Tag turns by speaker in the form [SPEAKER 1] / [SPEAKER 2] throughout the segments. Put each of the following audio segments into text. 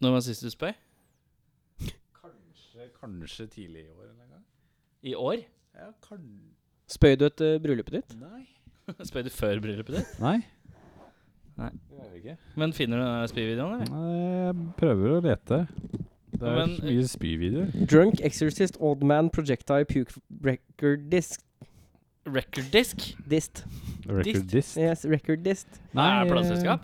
[SPEAKER 1] Når var sist du spøy?
[SPEAKER 2] Kanskje, kanskje tidlig i år en eller annen gang.
[SPEAKER 1] I år?
[SPEAKER 2] Ja, kanskje
[SPEAKER 3] Spøy du etter
[SPEAKER 1] eh,
[SPEAKER 3] bryllupet ditt?
[SPEAKER 2] Nei.
[SPEAKER 1] Spøy du før bryllupet ditt?
[SPEAKER 2] Nei,
[SPEAKER 1] Nei.
[SPEAKER 2] det gjør jeg ikke.
[SPEAKER 1] Men finner du den spyvideoen, eller?
[SPEAKER 2] Nei, jeg prøver å lete. Det er
[SPEAKER 1] Men-
[SPEAKER 2] så mye spyvideoer.
[SPEAKER 3] Drunk Exorcist Old Man Projectile Puke Record Disc.
[SPEAKER 1] Record disc?
[SPEAKER 3] Dist.
[SPEAKER 2] Record dist.
[SPEAKER 3] Yes, record dist.
[SPEAKER 1] eh, Er det plateselskap?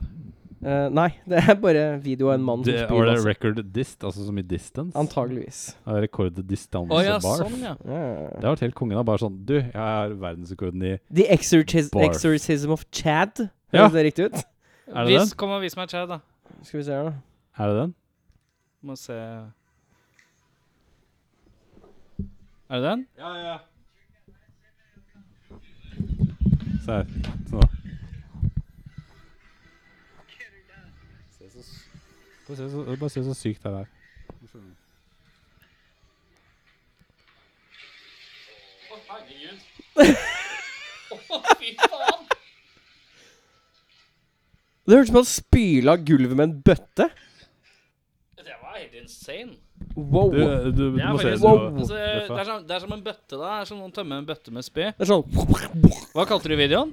[SPEAKER 3] Eh, nei, det er bare video av en mann
[SPEAKER 2] Det,
[SPEAKER 3] som spyr.
[SPEAKER 2] var det
[SPEAKER 3] masse.
[SPEAKER 2] record dist, altså som i distance?
[SPEAKER 3] Antageligvis.
[SPEAKER 2] Ja, Record distance
[SPEAKER 1] Å ja,
[SPEAKER 2] og barf.
[SPEAKER 1] sånn, ja.
[SPEAKER 3] Ja.
[SPEAKER 2] Det har vært helt kongen. da, Bare sånn Du, jeg har verdensrekorden i
[SPEAKER 3] The Exorcis
[SPEAKER 2] Barf.
[SPEAKER 3] Exorcism of Chad.
[SPEAKER 2] Ja.
[SPEAKER 3] Høres det riktig ut?
[SPEAKER 2] Er det
[SPEAKER 1] Vis,
[SPEAKER 2] den?
[SPEAKER 1] kom og vis meg Chad, da.
[SPEAKER 3] Skal vi se her, da.
[SPEAKER 2] Er det den?
[SPEAKER 1] Må se Er det den?
[SPEAKER 2] Ja, ja. Se her. Sånn, da. Se så s- Bare se så, bare se så sykt det er.
[SPEAKER 1] Å, herregud. Å, fy faen.
[SPEAKER 3] Det hørtes ut som han spyla gulvet med en bøtte.
[SPEAKER 1] Det var helt insane.
[SPEAKER 3] Wow.
[SPEAKER 2] Du, du, du
[SPEAKER 1] Det er,
[SPEAKER 2] må se
[SPEAKER 1] faktisk,
[SPEAKER 2] du
[SPEAKER 3] Wow.
[SPEAKER 2] må-
[SPEAKER 1] altså, det,
[SPEAKER 2] Leffa.
[SPEAKER 1] er som, det er som en bøtte, da. Det er som noen tømmer en bøtte med spy.
[SPEAKER 3] Det er sånn
[SPEAKER 1] Hva kalte du videoen?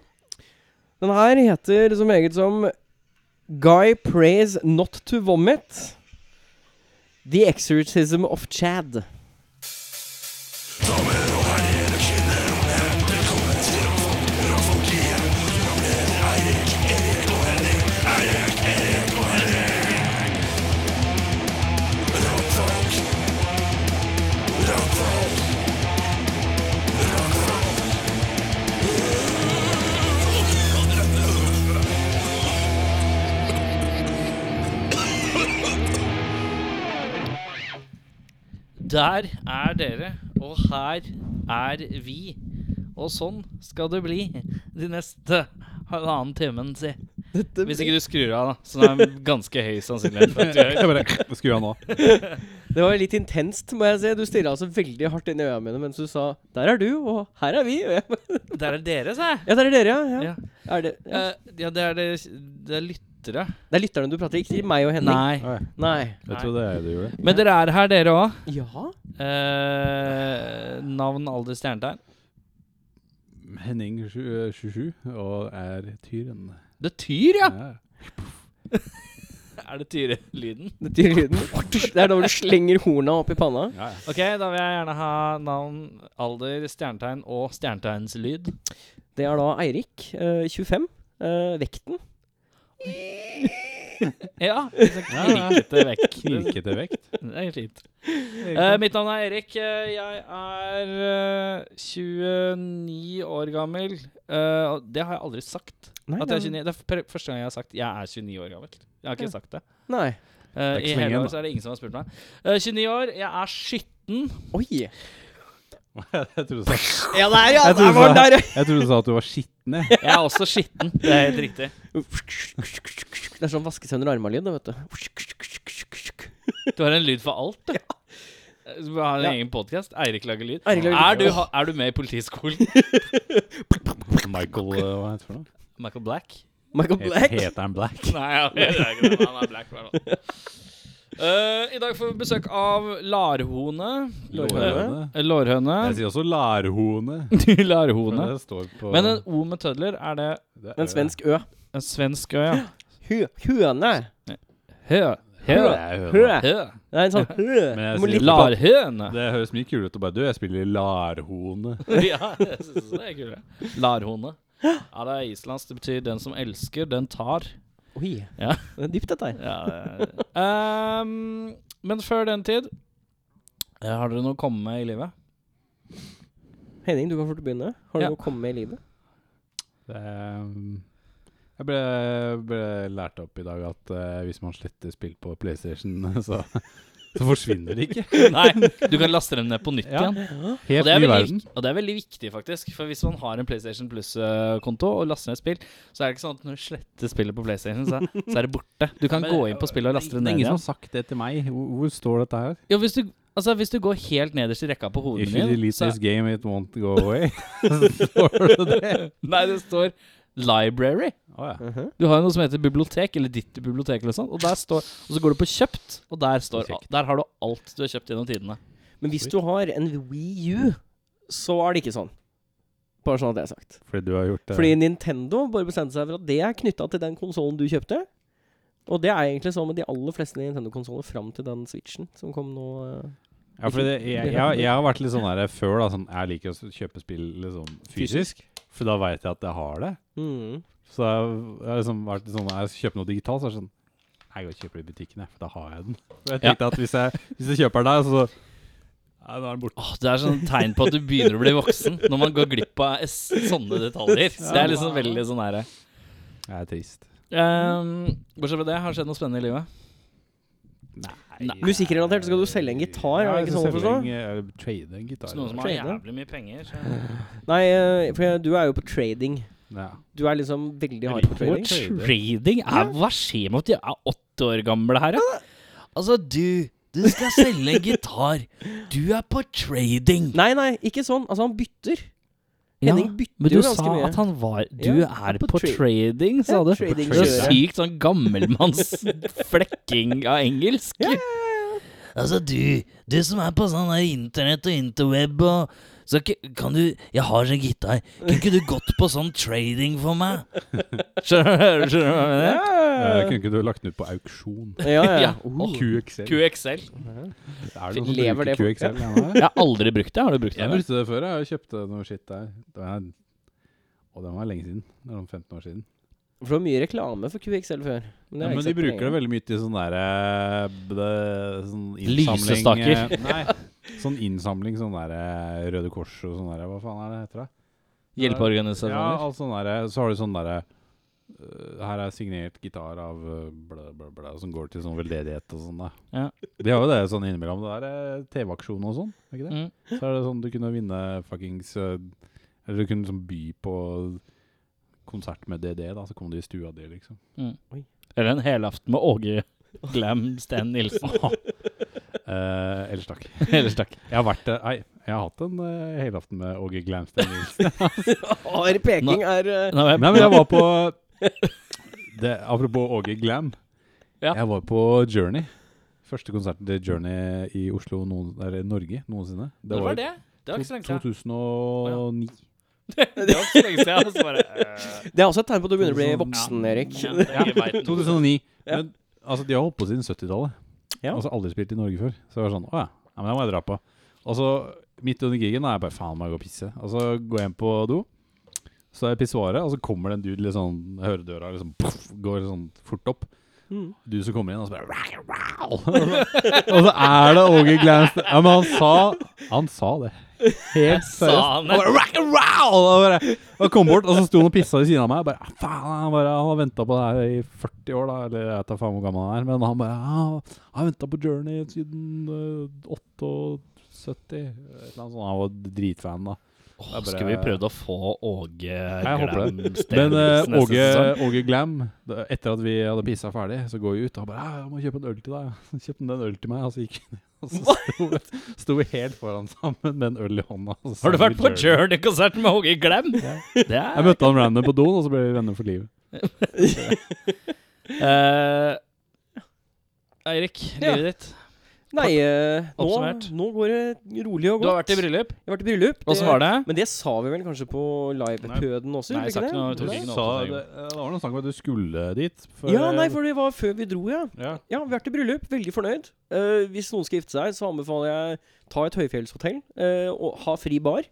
[SPEAKER 3] Den her heter så meget som Guy prays not to vomit. The exorcism of Chad.
[SPEAKER 1] Der er dere, og her er vi. Og sånn skal det bli de neste halvannen timen, si.
[SPEAKER 3] Dette
[SPEAKER 1] Hvis ikke du skrur av, da. Så det er ganske høy
[SPEAKER 2] sånn-
[SPEAKER 1] sannsynlighet for at du gjør.
[SPEAKER 2] Jeg bare Skru av nå.
[SPEAKER 3] Det var litt intenst, må jeg si. Du stirra altså veldig hardt inn i øya mine mens du sa 'der er du', og 'her er vi'. Og jeg bare,
[SPEAKER 1] Der er dere, sa jeg.
[SPEAKER 3] Ja, der er dere, ja. ja.
[SPEAKER 1] Ja.
[SPEAKER 3] Er det, ja.
[SPEAKER 1] Eh, ja, det er, det, det er lyttere.
[SPEAKER 3] det er lytterne du prater ikke til meg og Henning.
[SPEAKER 1] Nei.
[SPEAKER 2] Oi,
[SPEAKER 3] Nei.
[SPEAKER 2] Jeg trodde jeg du gjorde det.
[SPEAKER 1] Men dere er her, dere òg.
[SPEAKER 3] Ja?
[SPEAKER 1] Eh, navn, alder, stjernetegn.
[SPEAKER 2] Henning 27 og er tyren.
[SPEAKER 1] Det er tyr, ja!
[SPEAKER 2] Ja.
[SPEAKER 1] Er det tyrelyden?
[SPEAKER 3] Det er lyden. Det er da hvor du slenger horna opp i panna.
[SPEAKER 2] Ja, ja.
[SPEAKER 1] Ok, da vil jeg gjerne ha navn, alder, stjernetegn og stjernetegnslyd.
[SPEAKER 3] Det er da Eirik, eh, 25. eh, vekten.
[SPEAKER 1] Ja, liksom knirkete vekk. Det
[SPEAKER 2] Knirkete vekt.
[SPEAKER 1] det er fint. Eh, mitt navn er Erik. Eh, jeg er eh, 29 år gammel. Eh, og det har jeg aldri sagt.
[SPEAKER 3] Nei,
[SPEAKER 1] At jeg er
[SPEAKER 3] det
[SPEAKER 1] 29. Det er pr- første gang jeg har sagt jeg er 29 år gammel. Jeg har
[SPEAKER 3] Ja.
[SPEAKER 1] ikke sagt det.
[SPEAKER 3] Nei.
[SPEAKER 1] Eh,
[SPEAKER 2] Det er
[SPEAKER 1] I
[SPEAKER 2] ikke så lenge
[SPEAKER 1] hele
[SPEAKER 2] igjen,
[SPEAKER 1] år så er det ingen som har spurt meg. Eh, 29 år, jeg er skitten.
[SPEAKER 3] Oi.
[SPEAKER 2] Jeg trodde du sa
[SPEAKER 3] Ja, der, ja.
[SPEAKER 2] Jeg
[SPEAKER 3] Der
[SPEAKER 2] trodde
[SPEAKER 3] var
[SPEAKER 2] du sa-
[SPEAKER 3] den der,
[SPEAKER 2] Jeg trodde du sa at du var skitten, jeg.
[SPEAKER 1] Jeg er også skitten. Det er helt riktig.
[SPEAKER 3] ja. Det er sånn vaske seg under armene-lyd, det, vet du.
[SPEAKER 1] Du har en lyd for alt, du. Du har en
[SPEAKER 3] Ja.
[SPEAKER 1] egen podkast. Eirik lager lyd.
[SPEAKER 3] Eirik lager
[SPEAKER 1] er,
[SPEAKER 3] lyd.
[SPEAKER 1] du, ha- er du med i politiskolen?
[SPEAKER 2] Michael eh, Hva heter det for noe?
[SPEAKER 1] Michael Black?
[SPEAKER 3] Michael
[SPEAKER 2] Het-
[SPEAKER 3] Black.
[SPEAKER 2] Heter han Black?
[SPEAKER 1] Nei, han er ikke det. men Han er black, i hvert fall. Eh, I dag får vi besøk av larhone.
[SPEAKER 2] Lårhøne.
[SPEAKER 1] Eh, Lårhøne.
[SPEAKER 2] Jeg sier også larhone. for
[SPEAKER 1] larhone.
[SPEAKER 2] Det står på
[SPEAKER 1] Men en O med tødler, er det
[SPEAKER 2] det er
[SPEAKER 3] En svensk ø.
[SPEAKER 1] en svensk ø, ja?
[SPEAKER 3] Hø, høne.
[SPEAKER 1] Hø. Hø.
[SPEAKER 2] ø. Det er høne.
[SPEAKER 3] Hø.
[SPEAKER 1] Hø.
[SPEAKER 3] Det er en sånn hø.
[SPEAKER 2] Men jeg
[SPEAKER 3] Du må
[SPEAKER 2] sier
[SPEAKER 3] litt bak-
[SPEAKER 1] Larhøne.
[SPEAKER 2] Det høres mye kulere ut å bare Du, jeg spiller i larhone.
[SPEAKER 1] Ja, jeg synes det er kult. det. Larhone. Ja, det er islandsk. Det betyr 'den som elsker, den tar'.
[SPEAKER 3] Oi.
[SPEAKER 1] Ja.
[SPEAKER 3] Det er dypt, dette her.
[SPEAKER 1] Ja, det er- Ehm, men før den tid eh, Har dere noe å komme med i livet?
[SPEAKER 3] Henning, du kan fort begynne. Har du
[SPEAKER 1] Ja.
[SPEAKER 3] noe å komme med i livet?
[SPEAKER 2] Det er, um, jeg ble, ble lært opp i dag at eh, hvis man sletter spill på PlayStation, så, så forsvinner det ikke.
[SPEAKER 1] Nei, du kan laste dem ned på nytt
[SPEAKER 2] Ja.
[SPEAKER 1] igjen. Og
[SPEAKER 2] Helt
[SPEAKER 1] det, er
[SPEAKER 2] ny
[SPEAKER 1] veldig,
[SPEAKER 2] verden.
[SPEAKER 1] vik- og det er veldig viktig, faktisk. For hvis man har en PlayStation Plus-konto og laster ned spill, så er det ikke sånn at når du sletter spillet på PlayStation, så, så er det borte. Du kan gå inn på spillet og laste det
[SPEAKER 2] Det er
[SPEAKER 1] ned
[SPEAKER 2] ingen som
[SPEAKER 1] igjen.
[SPEAKER 2] har sagt det til meg. Hvor, hvor står dette her?
[SPEAKER 1] Jo, hvis du, altså, hvis du går helt nederst i rekka på hodet
[SPEAKER 2] If you
[SPEAKER 1] din
[SPEAKER 2] delete
[SPEAKER 1] så,
[SPEAKER 2] this game, it won't go away. står det det?
[SPEAKER 1] Nei, det står library.
[SPEAKER 2] Å ja.
[SPEAKER 1] Du har jo noe som heter bibliotek, eller ditt bibliotek, eller sånt, og, der står, og så går du på kjøpt, og der, står,
[SPEAKER 2] Perfekt.
[SPEAKER 1] der har du alt du har kjøpt gjennom tidene.
[SPEAKER 3] Men hvis du har en Wii U, så er det ikke sånn. Bare sånn at det er sagt.
[SPEAKER 2] Fordi du har gjort det.
[SPEAKER 3] Fordi Nintendo bare bestemte seg for at det er knytta til den konsollen du kjøpte. Og det er egentlig sånn med de aller fleste Nintendo-konsoller fram til den Switchen som kom nå. eh.
[SPEAKER 2] Ja, for det, jeg, jeg, jeg har vært litt sånn der før, da. Sånn, jeg liker å kjøpe spill liksom, fysisk, for da veit jeg at jeg har det.
[SPEAKER 3] Mm.
[SPEAKER 2] Så jeg jeg har liksom vært litt sånn når jeg kjøper noe digitalt, så er det sånn Jeg går og kjøper det i butikken, jeg, for da har jeg den. For jeg
[SPEAKER 1] Ja.
[SPEAKER 2] tenkte at hvis jeg, hvis jeg kjøper den der, så ja, Nå er den borte.
[SPEAKER 1] Åh, det er sånn tegn på at du begynner å bli voksen, når man går glipp av s- sånne detaljer. Så det er liksom veldig sånn herre.
[SPEAKER 2] Jeg er trist.
[SPEAKER 1] Ehm, bortsett fra det, har det skjedd noe spennende i livet? Nei.
[SPEAKER 3] Musikkrelatert så skal du selge en gitar, er det ikke sånn å forstå?
[SPEAKER 2] forstå? Trade en gitar.
[SPEAKER 1] Noen som har jævlig mye penger. så-
[SPEAKER 3] Nei, eh, for jeg- du er jo på trading.
[SPEAKER 2] Ja.
[SPEAKER 3] Du er liksom veldig hard på trading.
[SPEAKER 1] Trading? Trading? Er, hva skjer med at de er åtte år gamle her, ja? Altså, du Du skal selge en gitar. Du er på trading.
[SPEAKER 3] Nei, nei, ikke sånn. Altså, han bytter.
[SPEAKER 1] Ja,
[SPEAKER 3] Henning bytter
[SPEAKER 1] men
[SPEAKER 3] jo
[SPEAKER 1] du
[SPEAKER 3] ganske
[SPEAKER 1] sa
[SPEAKER 3] mye.
[SPEAKER 1] at han var Du
[SPEAKER 3] Ja,
[SPEAKER 1] er på,
[SPEAKER 3] på tra-
[SPEAKER 1] trading, sa
[SPEAKER 3] Ja,
[SPEAKER 1] du.
[SPEAKER 3] trading
[SPEAKER 1] Det er
[SPEAKER 2] kjører.
[SPEAKER 1] sykt sånn gammelmanns flekking av engelsk. Altså, du, du som er på sånn der internett og interweb og så ikke- kan du Jeg har sånn gitar. Kunne ikke du gått på sånn trading for meg? Skjønner du skjønner du hva jeg mener?
[SPEAKER 2] Eh, Kunne ikke du lagt den ut på auksjon?
[SPEAKER 3] Ja, ja.
[SPEAKER 1] Ja.
[SPEAKER 3] Oh.
[SPEAKER 2] QXL.
[SPEAKER 1] QXL.
[SPEAKER 2] Er det noen som bruker
[SPEAKER 3] Lever det for-
[SPEAKER 2] QXL? Ja.
[SPEAKER 1] Jeg har aldri brukt det. Har du brukt
[SPEAKER 2] Jeg
[SPEAKER 1] det?
[SPEAKER 2] brukte det før, jeg og kjøpte noe shit der. Det var, og den var lenge siden. Det var om 15 år siden.
[SPEAKER 3] For det var mye reklame for QXL før.
[SPEAKER 2] Ja,
[SPEAKER 3] det har jeg
[SPEAKER 2] men
[SPEAKER 3] ikke
[SPEAKER 2] de
[SPEAKER 3] sett på
[SPEAKER 2] bruker det
[SPEAKER 3] lenge.
[SPEAKER 2] veldig mye til sånn derre sånn
[SPEAKER 1] Lysestaker.
[SPEAKER 2] eh, Nei, sånn innsamling, sånn derre Røde Kors og sånn derre Hva faen er det heter det? Ja,
[SPEAKER 1] Hjelpeorganisasjoner.
[SPEAKER 2] alt sånn derre Så har du sånn derre eh, her er signert gitar av eh, bla, bla, bla, som går til sånn veldedighet og sånn. da
[SPEAKER 1] Ja.
[SPEAKER 2] De har jo det sånn innimellom. Det er eh, TV-aksjon og sånn. er ikke det?
[SPEAKER 1] Mm.
[SPEAKER 2] Så er det sånn du kunne vinne fuckings eh, Eller du kunne sånn by på konsert med DD, da. Så kom du i stua di, liksom.
[SPEAKER 1] Eller en helaften med Åge Glam Stan Nilsen.
[SPEAKER 2] Eh, ellers takk.
[SPEAKER 1] Ellers takk.
[SPEAKER 2] Jeg har vært eh, Nei, jeg har hatt en eh, helaften med Åge Glamstein Nilsen.
[SPEAKER 3] Hard peking er eh,
[SPEAKER 1] Nå er jeg-
[SPEAKER 2] nei, men jeg var på det, Apropos Åge Glam.
[SPEAKER 1] Ja.
[SPEAKER 2] Jeg var på Journey. Første konserten til Journey i Oslo, noen, eller Norge noensinne.
[SPEAKER 1] Når var det? Det var ikke så lenge siden.
[SPEAKER 2] 2009.
[SPEAKER 1] Det var ikke så lenge siden. og Så bare, eh,
[SPEAKER 3] Det er også et tegn på at du begynner å bli
[SPEAKER 2] Sånn-
[SPEAKER 3] voksen, Erik.
[SPEAKER 1] ja, det er- jeg vet noe.
[SPEAKER 2] 2009. Men altså, de har holdt på siden 70-tallet.
[SPEAKER 3] Ja.
[SPEAKER 2] Altså aldri spilt i Norge før. Så jeg var sånn Å ja, ja men det må jeg dra på. Og så midt under gigen er jeg bare faen, må jeg gå og pisse. Og så går jeg inn på do. Så er jeg i pissoaret, og så kommer det en dude litt sånn Jeg hører døra liksom puff, går sånn fort opp.
[SPEAKER 3] Mm.
[SPEAKER 2] Du som kommer inn, og så bare «Wow, wow!» Og så er det Åge Glans Ja, men han sa Han sa det. Helt
[SPEAKER 1] Sa
[SPEAKER 2] seriøst.
[SPEAKER 1] han
[SPEAKER 2] Han bare,
[SPEAKER 1] det?
[SPEAKER 2] «Rock and roll!» Og da bare- og kom bort, og så sto han og pissa ved siden av meg. og Bare, «Ah, faen, han, bare, han har venta på det her i 40 år, da. Eller jeg vet da faen hvor gammel han er. Men han bare «Ah, Han har venta på Journey siden eh, 78 Et eller annet sånt. Han var dritfan, da.
[SPEAKER 1] Åh,
[SPEAKER 2] Det er bare-
[SPEAKER 1] Skulle vi prøvd å få Åge
[SPEAKER 2] håper
[SPEAKER 1] Glam Stan
[SPEAKER 2] Men eh,
[SPEAKER 1] Nilsen neste
[SPEAKER 2] Åge,
[SPEAKER 1] sesong?
[SPEAKER 2] Åge Glam, da- etter at vi hadde pissa ferdig, så går vi ut og han bare «Ah, 'Jeg må kjøpe en øl til deg.' Så kjøpte han en øl til meg, og så gikk han ned, og så sto, sto vi helt foran sammen med en øl i hånda. og så
[SPEAKER 1] Har du
[SPEAKER 2] sang
[SPEAKER 1] vært
[SPEAKER 2] vi
[SPEAKER 1] på Journey-konsert med Åge Glam? Det
[SPEAKER 2] Jeg
[SPEAKER 1] er
[SPEAKER 2] møtte han random på doen, og så ble vi venner for livet.
[SPEAKER 1] Eh, Eirik,
[SPEAKER 3] Ja.
[SPEAKER 1] livet ditt.
[SPEAKER 3] Nei, eh, nå,
[SPEAKER 1] Oppsummert.
[SPEAKER 3] nå går det rolig og godt.
[SPEAKER 1] Du har vært i bryllup.
[SPEAKER 3] Jeg har vært i bryllup.
[SPEAKER 1] Åssen var det?
[SPEAKER 3] Men det sa vi vel kanskje på livepøden også?
[SPEAKER 1] Nei, jeg
[SPEAKER 3] gjorde vi
[SPEAKER 1] sa ikke noe, jeg
[SPEAKER 2] Du
[SPEAKER 1] tok ikke noe eh,
[SPEAKER 2] sa
[SPEAKER 1] oppdatering.
[SPEAKER 2] det, det var noen snakk om at du skulle dit. for-
[SPEAKER 3] Ja, nei, for det var før vi dro, ja.
[SPEAKER 2] ja.
[SPEAKER 3] Ja, vi har vært i bryllup. Veldig fornøyd. Eh, hvis noen skal gifte seg, så anbefaler jeg ta et høyfjellshotell eh, og ha fri bar.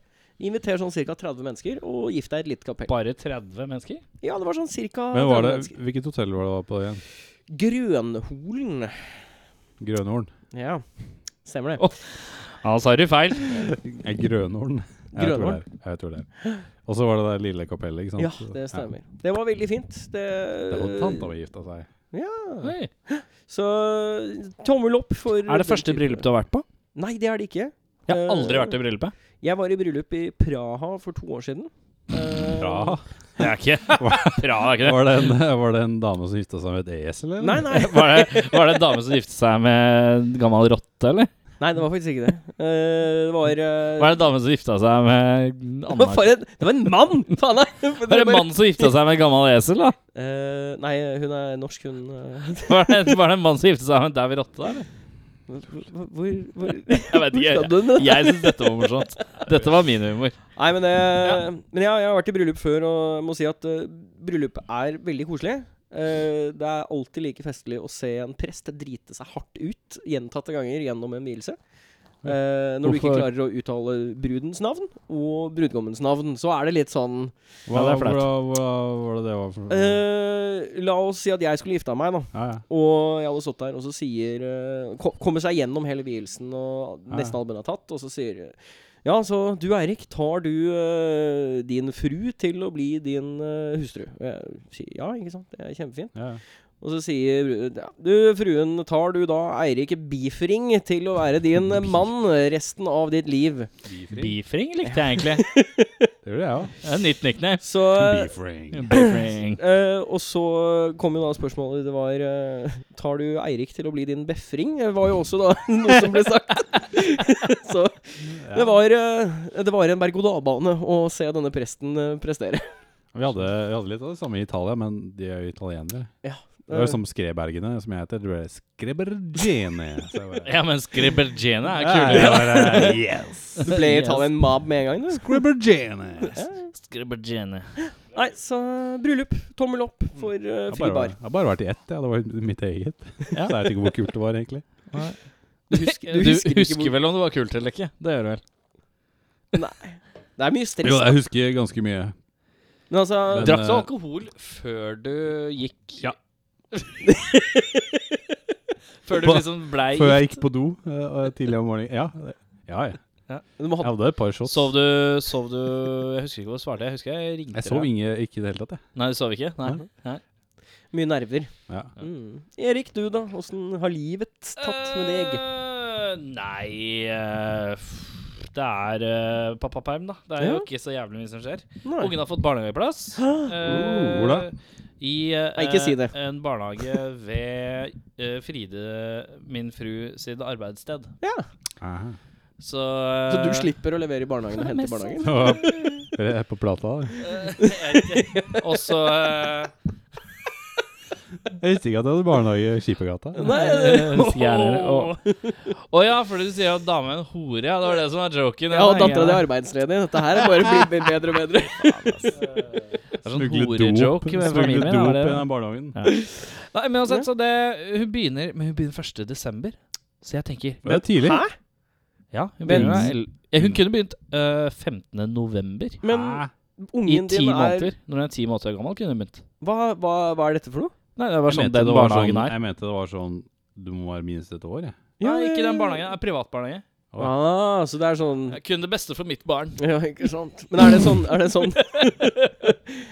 [SPEAKER 3] Inviter sånn ca. 30 mennesker, og gift deg i et litt kapell.
[SPEAKER 1] Bare 30 mennesker?
[SPEAKER 3] Ja, det var sånn ca.
[SPEAKER 2] eh, Men var
[SPEAKER 3] 30
[SPEAKER 2] det,
[SPEAKER 3] mennesker.
[SPEAKER 2] hvilket hotell var det var på igjen?
[SPEAKER 3] Grønholen.
[SPEAKER 2] Grønhorn?
[SPEAKER 3] Ja, stemmer det.
[SPEAKER 1] Ja, sa du feil.
[SPEAKER 2] Nei, Eh, Grønhorn. Jeg tror
[SPEAKER 3] Grønhorn?
[SPEAKER 2] det er- Jeg tror det. er. Og så var det der lille kapellet, ikke sant?
[SPEAKER 3] Ja, det stemmer. Det var veldig fint. Det,
[SPEAKER 2] Ja. Det var tanta mi gifta seg.
[SPEAKER 1] Oi.
[SPEAKER 3] Så tommel opp for
[SPEAKER 1] Er det første bryllup du har vært på?
[SPEAKER 3] Nei, det er det ikke.
[SPEAKER 1] Jeg har aldri
[SPEAKER 3] Eh,
[SPEAKER 1] vært i bryllupet.
[SPEAKER 3] Jeg var i bryllup i Praha for to år siden. Eh,
[SPEAKER 2] Bra.
[SPEAKER 1] Det er ikke Bra, det er ikke det.
[SPEAKER 2] Var det en, var det en dame som gifta seg med et ES, eller?
[SPEAKER 3] Nei, nei.
[SPEAKER 1] Var det, var det en dame som giftet seg med en gammel rotte, eller?
[SPEAKER 3] Nei, det var faktisk ikke det. Eh, det var eh,
[SPEAKER 1] Var det en dame som gifta seg med en
[SPEAKER 3] det var
[SPEAKER 1] annen
[SPEAKER 3] for en, det var en mann! Faen, nei!
[SPEAKER 1] Var
[SPEAKER 3] For
[SPEAKER 1] det en
[SPEAKER 3] bare-
[SPEAKER 1] mann som gifta seg med en gammel esel, da?
[SPEAKER 3] Eh, nei, hun er norsk, hun eh.
[SPEAKER 1] Var det, var det en mann som gifta seg med en dau rotte der? eller?
[SPEAKER 3] Hvor, hvor, hvor
[SPEAKER 1] Jeg vet ikke.
[SPEAKER 3] skal du
[SPEAKER 1] Jeg, jeg syns dette var morsomt. Dette var min humor.
[SPEAKER 3] Nei, men, det, men ja, jeg har vært i bryllup før, og må si at eh, bryllup er veldig koselig. Eh, det er alltid like festlig å se en prest drite seg hardt ut gjentatte ganger gjennom en vielse. Eh, når du ikke
[SPEAKER 2] Hvorfor?
[SPEAKER 3] klarer å uttale brudens navn og brudgommens navn, så er det litt sånn
[SPEAKER 2] Hva,
[SPEAKER 1] Ja, det er flaut.
[SPEAKER 2] hva, hva, hva var det det var for
[SPEAKER 3] eh, La oss si at jeg skulle gifta meg, da.
[SPEAKER 2] ja, ja.
[SPEAKER 3] Og jeg hadde stått der, og så sier eh, ko- Kommer seg gjennom hele vielsen, og nesten albuen er tatt, og så sier eh, Ja, så du Eirik, tar du eh, din fru til å bli din eh, hustru? Og jeg sier ja, ikke sant, det er kjempefint.
[SPEAKER 2] Ja.
[SPEAKER 3] Og så sier bruden, ja, du fruen, tar du da Eirik Bifring til å være din eh, mann resten av ditt liv?
[SPEAKER 1] Beefring likte jeg egentlig.
[SPEAKER 2] Det gjorde jeg òg.
[SPEAKER 1] Det er et nytt nickname.
[SPEAKER 3] Så
[SPEAKER 2] Beefring.
[SPEAKER 1] Beefring.
[SPEAKER 3] Eh, og så kom jo da spørsmålet Det var eh, Tar du Eirik til å bli din befring? Det var jo også da noe som ble sagt. så det var, eh, det var en berg-og-dal-bane å se denne presten eh, prestere.
[SPEAKER 2] Vi hadde, vi hadde litt av det samme i Italia, men de er jo italienere. Det
[SPEAKER 3] Eh.
[SPEAKER 2] var jo sånn- som Skrebergene, som jeg heter. Det ble Skrebergene. Så jeg bare,
[SPEAKER 1] Ja, men Skribbergene er
[SPEAKER 2] Ja,
[SPEAKER 1] kule.
[SPEAKER 2] jeg bare, yes.
[SPEAKER 3] Eh, Du ble i Italien mab med en gang, du.
[SPEAKER 2] Skrebergene.
[SPEAKER 1] Skribbergene.
[SPEAKER 3] Nei, så bryllup. Tommel opp for eh,
[SPEAKER 2] Jeg har
[SPEAKER 3] fri
[SPEAKER 2] bare,
[SPEAKER 3] bar.
[SPEAKER 2] jeg har bare vært i ett, ja. det var mitt eget. Så jeg vet ikke hvor kult det var, egentlig.
[SPEAKER 1] Du husker,
[SPEAKER 3] husker- du husker ikke hvor-
[SPEAKER 1] vel om det var kult eller ikke? Det gjør du vel.
[SPEAKER 3] Det er mye stress.
[SPEAKER 2] Jo,
[SPEAKER 3] da.
[SPEAKER 2] jeg husker ganske mye.
[SPEAKER 3] Men altså
[SPEAKER 2] Men-
[SPEAKER 1] Drakk du
[SPEAKER 2] eh,
[SPEAKER 1] alkohol før du gikk
[SPEAKER 2] Ja.
[SPEAKER 1] Før du
[SPEAKER 2] Hva?
[SPEAKER 1] liksom blei
[SPEAKER 2] Før jeg gikk på do eh, og tidlig om morgenen. Ja, det- ja, ja.
[SPEAKER 3] Du må
[SPEAKER 2] Jeg
[SPEAKER 3] ha
[SPEAKER 2] hadde et par shots.
[SPEAKER 1] Sov du Sov du Jeg husker ikke hva du svarte. Jeg husker jeg ringte
[SPEAKER 2] Jeg sov
[SPEAKER 1] deg.
[SPEAKER 2] ingen, ikke i det hele tatt, jeg.
[SPEAKER 1] Nei, du sov ikke? Nei.
[SPEAKER 3] mye nerver.
[SPEAKER 2] Ja.
[SPEAKER 3] Mm. Erik, du da? Åssen har livet tatt med deg?
[SPEAKER 1] Eh, nei eh, f- Det er eh, pappaperm, da. Det er
[SPEAKER 3] Ja.
[SPEAKER 1] jo ikke så jævlig mye som skjer.
[SPEAKER 3] Nei.
[SPEAKER 1] Ungen har fått barnehageplass.
[SPEAKER 2] Uh,
[SPEAKER 1] Eh,
[SPEAKER 2] Hvor da?
[SPEAKER 1] I eh,
[SPEAKER 3] Nei, ikke si det.
[SPEAKER 1] en barnehage ved eh, Fride, min fru, sitt arbeidssted.
[SPEAKER 2] Aha.
[SPEAKER 1] Så,
[SPEAKER 3] Så du
[SPEAKER 1] eh,
[SPEAKER 3] slipper å levere i barnehagen og hente i barnehagen?
[SPEAKER 2] Det var rett på plata. da.
[SPEAKER 1] Og så eh,
[SPEAKER 2] Jeg visste ikke at jeg hadde barnehage i Skipegata.
[SPEAKER 3] Nei,
[SPEAKER 1] eh,
[SPEAKER 3] det-
[SPEAKER 1] stjerner. Å Å ja, for du sier jo at dame er en hore. Ja, det var det som var joken.
[SPEAKER 3] Ja, og
[SPEAKER 1] den
[SPEAKER 3] dattera di er
[SPEAKER 1] gangen.
[SPEAKER 3] arbeidsledig. Dette her er bare blir bedre og bedre.
[SPEAKER 1] Det er sånn
[SPEAKER 2] Smugle dop,
[SPEAKER 1] horejoke ved
[SPEAKER 2] smugle
[SPEAKER 1] familien.
[SPEAKER 2] dop
[SPEAKER 1] da, var
[SPEAKER 2] i
[SPEAKER 1] det det?
[SPEAKER 2] den barnehagen.
[SPEAKER 1] Nei, men
[SPEAKER 3] Ja.
[SPEAKER 1] uansett, så det Hun begynner Men hun begynner 1. desember. Så jeg tenker
[SPEAKER 2] Det er tidlig.
[SPEAKER 3] Hæ?
[SPEAKER 1] Ja, hun
[SPEAKER 3] Men-
[SPEAKER 1] begynner da el- ja, Hun kunne begynt øh, 15. november.
[SPEAKER 3] Men
[SPEAKER 2] Hæ?
[SPEAKER 1] I
[SPEAKER 3] ungen
[SPEAKER 1] ti
[SPEAKER 3] din er
[SPEAKER 1] måneder. Når hun er ti måneder gammel, kunne hun begynt.
[SPEAKER 3] hva, hva, hva er dette for noe?
[SPEAKER 1] Nei, det var
[SPEAKER 2] Jeg
[SPEAKER 1] sånn
[SPEAKER 2] mente
[SPEAKER 1] den
[SPEAKER 2] det var
[SPEAKER 1] barnehagen
[SPEAKER 2] sånn-
[SPEAKER 1] er.
[SPEAKER 2] Jeg mente det var sånn Du må være minst et år, jeg.
[SPEAKER 1] Nei, ikke den barnehagen. Det er privatbarnehage.
[SPEAKER 3] Ah, så det er sånn
[SPEAKER 1] Det er Kun det beste for mitt barn.
[SPEAKER 3] Ja, ikke sant. Men er det sånn, er det sånn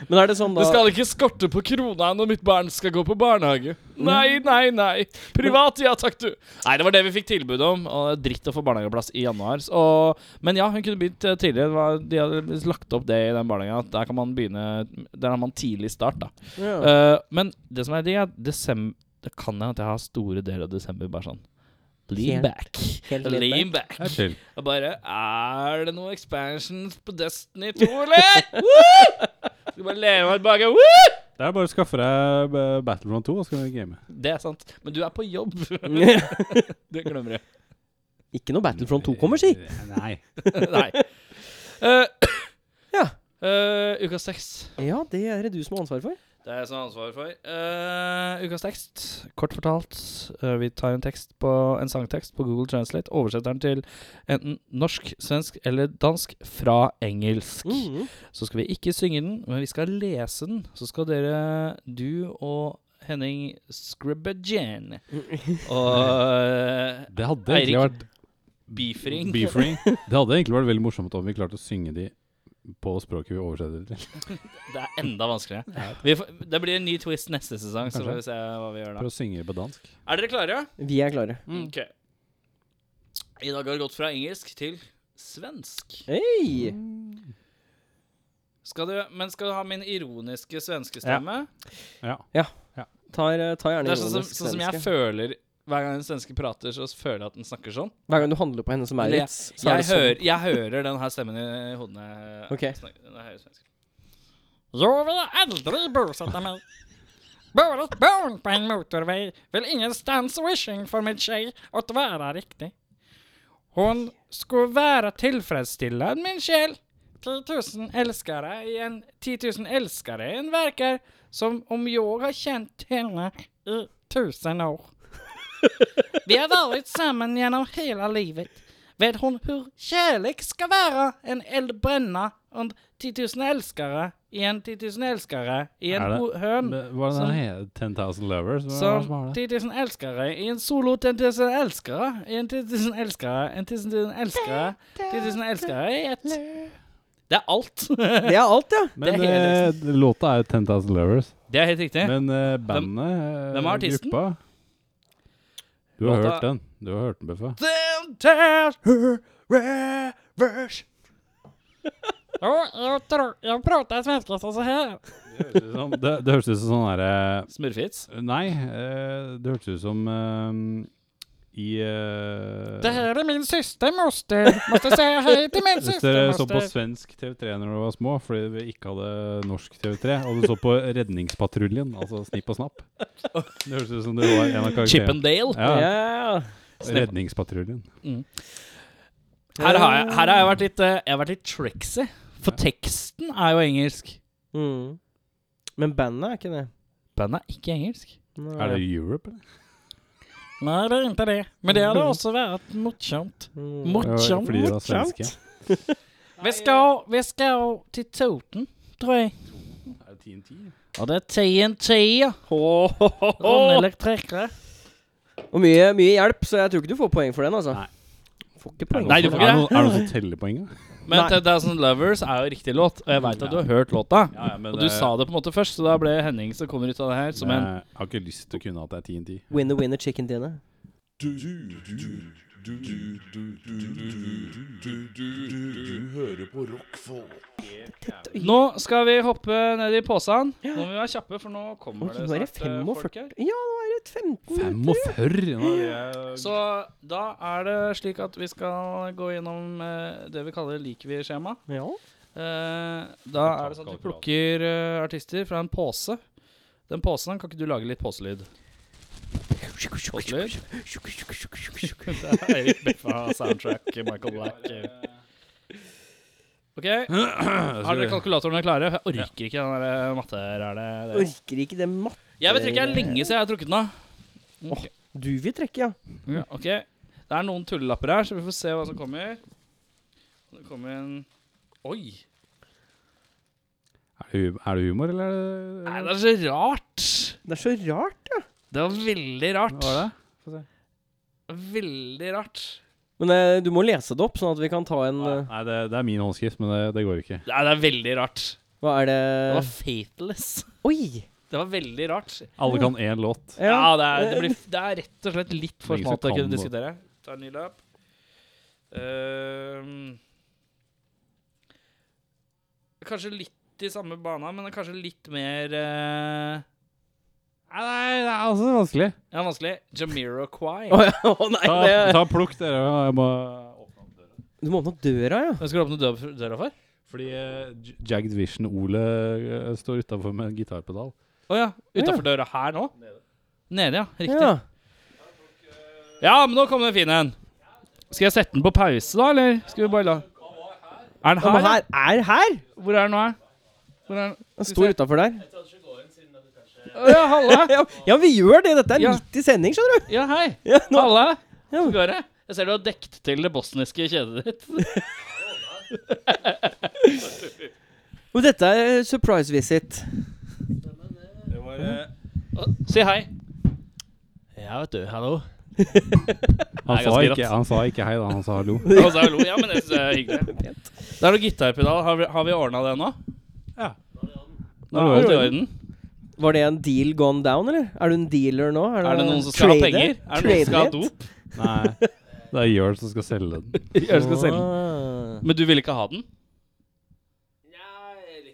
[SPEAKER 3] Men er det sånn da
[SPEAKER 1] Det skal ikke skorte på krona når mitt barn skal gå på barnehage. Nei, nei, nei. Privat, ja takk, du. Nei, det var det vi fikk tilbud om. Og det er dritt å få barnehageplass i januar. Så, og, men ja, hun kunne begynt eh, tidligere. Det var- De hadde liksom lagt opp det i den barnehagen at der kan man begynne Der har man tidlig start, da.
[SPEAKER 3] ja.
[SPEAKER 1] Eh, men det som er digg, er at desem- Det kan hende at jeg har store deler av desember bare sånn Lean
[SPEAKER 3] Helt-
[SPEAKER 1] back.
[SPEAKER 3] helt lean
[SPEAKER 1] Lean back.
[SPEAKER 2] Det er chill.
[SPEAKER 1] Og bare Er det noen expansions på Destiny 2, eller? Woo! Skal bare leve meg tilbake. Woo!
[SPEAKER 2] Det er bare å skaffe deg eh, Battlefront 2, og så kan vi game.
[SPEAKER 1] Det er sant. Men du er på jobb. det glemmer jeg.
[SPEAKER 3] Ikke noe Battlefront 2 kommer, si.
[SPEAKER 2] Nei.
[SPEAKER 1] Nei. Eh,
[SPEAKER 3] Ja.
[SPEAKER 1] eh, ukas tekst.
[SPEAKER 3] Ja, det er det du som har ansvaret for.
[SPEAKER 1] Det er jeg som har ansvaret for. Eh, ukas tekst. Kort fortalt, eh, vi tar en tekst på en sangtekst på Google Translate. Oversetter den til enten norsk, svensk eller dansk fra engelsk.
[SPEAKER 3] Mhm.
[SPEAKER 1] Så skal vi ikke synge den, men vi skal lese den. Så skal dere, du og Henning Scribbagen og eh,
[SPEAKER 2] Det hadde
[SPEAKER 1] Eirik.
[SPEAKER 2] egentlig vært
[SPEAKER 1] Beefring.
[SPEAKER 2] Beefring. Det hadde egentlig vært veldig morsomt om vi klarte å synge de på språket vi oversetter til.
[SPEAKER 1] Det er enda vanskeligere. Vi får, det blir en ny twist neste sesong, så
[SPEAKER 2] Kanskje.
[SPEAKER 1] får vi se hva vi gjør da.
[SPEAKER 2] For å synge på dansk.
[SPEAKER 1] Er dere klare?
[SPEAKER 3] Vi er klare.
[SPEAKER 2] Mm.
[SPEAKER 1] Ok. I dag har det gått fra engelsk til svensk.
[SPEAKER 3] Hei!
[SPEAKER 1] Skal du, men skal du ha min ironiske svenskestemme?
[SPEAKER 2] Ja.
[SPEAKER 3] Tar, tar gjerne eh,
[SPEAKER 1] Det er sånn som,
[SPEAKER 3] ironisk
[SPEAKER 1] sånn som jeg
[SPEAKER 3] svenske.
[SPEAKER 1] føler Hver gang en svenske prater, så føler jeg at den snakker sånn.
[SPEAKER 3] Hver gang du handler på henne som
[SPEAKER 1] Eller jeg,
[SPEAKER 3] Maurits, så er
[SPEAKER 1] jeg,
[SPEAKER 3] det sånn.
[SPEAKER 1] hører, jeg hører den her stemmen i hodene.
[SPEAKER 3] Ok.
[SPEAKER 1] Når jeg hører svensker. Jeg vil aldri bosette meg. Bare et barn på en motorvei vil ingenstans wishing for min tjej att være riktig. Hun skulle være tilfredsstillende, min sjel. 10 000 elskere i en 10 000 elskere i en verker som om jeg har kjent henne i tusen år. Vi har vært sammen gjennom hele livet. Vet hun hvor kjærlighet skal være? En eld brenne og 10 000 elskere i en 10 000 elskere i en
[SPEAKER 2] Er det-
[SPEAKER 1] o- høn.
[SPEAKER 2] Men eh, Hva er det
[SPEAKER 1] Som-
[SPEAKER 2] den heter? 10,000 Lovers? Hva er det som
[SPEAKER 1] Som
[SPEAKER 2] har det?
[SPEAKER 1] 10 000 elskere i en solo 10 000 elskere i en 10 000 elskere, en 10 000 elskere, 10 000 elskere i ett. Det er alt.
[SPEAKER 3] Det er alt, ja.
[SPEAKER 1] det
[SPEAKER 2] Men
[SPEAKER 1] er hele
[SPEAKER 2] eh, låta er jo 10,000 Lovers.
[SPEAKER 1] Det er helt riktig.
[SPEAKER 2] Men eh, bandet eh,
[SPEAKER 1] hvem er artisten?
[SPEAKER 2] Gruppa Du har
[SPEAKER 1] Låta-
[SPEAKER 2] hørt den. Du har hørt den, Bøffe.
[SPEAKER 1] jeg, prater svenske så her.
[SPEAKER 2] Det, det høres ut som sånn derre
[SPEAKER 1] Smurfits.
[SPEAKER 2] Nei, eh, det hørtes ut som eh, i eh,
[SPEAKER 1] Det her er min syster, moster. Måste säga hej till min
[SPEAKER 2] Hvis
[SPEAKER 1] syster,
[SPEAKER 2] dere så på
[SPEAKER 1] moster.
[SPEAKER 2] svensk TV3 når dere var små, fordi vi ikke hadde norsk TV3, og du så på Redningspatruljen, altså Snipp og Snapp Det høres ut som det var en av karakterene.
[SPEAKER 1] Chippendale.
[SPEAKER 3] Ja,
[SPEAKER 2] Ja,
[SPEAKER 3] ja, ja.
[SPEAKER 2] Redningspatruljen.
[SPEAKER 1] Her har jeg, her har jeg vært litt, eh, jeg har vært litt tricksy. For teksten er jo engelsk.
[SPEAKER 3] Mm. Men bandet er ikke det.
[SPEAKER 1] Bandet er ikke engelsk.
[SPEAKER 3] Nei.
[SPEAKER 2] Er det Europe, eller?
[SPEAKER 1] Nei, det er ikke det. Men det hadde også vært morsomt.
[SPEAKER 3] Mm.
[SPEAKER 1] Mot-
[SPEAKER 2] Det var Fordi de var
[SPEAKER 3] Morsomt.
[SPEAKER 2] svenske.
[SPEAKER 1] Vi skal, vi skal til Toten, tror jeg.
[SPEAKER 2] Er det
[SPEAKER 1] Og det er TNT, ja.
[SPEAKER 3] Ho, ho, ho, ho.
[SPEAKER 1] Rognelektrikere.
[SPEAKER 3] Og mye, mye hjelp, så jeg tror ikke du får poeng for den, altså.
[SPEAKER 2] Nei.
[SPEAKER 3] Får ikke poeng.
[SPEAKER 1] Nei,
[SPEAKER 2] noen
[SPEAKER 1] du
[SPEAKER 2] som-
[SPEAKER 1] får ikke
[SPEAKER 2] er
[SPEAKER 1] det.
[SPEAKER 2] noen- Er det noen som teller poeng, da?
[SPEAKER 1] Men
[SPEAKER 3] Nei.
[SPEAKER 1] 10,000 Lovers er jo riktig låt, og jeg veit at du har hørt låta. Og du sa det på en måte først, så da ble Henning som kommer ut av det her, som en
[SPEAKER 2] eh, Jeg har ikke lyst til å kunne at det er TNT.
[SPEAKER 3] Winner, winner, chicken dinner.
[SPEAKER 4] Du, du, du, du, du, du, du, du, du, du hører på rockfolk.
[SPEAKER 1] Nå skal vi hoppe ned i posen. Nå må vi være kjappe, for nå kommer det
[SPEAKER 3] Nå er det
[SPEAKER 1] snart eh, folk
[SPEAKER 3] 45
[SPEAKER 1] her.
[SPEAKER 3] Ja, nå er det 15
[SPEAKER 2] 45! nå er jeg-
[SPEAKER 1] Så da er det slik at vi skal gå gjennom eh, det vi kaller liker-vi-skjema.
[SPEAKER 3] Ja.
[SPEAKER 1] Eh, da er det sånn at du plukker eh, artister fra en pose. Den posen kan ikke du lage litt poselyd? Poselyd? Det er Eirik Beffa soundtrack Michael Black. OK. Har
[SPEAKER 2] Altså,
[SPEAKER 1] dere kalkulatorene klare? Jeg orker ikke den der eh, matterælet.
[SPEAKER 3] Orker ikke det matt...
[SPEAKER 1] Jeg vet ikke, det er lenge siden jeg har trukket den av.
[SPEAKER 3] Du vil trekke, ja.
[SPEAKER 1] Ja, ok. Det er noen tullelapper her, så vi får se hva som kommer. Det kommer en Oi!
[SPEAKER 2] Er det hu- er det humor, eller er det
[SPEAKER 1] Nei, det er så rart!
[SPEAKER 3] Det er så rart, ja.
[SPEAKER 1] Det var veldig rart.
[SPEAKER 2] Hva er det?
[SPEAKER 1] Veldig rart.
[SPEAKER 3] Men eh, du må lese det opp, sånn at vi kan ta en eh,
[SPEAKER 2] Nei, det, det er min håndskrift, men det, det går ikke.
[SPEAKER 1] Nei, det er veldig rart.
[SPEAKER 3] Hva er det
[SPEAKER 1] Det var fataless.
[SPEAKER 3] Oi!
[SPEAKER 1] Det var veldig rart.
[SPEAKER 2] Alle kan én låt.
[SPEAKER 1] Ja, det, er, det, blir, det er rett og slett litt for
[SPEAKER 2] Ingen
[SPEAKER 1] smalt
[SPEAKER 2] som
[SPEAKER 1] å kunne
[SPEAKER 2] kan noe.
[SPEAKER 1] diskutere. Ta en ny lapp. Ehm, kanskje litt i samme bana, men kanskje litt mer eh,
[SPEAKER 2] Nei, det er altså vanskelig.
[SPEAKER 1] Ja, vanskelig. Jamiroquai.
[SPEAKER 3] Å ja, å nei,
[SPEAKER 2] Ta,
[SPEAKER 3] det
[SPEAKER 2] ta plukk dere. Jeg må åpne opp døra.
[SPEAKER 3] Du må åpne opp døra, ja.
[SPEAKER 1] Hva skal du åpne dø- døra for?
[SPEAKER 2] Fordi eh, J- Jagged Vision-Ole eh, står utafor med en gitarpedal.
[SPEAKER 1] Å ja. Utafor døra her nå? Nede, ja. Riktig.
[SPEAKER 3] ja.
[SPEAKER 1] Ja. men nå kom det en fin en. Skal jeg sette den på pause, da, eller skal vi bare la Er den
[SPEAKER 3] Ja, men
[SPEAKER 1] her?
[SPEAKER 3] her er her!
[SPEAKER 1] ja? Hvor er den nå? her? Hvor er den?
[SPEAKER 3] Den står utafor der.
[SPEAKER 1] Å ja, halla!
[SPEAKER 3] Ja, ja, vi gjør det! Dette er
[SPEAKER 1] Ja.
[SPEAKER 3] midt i sending, skjønner du.
[SPEAKER 1] Ja, hei.
[SPEAKER 3] Ja, nå,
[SPEAKER 1] Halla.
[SPEAKER 3] Ja.
[SPEAKER 1] Hvordan går det? Jeg ser du har dekt til det bosniske kjedet ditt.
[SPEAKER 3] og dette er eh, surprise visit.
[SPEAKER 1] Si hei. Ja, vet du. Hallo. Det
[SPEAKER 2] Han,
[SPEAKER 1] er
[SPEAKER 2] sa
[SPEAKER 1] ganske
[SPEAKER 2] ikke,
[SPEAKER 1] rått.
[SPEAKER 2] han sa ikke hei, da. Han sa hallo.
[SPEAKER 1] Og så hallo. Ja, men det synes jeg er hyggelig. Det er noe gitarpedal. Har vi, har vi ordna det nå?
[SPEAKER 2] Nå
[SPEAKER 1] Er
[SPEAKER 2] er
[SPEAKER 1] alt i
[SPEAKER 2] det i orden.
[SPEAKER 1] orden?
[SPEAKER 3] Var det en deal gone down, eller? Er du en dealer nå?
[SPEAKER 1] Er det noen som skal ha
[SPEAKER 3] trader?
[SPEAKER 1] penger? Er det noen som skal ha
[SPEAKER 3] Trader?
[SPEAKER 1] dop?
[SPEAKER 2] Nei. Det er Jørn som skal selge den.
[SPEAKER 1] Jeg skal selge den.
[SPEAKER 3] Ah.
[SPEAKER 1] Men du ville ikke ha den?
[SPEAKER 5] eh,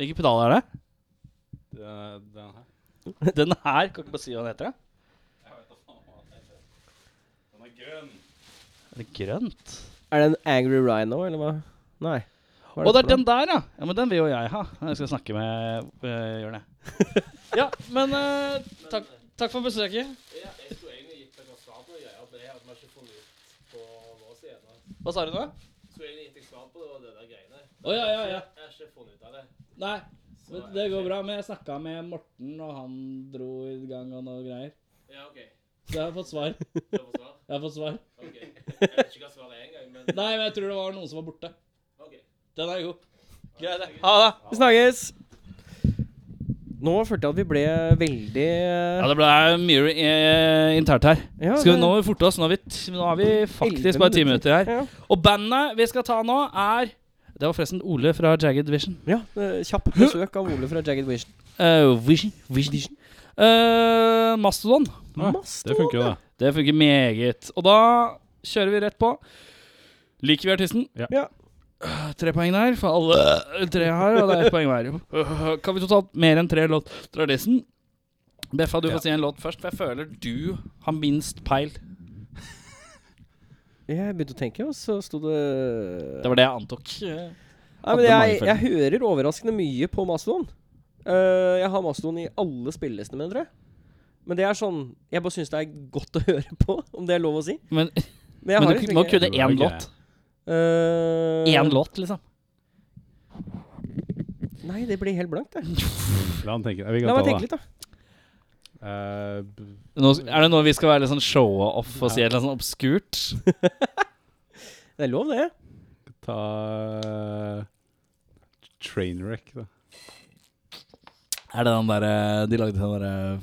[SPEAKER 1] Hvilken pedal er det?
[SPEAKER 2] Den her.
[SPEAKER 1] Den her, kan ikke bare si hva den heter? da? Er det grønt?
[SPEAKER 3] Er det en Angry Rhino, eller hva? Nei. Hva
[SPEAKER 1] Å, det
[SPEAKER 3] for
[SPEAKER 1] er den der, ja! Ja, Men den vil jo jeg ha. Jeg skal snakke med uh, Jørn, jeg. ja, men eh, takk, takk for besøket. Hva sa du nå? Å ja, ja, ja. Nei, men det går bra. Men jeg snakka med Morten, og han dro i gang og noe greier.
[SPEAKER 5] Ja, ok.
[SPEAKER 1] Så jeg har fått svar.
[SPEAKER 5] Du har fått svar?
[SPEAKER 1] Jeg har fått svar.
[SPEAKER 5] Ok. Jeg vet ikke hva svaret er engang, men
[SPEAKER 1] Nei, men jeg tror det var noen som var borte.
[SPEAKER 5] ok.
[SPEAKER 1] Den er god. Greit, det. Ha det.
[SPEAKER 3] Vi snakkes! Nå følte jeg at vi ble veldig
[SPEAKER 1] Ja, det ble mye eh, internt her.
[SPEAKER 3] Ja,
[SPEAKER 1] Skal vi,
[SPEAKER 3] det-
[SPEAKER 1] nå må vi forte oss. Nå har vi, t nå har vi faktisk
[SPEAKER 3] 11
[SPEAKER 1] bare ti minutter her.
[SPEAKER 3] Ja.
[SPEAKER 1] Og bandet vi skal ta nå, er Det var forresten Ole fra Jagged Vision.
[SPEAKER 3] Ja, eh, kjapp besøk av Ole fra Jagged Vision.
[SPEAKER 1] Eh, Vision, Vision. Eh, Mastodon.
[SPEAKER 2] Ja, det funker jo, det.
[SPEAKER 1] Det funker meget. Og da kjører vi rett på. Liker vi artisten?
[SPEAKER 2] Ja.
[SPEAKER 3] Ja.
[SPEAKER 1] Øh, Tre poeng der for alle tre her, og det er ett poeng hver. Øh, Kan vi totalt mer enn tre låt til artisten? Beffa, du
[SPEAKER 2] Ja.
[SPEAKER 1] får si en låt først, for jeg føler du har minst peil.
[SPEAKER 3] Jeg begynte å tenke, og så sto det
[SPEAKER 1] Det var det jeg antok.
[SPEAKER 3] Nei, men
[SPEAKER 1] hadde mange
[SPEAKER 3] jeg, jeg hører overraskende mye på Mastodon. Eh, jeg har Mastodon i alle spillelistene mine, tror jeg. Men det er sånn Jeg bare syns det er godt å høre på, om det er lov å si.
[SPEAKER 1] Men,
[SPEAKER 3] Men jeg
[SPEAKER 1] men
[SPEAKER 3] har
[SPEAKER 1] du
[SPEAKER 3] liksom
[SPEAKER 1] må
[SPEAKER 3] ikke-
[SPEAKER 1] kunne
[SPEAKER 2] Det var
[SPEAKER 1] én
[SPEAKER 2] gøy.
[SPEAKER 1] låt.
[SPEAKER 3] Eh,
[SPEAKER 1] Én låt, liksom.
[SPEAKER 3] Nei, det blir helt blankt, det.
[SPEAKER 2] La han tenke. Vi kan
[SPEAKER 3] La meg
[SPEAKER 2] ta
[SPEAKER 3] tenke
[SPEAKER 2] det.
[SPEAKER 3] litt, da.
[SPEAKER 2] Eh, b-
[SPEAKER 1] Nå, er det nå vi skal være litt sånn show-off og si et eller annet sånn obskurt?
[SPEAKER 3] Det er lov, det.
[SPEAKER 2] ta eh, Trainwreck, da.
[SPEAKER 1] Er det den derre De lagde den derre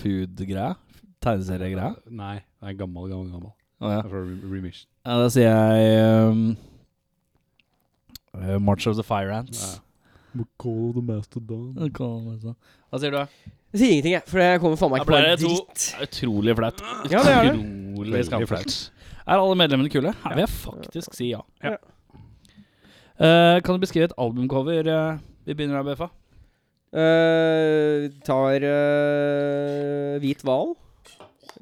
[SPEAKER 1] food-greia? Tegneseriegreia?
[SPEAKER 2] Nei, det er gammel, gammel, gammel.
[SPEAKER 1] Å ja.
[SPEAKER 2] Det er fra Re- Remission.
[SPEAKER 1] Ja, da sier jeg um, uh, March of the Fire Ants.
[SPEAKER 2] Ja. Call the Mastodon.
[SPEAKER 1] Det kan man si. Hva sier du?
[SPEAKER 3] Jeg sier ingenting, jeg. For jeg kommer faen meg
[SPEAKER 1] Ja,
[SPEAKER 3] ikke på
[SPEAKER 1] for det
[SPEAKER 3] en
[SPEAKER 1] er to-
[SPEAKER 3] dritt.
[SPEAKER 1] Utrolig flaut.
[SPEAKER 3] Ja, det er det.
[SPEAKER 1] Utrolig
[SPEAKER 2] Veldig
[SPEAKER 1] skamflaut. Er alle medlemmene kule? Her vil jeg faktisk si ja.
[SPEAKER 2] Ja.
[SPEAKER 1] Eh, kan du beskrive et albumcover? eh, vi begynner her, BFA.
[SPEAKER 3] Eh, vi tar eh, hvit hval,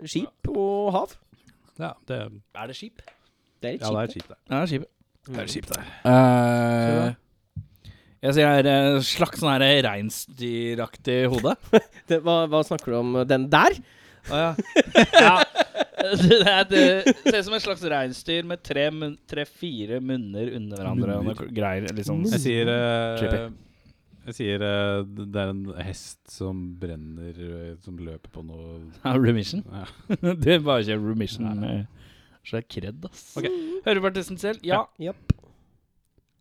[SPEAKER 3] skip og hav.
[SPEAKER 2] Ja, det,
[SPEAKER 1] Er det skip?
[SPEAKER 3] Det er litt
[SPEAKER 2] ja, det er kjipt,
[SPEAKER 3] kjipt.
[SPEAKER 2] det.
[SPEAKER 1] Ja, det er skip.
[SPEAKER 2] Det er kjipt, det.
[SPEAKER 1] Eh, jeg sier uh, slags sånn her reinsdyraktig hode.
[SPEAKER 3] det. Det, hva, hva snakker du om? Den der?
[SPEAKER 1] Å ja. ja. Det, er- det ser ut som et slags reinsdyr med tre-fire munner under hverandre. Og noe greier liksom
[SPEAKER 2] Jeg sier eh,
[SPEAKER 1] Trippy.
[SPEAKER 2] Jeg sier eh, det er en hest som brenner, eh, som løper på noe
[SPEAKER 1] Ja, Remission.
[SPEAKER 2] ja.
[SPEAKER 1] Det er bare ikke remission. eh, Så det er kredd, ass.
[SPEAKER 2] Ok.
[SPEAKER 1] Hører på artisten selv? Ja.
[SPEAKER 3] Japp.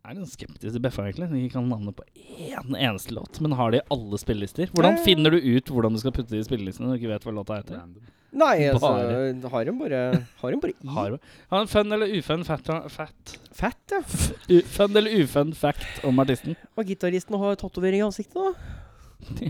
[SPEAKER 1] Jeg er litt skeptisk til Beffa, egentlig. De kan navnet på én eneste låt, men har de alle spillelister? Hvordan finner du ut hvordan du skal putte det i spillelistene når du ikke vet hva låta heter?
[SPEAKER 2] Random.
[SPEAKER 3] Nei, altså
[SPEAKER 1] Bare.
[SPEAKER 3] Har hun bare Har hun bare i
[SPEAKER 1] Har har en fun eller ufun fat, fat.
[SPEAKER 3] Fett, ja.
[SPEAKER 1] U- Fun eller ufun fact om artisten?
[SPEAKER 3] Og gitaristen har tatovering i ansiktet, da.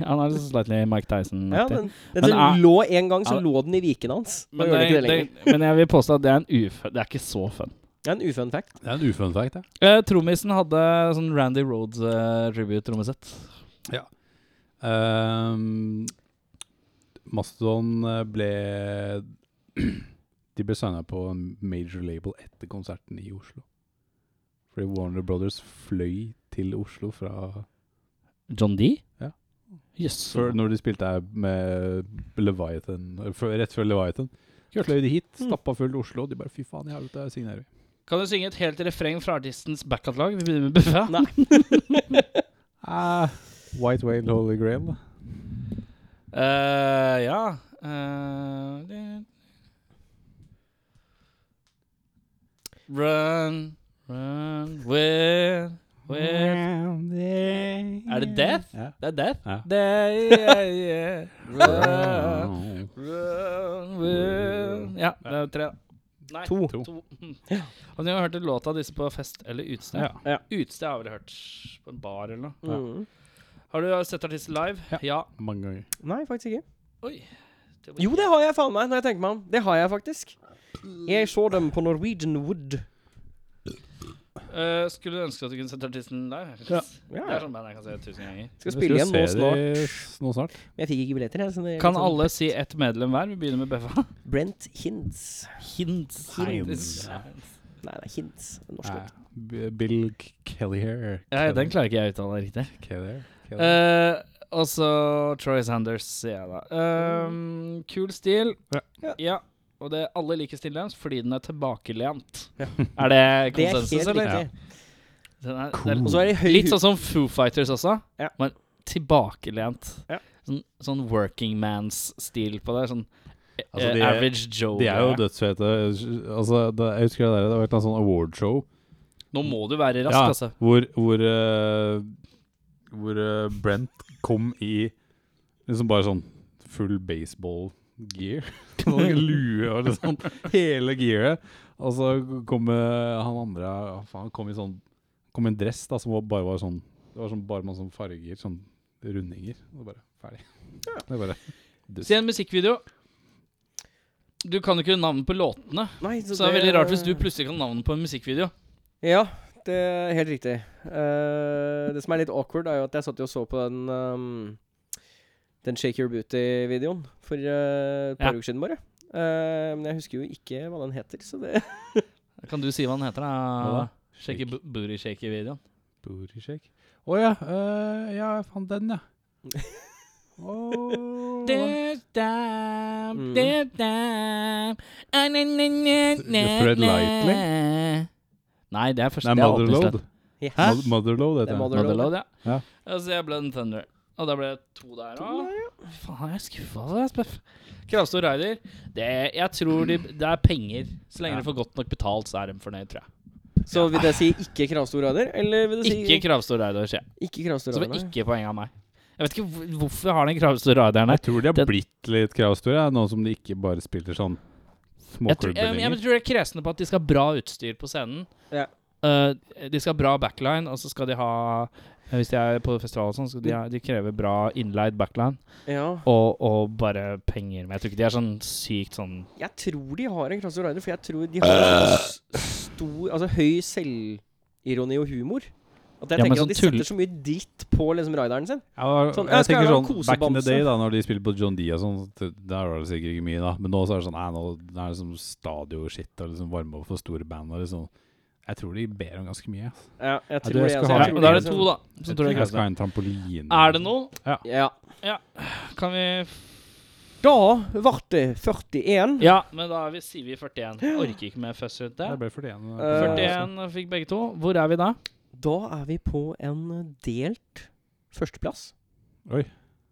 [SPEAKER 1] Han er litt slightly Mike Tyson.
[SPEAKER 3] Ja, den, den
[SPEAKER 1] Men
[SPEAKER 3] som
[SPEAKER 1] er-
[SPEAKER 3] lå en gang, så
[SPEAKER 1] er-
[SPEAKER 3] lå den i viken hans. Nå
[SPEAKER 1] Men,
[SPEAKER 3] gjør
[SPEAKER 1] det,
[SPEAKER 3] den ikke det
[SPEAKER 1] det
[SPEAKER 3] lenger.
[SPEAKER 1] men jeg vil påstå at det er en ufun Det er ikke så fun.
[SPEAKER 3] Det er en ufun fact.
[SPEAKER 2] Det er en ufun fact, det.
[SPEAKER 1] Eh, Trommisen hadde sånn Randy Rhodes eh, tribute-trommesett.
[SPEAKER 2] Ehm, Mastodon eh, ble De ble signa på en major label etter konserten i Oslo. Fordi Warner Brothers fløy til Oslo fra
[SPEAKER 1] John D?
[SPEAKER 2] Ja.
[SPEAKER 1] Jøss.
[SPEAKER 2] før, Når de spilte her med Leviathan eh, før- Rett før Leviathan. Fløy de hit, stappa fullt Oslo. De bare fy faen i helvete, signerer vi.
[SPEAKER 1] Kan du synge et helt refreng fra artistens backkatalog? Vi begynner med Buffa.
[SPEAKER 3] Nei.
[SPEAKER 2] Ah, White Whale Holy Grail, da.
[SPEAKER 1] Eh, ja Eh, det- Run, run with, with Er det Death?
[SPEAKER 2] Ja.
[SPEAKER 1] Det er Death.
[SPEAKER 2] Ja.
[SPEAKER 1] Day, yeah, yeah. Run, run with Ja, det er tre. da. Nei,
[SPEAKER 2] To.
[SPEAKER 1] to. Har dere hørt låta disse på fest eller utested?
[SPEAKER 2] Ja.
[SPEAKER 3] Ja.
[SPEAKER 1] Utested har jeg vel hørt. På en bar eller noe.
[SPEAKER 2] Ja.
[SPEAKER 3] Mm.
[SPEAKER 1] Har du sett artisten live?
[SPEAKER 2] Ja.
[SPEAKER 1] ja.
[SPEAKER 2] Mange ganger.
[SPEAKER 3] Nei, faktisk ikke.
[SPEAKER 1] Oi. Det var-
[SPEAKER 3] Jo, det har jeg faen meg, når jeg tenker meg om. Det har jeg faktisk. Jeg så dem på Norwegian Wood.
[SPEAKER 1] Eh, skulle ønske at du kunne sett artisten der.
[SPEAKER 2] Ja.
[SPEAKER 3] Ja,
[SPEAKER 1] Det er sånn band jeg kan se tusen ganger.
[SPEAKER 3] Skal spille igjen nå snart.
[SPEAKER 2] Nå snart.
[SPEAKER 3] Men jeg fikk ikke billetter, jeg. Så det er
[SPEAKER 1] Kan
[SPEAKER 3] litt sånn-
[SPEAKER 1] alle si ett medlem hver? Vi begynner med Beffa.
[SPEAKER 3] Brent Hinds.
[SPEAKER 6] Hints.
[SPEAKER 3] Nei, det er Hinds. Norsk. ord.
[SPEAKER 2] Nei, Bill Kelliher.
[SPEAKER 1] Ja, den klarer ikke jeg å uttale riktig.
[SPEAKER 2] Kelliher. Kelliher.
[SPEAKER 1] Eh, og så Troy Sanders, sier jeg da. Ehm, kul stil.
[SPEAKER 2] Ja.
[SPEAKER 1] Ja.
[SPEAKER 3] Ja.
[SPEAKER 1] Og det alle liker stillelens fordi den er tilbakelent. Er det
[SPEAKER 3] Det er helt
[SPEAKER 1] konsensus, eller?
[SPEAKER 3] riktig.
[SPEAKER 1] Den er,
[SPEAKER 2] Cool.
[SPEAKER 1] den
[SPEAKER 3] Og så er det
[SPEAKER 1] er
[SPEAKER 3] høy
[SPEAKER 1] litt sånn som Foo Fighters også,
[SPEAKER 3] Ja.
[SPEAKER 1] men tilbakelent.
[SPEAKER 3] Ja.
[SPEAKER 1] Sånn, sånn working man's-stil på det. Sånn eh,
[SPEAKER 2] Altså, de er-
[SPEAKER 1] average Joe.
[SPEAKER 2] De er jo
[SPEAKER 1] greie.
[SPEAKER 2] dødsfete. Altså, det, jeg husker det der, det var et eller annet sånn awardshow
[SPEAKER 1] Nå må du være rask,
[SPEAKER 2] Ja.
[SPEAKER 1] altså.
[SPEAKER 2] hvor, hvor, eh, hvor eh, Brent kom i liksom bare sånn full baseball gear. Sånn Lue og liksom hele gearet. Og så kom eh, han andre hva faen, han kom i sånn kom i en dress da, som var- bare var sånn Det var sånn, bare med sånn farger, sånn rundinger. Og bare ferdig. Det er bare
[SPEAKER 1] Se en musikkvideo. Du kan jo ikke navnet på låtene,
[SPEAKER 3] Nei,
[SPEAKER 1] så det er veldig rart hvis du plutselig kan navnet på en musikkvideo.
[SPEAKER 3] Ja, det er helt riktig. Eh, det som er litt awkward, er jo at jeg satt jo og så på den ehm, Den Shake Your Booty-videoen for eh, et par
[SPEAKER 1] Ja.
[SPEAKER 3] uker siden, bare. Eh, men jeg husker jo ikke hva den heter, så det
[SPEAKER 1] Kan du si hva den heter,
[SPEAKER 2] Hva
[SPEAKER 1] da?
[SPEAKER 2] da?
[SPEAKER 1] Shake
[SPEAKER 2] Shake.
[SPEAKER 1] bo- booty shake i videoen.
[SPEAKER 2] Booty shake. Å ja. eh, ja, jeg fant den, ja. Åh,
[SPEAKER 3] Mm.
[SPEAKER 2] Fred Lightly?
[SPEAKER 1] Nei, det er første
[SPEAKER 2] Nei,
[SPEAKER 1] det er åpningslåt.
[SPEAKER 2] Motherload.
[SPEAKER 3] Ja.
[SPEAKER 2] Mo- Motherload heter
[SPEAKER 3] Det er
[SPEAKER 2] den.
[SPEAKER 3] Mother-
[SPEAKER 1] Motherload, ja.
[SPEAKER 2] Ja.
[SPEAKER 1] Og så jeg Blood and Thunder. Og da ble det to der òg. Fy faen, jeg er skuffa over deg, Speff. Kravstor Rider. Det, jeg tror de, det er penger. Så lenge
[SPEAKER 2] Ja.
[SPEAKER 1] de får godt nok betalt, så er de fornøyd, tror jeg.
[SPEAKER 3] Så vil det si ikke Kravstor Rider, eller vil det si
[SPEAKER 1] Ikke Kravstor Rider, sier jeg.
[SPEAKER 3] ikke Kravstor
[SPEAKER 1] Så det
[SPEAKER 3] Rider?
[SPEAKER 1] var
[SPEAKER 3] nei?
[SPEAKER 1] ikke poeng av meg. Jeg vet ikke hvor- hvorfor jeg har den Kravstor Rideren her.
[SPEAKER 2] Jeg tror de har
[SPEAKER 1] Den-
[SPEAKER 2] blitt litt kravstore, nå som de ikke bare spiller sånn
[SPEAKER 1] Jeg tror, jeg,
[SPEAKER 2] småklubber
[SPEAKER 1] jeg,
[SPEAKER 2] lenger.
[SPEAKER 1] tror de er kresne på at de skal ha bra utstyr på scenen.
[SPEAKER 3] Ja.
[SPEAKER 1] Eh, de skal ha bra backline, og så skal de ha Hvis de er på festival og sånn, skal de, ha, de krever bra innleid backline.
[SPEAKER 3] Ja.
[SPEAKER 1] Og, og bare penger. Men jeg tror ikke de er sånn sykt sånn
[SPEAKER 3] Jeg tror de har en Kravstor Rider, for jeg tror de har s- stor Altså høy selvironi og humor. At jeg
[SPEAKER 1] Ja, men
[SPEAKER 3] tenker
[SPEAKER 1] sånn
[SPEAKER 3] at de
[SPEAKER 1] tull-
[SPEAKER 3] setter så mye dritt på liksom rideren sin.
[SPEAKER 2] Jeg, var-
[SPEAKER 3] Sånn,
[SPEAKER 2] jeg
[SPEAKER 3] jeg skal
[SPEAKER 2] tenker
[SPEAKER 3] ha
[SPEAKER 2] sånn Back in the
[SPEAKER 3] kosebamse.
[SPEAKER 2] day, da når de spiller på John D og sånn, så t- der var det sikkert ikke mye, da. Men nå så er det sånn Nei, nå det er det sånn stadio-shit og liksom varme opp for store band og liksom Jeg tror de ber om ganske mye. ass.
[SPEAKER 3] Ja, jeg
[SPEAKER 2] du,
[SPEAKER 3] tror
[SPEAKER 2] jeg
[SPEAKER 3] det.
[SPEAKER 2] skal
[SPEAKER 3] Altså,
[SPEAKER 2] ha-
[SPEAKER 3] jeg
[SPEAKER 1] ja,
[SPEAKER 3] tror
[SPEAKER 1] og Da er det
[SPEAKER 3] liksom-
[SPEAKER 1] to, da. Som
[SPEAKER 2] Jeg
[SPEAKER 1] tror
[SPEAKER 2] tror
[SPEAKER 1] det er
[SPEAKER 2] jeg skal ha
[SPEAKER 1] krasne.
[SPEAKER 2] en trampoline.
[SPEAKER 1] Er det noe?
[SPEAKER 3] Ja.
[SPEAKER 1] Kan vi
[SPEAKER 3] Da ble det 41.
[SPEAKER 1] Ja, men da er vi, sier vi 41. Orker ikke mer føss rundt
[SPEAKER 2] Det
[SPEAKER 1] det.
[SPEAKER 2] ble 41.
[SPEAKER 3] Eh,
[SPEAKER 1] 41 fikk begge to. Hvor er vi da?
[SPEAKER 3] Da er vi på en delt førsteplass.
[SPEAKER 2] Oi.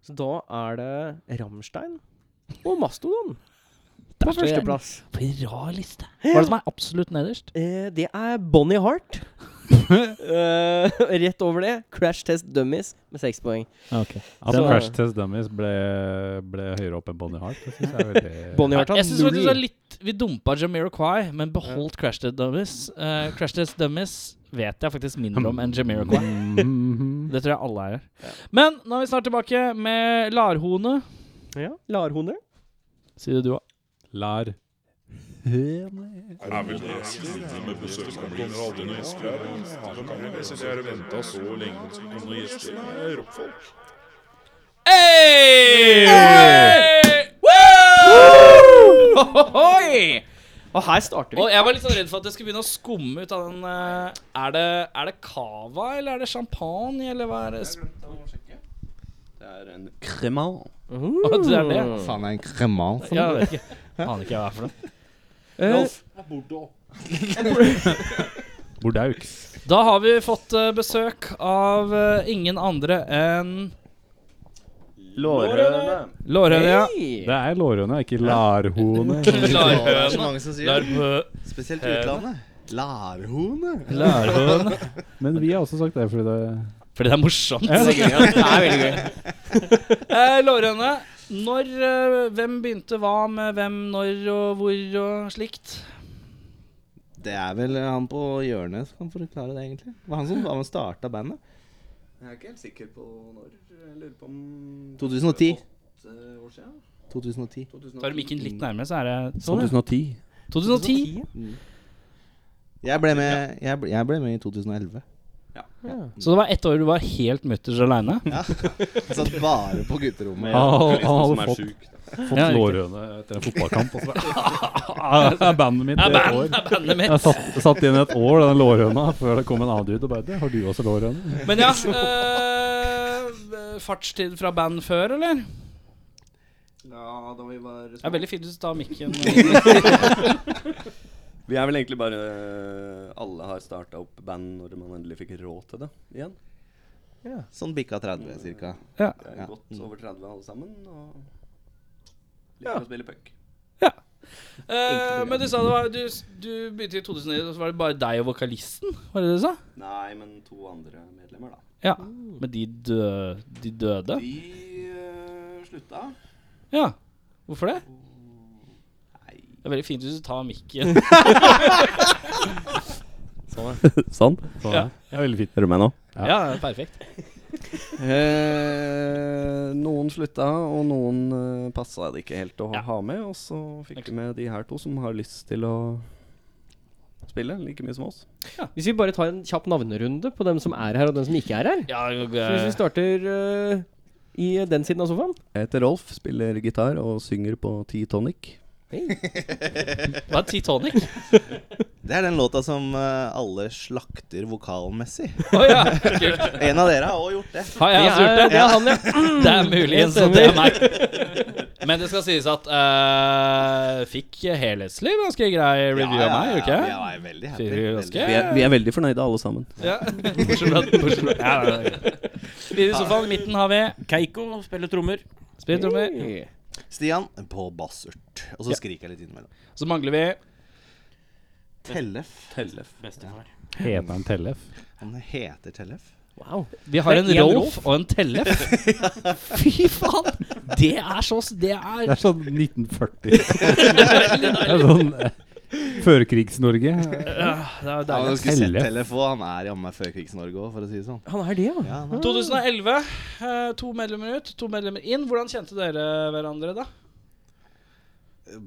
[SPEAKER 3] Så da er det Rammstein og Mastodon
[SPEAKER 1] Der
[SPEAKER 3] på
[SPEAKER 1] står jeg.
[SPEAKER 3] førsteplass.
[SPEAKER 1] For en rar liste. Hva er det som er absolutt nederst?
[SPEAKER 3] Eh, det er Bonnie Heart.
[SPEAKER 1] Øh.
[SPEAKER 3] Eh, rett over det Crash Test Dummies med seks poeng.
[SPEAKER 2] At
[SPEAKER 3] Så-
[SPEAKER 2] Crash Test Dummies ble, ble høyere opp enn Bonnie Hart, det synes jeg er veldig
[SPEAKER 3] Bonnie Heart har
[SPEAKER 1] Jeg synes faktisk det er
[SPEAKER 3] null.
[SPEAKER 1] litt Vi dumpa Jamiroquai, men beholdt Crash Test Dummies. Eh, Crash Test Dummies vet jeg faktisk mindre om enn Jamiroquai.
[SPEAKER 2] Mhm.
[SPEAKER 1] Det tror jeg alle er her. Men nå er vi snart tilbake med Larhone.
[SPEAKER 3] Ja, Larhone.
[SPEAKER 1] Si det du òg.
[SPEAKER 2] Lar
[SPEAKER 7] Er vel det stedet med besøkende kommer aldri noen gjester her. altså. Jeg synes jeg har ventet så lenge på at det skal komme noen gjester. Det er rockfolk.
[SPEAKER 1] Ohoi!
[SPEAKER 3] Og her starter vi.
[SPEAKER 1] Og jeg var litt sånn redd for at det skulle begynne å skumme ut av den eh, Er det, er det cava, eller er det champagne, eller hva er det? Sp-
[SPEAKER 8] Det er en kremal.
[SPEAKER 1] Å, det er det?
[SPEAKER 8] Faen, det er en kremal.
[SPEAKER 1] Ja, jeg vet ikke. Aner ikke hva det er for noe.
[SPEAKER 3] Rolf.
[SPEAKER 2] Bordauk.
[SPEAKER 1] Da har vi fått eh, besøk av eh, ingen andre enn
[SPEAKER 8] Lårhøne.
[SPEAKER 1] Lårhøna.
[SPEAKER 3] Hei!
[SPEAKER 2] Det er lårhøne, ikke larhone.
[SPEAKER 8] Det er så
[SPEAKER 1] Larhøna.
[SPEAKER 8] mange som sier det. Spesielt i utlandet. Larhone.
[SPEAKER 1] Larhøna.
[SPEAKER 2] Men vi har også sagt det fordi det
[SPEAKER 1] Fordi det er morsomt. Eh, Lårhøne, når eh, Hvem begynte hva med hvem, når og hvor og slikt?
[SPEAKER 8] Det er vel han på hjørnet som kan forklare det, egentlig. Det var han som var med og starta bandet. Jeg er ikke helt sikker på når. Jeg lurer på om 2010. År siden? 2010.
[SPEAKER 1] sånn,
[SPEAKER 3] altså
[SPEAKER 1] Tar du mikken litt nærmere, så er det
[SPEAKER 2] 2010.
[SPEAKER 1] 2010.
[SPEAKER 8] Jeg ble med, jeg ble, jeg ble med i 2011.
[SPEAKER 1] Så det var ett år du var helt mutters aleine?
[SPEAKER 8] Jeg satt bare på gutterommet.
[SPEAKER 2] Han, han, han
[SPEAKER 9] Som
[SPEAKER 2] hadde
[SPEAKER 9] er
[SPEAKER 2] fått,
[SPEAKER 9] sjuk.
[SPEAKER 2] fått
[SPEAKER 1] Ja, riktig.
[SPEAKER 2] lårhøne etter en fotballkamp. og så bare, Det er bandet mitt i et år.
[SPEAKER 1] Bandet mitt.
[SPEAKER 2] Jeg satt, satt igjen et år den lårhøna før det kom en annen dude og bare «Du, Har du også lårhøne?
[SPEAKER 1] Men ja øh, Fartstid fra band før, eller?
[SPEAKER 8] Ja, da vi var
[SPEAKER 1] Det er veldig fint hvis du tar mikken.
[SPEAKER 9] Vi er vel egentlig bare eh, Alle har starta opp band når man endelig fikk råd til det igjen.
[SPEAKER 8] Sånn bikka 30 cirka.
[SPEAKER 9] Det er
[SPEAKER 8] Ja.
[SPEAKER 9] godt over 30 alle sammen. Og liker å spille puck.
[SPEAKER 1] Eh, men du sa det var du, du begynte i 2009, og så var det bare deg og vokalisten? Var det det du sa?
[SPEAKER 9] Nei, men to andre medlemmer, da.
[SPEAKER 1] Ja.
[SPEAKER 2] Oh.
[SPEAKER 1] Men de, dø, de døde?
[SPEAKER 9] De eh, slutta.
[SPEAKER 1] Ja. Hvorfor det?
[SPEAKER 9] Nei
[SPEAKER 1] Det er veldig fint hvis du tar mikken.
[SPEAKER 9] Sånn.
[SPEAKER 2] Så,
[SPEAKER 1] Ja.
[SPEAKER 2] Det er veldig fint.
[SPEAKER 9] Hører du meg nå?
[SPEAKER 1] Ja, perfekt.
[SPEAKER 9] Eh, noen slutta, og noen eh, passa det ikke helt å
[SPEAKER 1] Ja.
[SPEAKER 9] ha med. Og så fikk vi med de her to som har lyst til å spille like mye som oss.
[SPEAKER 3] Hvis vi bare tar en kjapp navnerunde på dem som er her, og dem som ikke er her.
[SPEAKER 1] Ja, øh,
[SPEAKER 3] Så hvis vi starter eh, i den siden av sofaen
[SPEAKER 9] Jeg heter Rolf, spiller gitar og synger på T-Tonic.
[SPEAKER 1] hva er Titanic?
[SPEAKER 8] Det er den låta som eh, alle slakter vokalmessig.
[SPEAKER 1] Å ja. Kult.
[SPEAKER 8] En av dere har også gjort det.
[SPEAKER 1] Har jeg også
[SPEAKER 3] Det
[SPEAKER 1] gjort
[SPEAKER 3] er-
[SPEAKER 1] det?
[SPEAKER 3] Det er han, ja.
[SPEAKER 1] Det er muligens
[SPEAKER 3] Jeg
[SPEAKER 1] at det er meg. Men det skal sies at eh, fikk helhetsliv ganske grei review av meg, gjorde ikke
[SPEAKER 8] Ja,
[SPEAKER 1] jeg?
[SPEAKER 8] jeg er veldig happy.
[SPEAKER 1] Fyrer
[SPEAKER 8] Veldig.
[SPEAKER 1] ganske
[SPEAKER 9] Vi er, vi er veldig fornøyde alle sammen.
[SPEAKER 1] Ja. Bortsett fra bortsett fra- ja, ja, ja. Videre i sofaen, i midten har vi Keiko, spiller trommer. Spiller trommer.
[SPEAKER 8] Stian på bassurt. Og så skriker jeg litt innimellom.
[SPEAKER 1] Så mangler vi
[SPEAKER 8] Tellef.
[SPEAKER 9] Tellef.
[SPEAKER 10] Bestefar.
[SPEAKER 2] Heter han Tellef?
[SPEAKER 8] Han heter Tellef.
[SPEAKER 3] Wow.
[SPEAKER 1] Vi har
[SPEAKER 3] Det
[SPEAKER 1] en
[SPEAKER 3] er en
[SPEAKER 1] Rolf og en Tellef. Fy faen! Det er så Det
[SPEAKER 2] Det
[SPEAKER 1] er
[SPEAKER 2] er sånn 1940. Det er sånn eh, Førkrigs-Norge.
[SPEAKER 1] Det er
[SPEAKER 8] Ja,
[SPEAKER 1] deilig.
[SPEAKER 8] du skulle sett
[SPEAKER 2] Tellef.
[SPEAKER 8] Tellef også. Han er jammen meg førkrigs-Norge òg, for å si det sånn.
[SPEAKER 3] Han er det, ja.
[SPEAKER 8] Ja, han er-
[SPEAKER 1] 2011. eh, To medlemmer ut, to medlemmer inn. Hvordan kjente dere hverandre da?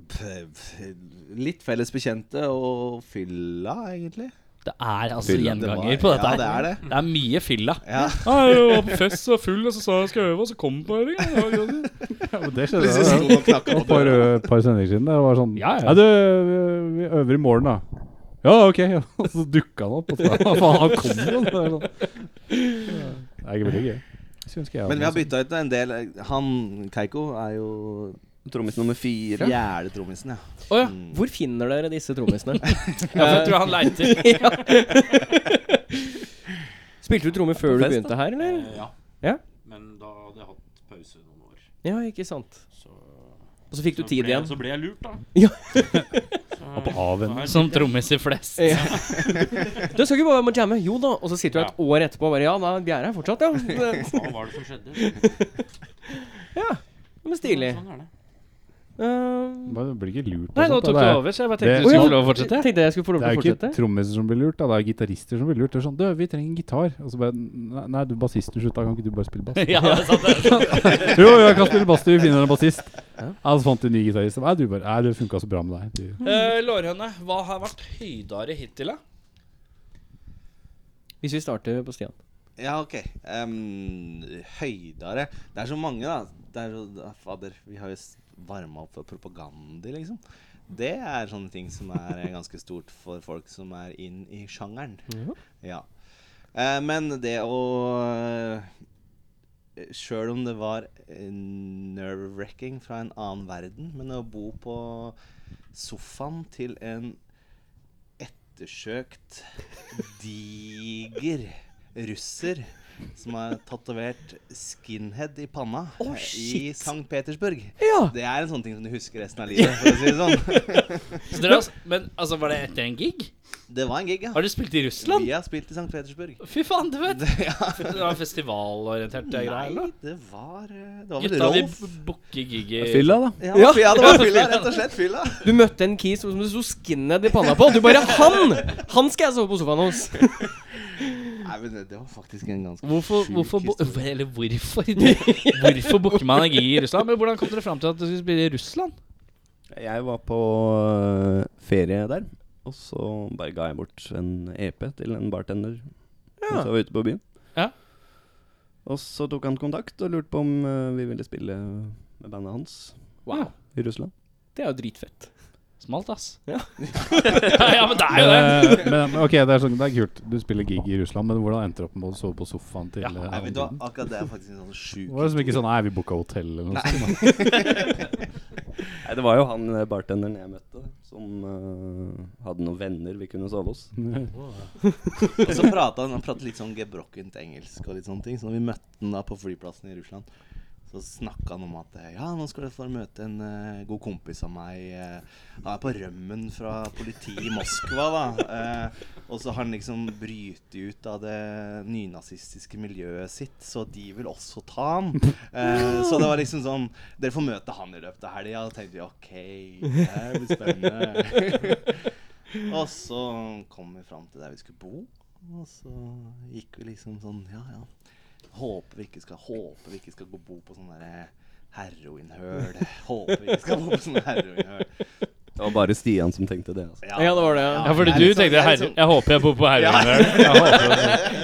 [SPEAKER 8] P- p- Litt felles bekjente og fylla, egentlig.
[SPEAKER 1] Det er altså
[SPEAKER 8] Fylla, det
[SPEAKER 1] gjenganger
[SPEAKER 8] var-
[SPEAKER 1] på dette.
[SPEAKER 8] Ja,
[SPEAKER 1] her.
[SPEAKER 8] det er det.
[SPEAKER 1] Det er mye fylla.
[SPEAKER 8] Ja.
[SPEAKER 1] Jeg var på fest og full, og så sa jeg jeg skal øve, og så kom på øving.
[SPEAKER 2] Ja, men det
[SPEAKER 8] Det
[SPEAKER 2] skjedde.
[SPEAKER 8] synes jeg
[SPEAKER 2] Det
[SPEAKER 8] sto og
[SPEAKER 2] var
[SPEAKER 8] knakket på
[SPEAKER 2] et par, ø, par sendinger siden. Det var sånn
[SPEAKER 1] Ja, ja.
[SPEAKER 2] Nei, du, vi- vi øver i morgen, da. Ja, OK. Og så dukka han opp. Og så, Hva faen, han kom jo! Det er sånn. Det er veldig gøy. Skulle ønske jeg
[SPEAKER 8] Men vi har
[SPEAKER 2] hadde
[SPEAKER 8] bytta ut en del. Han Keiko er jo
[SPEAKER 9] Trommis nummer fire.
[SPEAKER 8] fjerde trommisen, ja. Mm.
[SPEAKER 1] Å ja.
[SPEAKER 3] Hvor finner dere disse trommisene?
[SPEAKER 1] Ja, for jeg tror han leiter.
[SPEAKER 3] Spilte du trommer før du
[SPEAKER 9] fest,
[SPEAKER 3] begynte her, eller?
[SPEAKER 10] Ja.
[SPEAKER 3] Ja?
[SPEAKER 10] Men da hadde jeg hatt pause noen år.
[SPEAKER 3] Ja, ikke sant.
[SPEAKER 10] Så,
[SPEAKER 3] Og så fikk du
[SPEAKER 10] så
[SPEAKER 3] tid
[SPEAKER 10] ble-
[SPEAKER 3] igjen.
[SPEAKER 10] Så ble jeg lurt, da.
[SPEAKER 3] Ja.
[SPEAKER 10] Så-
[SPEAKER 2] sånn avvenning.
[SPEAKER 10] så her
[SPEAKER 1] Som
[SPEAKER 10] sitter jeg.
[SPEAKER 1] trommis i flest.
[SPEAKER 3] Ja. Du skal ikke bare være med og jamme? Jo da. Og så sitter du et år etterpå og bare Ja, nei, vi er her fortsatt, ja. Det-
[SPEAKER 10] Hva var det som skjedde?
[SPEAKER 3] Men stilig.
[SPEAKER 10] Sånn er det.
[SPEAKER 3] Uh,
[SPEAKER 2] Men Det blir ikke lurt. og
[SPEAKER 1] Nei, nå
[SPEAKER 2] sånt, da.
[SPEAKER 1] tok
[SPEAKER 2] Det
[SPEAKER 1] du
[SPEAKER 2] er-
[SPEAKER 1] over, så jeg bare
[SPEAKER 2] tenkte
[SPEAKER 1] tenkte
[SPEAKER 2] Det-
[SPEAKER 1] du
[SPEAKER 2] du
[SPEAKER 1] skulle
[SPEAKER 2] skulle
[SPEAKER 1] få lov å fortsette.
[SPEAKER 3] tenkte jeg skulle få lov
[SPEAKER 2] Det er
[SPEAKER 3] til å
[SPEAKER 2] jo ikke
[SPEAKER 3] fortsette.
[SPEAKER 2] trommiser som blir lurt, da. det er gitarister som blir lurt. Det er sånn, du, 'Vi trenger en gitar.' Og så bare Nei, nei du bassisten slutta, kan ikke du bare spille bass?
[SPEAKER 1] Ja, det er sant, det.
[SPEAKER 2] jo, jo, jeg kan spille bass, du. Vi finner en bassist. Ja, så fant de en ny gitarist. Nei, du bare Nei, det funka så bra med deg. Du.
[SPEAKER 1] Eh, Lårhøne, hva har vært høydere hittil, da?
[SPEAKER 3] Hvis vi starter på Stian.
[SPEAKER 8] Ja, ok. Em, høydere Det er så mange, da. Det er så, ah, fader, vi har jo varma opp for propaganda, liksom. Det er sånne ting som er eh, ganske stort for folk som er inn i sjangeren. Ja. Eh, men det å eh, Sjøl om det var eh, nerve-wrecking fra en annen verden, men å bo på sofaen til en ettersøkt, diger russer som har tatovert 'skinhead' i panna
[SPEAKER 3] Å,
[SPEAKER 8] i
[SPEAKER 3] shit.
[SPEAKER 8] St. Petersburg.
[SPEAKER 3] Ja.
[SPEAKER 8] Det er en sånn ting som du husker resten av livet. for å si det sånn.
[SPEAKER 1] Så dere, har- men altså, var det etter en gig?
[SPEAKER 8] Det var en gig, ja.
[SPEAKER 1] Har dere spilt i Russland?
[SPEAKER 8] Vi har spilt i St. Petersburg.
[SPEAKER 1] Fy faen, du vet.
[SPEAKER 8] Det, ja.
[SPEAKER 1] Det var festivalorientert det greier, eller?
[SPEAKER 8] Nei, det var eh, Det var vel
[SPEAKER 1] Gutta, vi
[SPEAKER 8] Rolf.
[SPEAKER 1] booker gig i
[SPEAKER 9] Fylla, da.
[SPEAKER 8] Ja, ja, det var fylla, rett og slett. Fylla.
[SPEAKER 3] Du møtte en kis som du sto skinhead i panna på. Du bare Han! Han skal jeg sove på sofaen hos.
[SPEAKER 8] Nei, men det, det var faktisk en ganske
[SPEAKER 1] Hvorfor,
[SPEAKER 8] sjuk
[SPEAKER 1] hvorfor, bo-
[SPEAKER 8] historie.
[SPEAKER 1] eller hvorfor Hvorfor booker man en gig i Russland? Men Hvordan kom dere fram til at dere skulle spille i Russland?
[SPEAKER 9] Jeg var på øh, eh, ferie der. Og så bare ga jeg bort en EP til en bartender mens jeg var ute på byen.
[SPEAKER 1] Ja.
[SPEAKER 9] Og så tok han kontakt og lurte på om eh, vi ville spille med bandet hans
[SPEAKER 3] Wow.
[SPEAKER 9] i Russland.
[SPEAKER 3] Det er jo dritfett.
[SPEAKER 1] Smalt, ass.
[SPEAKER 3] Ja.
[SPEAKER 1] ja, men det er jo det.
[SPEAKER 2] Men, eh, men ok, det er, sånn, det er kult. Du spiller gig i Russland, men hvordan endte du opp med å sove på sofaen til eh,
[SPEAKER 8] Nei, vet du hva,
[SPEAKER 2] Hamilton?
[SPEAKER 8] akkurat det er faktisk en sånn sjuk
[SPEAKER 2] Det var liksom ikke sånn Nei, vi booka hotell eller noe sånt. da.
[SPEAKER 9] Nei, det var jo han eh, bartenderen jeg møtte, som eh, hadde noen venner vi kunne sove hos.
[SPEAKER 8] Og så prata han, han pratet litt sånn gebrokkent engelsk og litt sånne ting. Så når vi møtte han da på flyplassen i Russland, så snakka han om at eh, ja, nå skal du få møte en eh, god kompis av meg. eh, han er på rømmen fra politiet i Moskva, da. Eh, og så har han liksom brytet ut av det nynazistiske miljøet sitt, så de vil også ta han. Eh, så det var liksom sånn Dere får møte han i løpet av helga. Da tenkte vi OK, det her blir spennende. Og så kom vi fram til der vi skulle bo. Og så gikk vi liksom sånn Ja, ja. Håper vi ikke skal Håper vi ikke skal gå bo på sånn derre heroinhøl. Håper vi ikke skal bo på sånn heroinhøl.
[SPEAKER 9] Det var bare Stian som tenkte det. Altså.
[SPEAKER 3] Ja, det var det.
[SPEAKER 1] Ja, fordi
[SPEAKER 8] det er
[SPEAKER 1] du
[SPEAKER 8] liksom- det
[SPEAKER 1] tenkte
[SPEAKER 8] er
[SPEAKER 1] herre,
[SPEAKER 8] liksom-
[SPEAKER 1] Jeg håper jeg bor på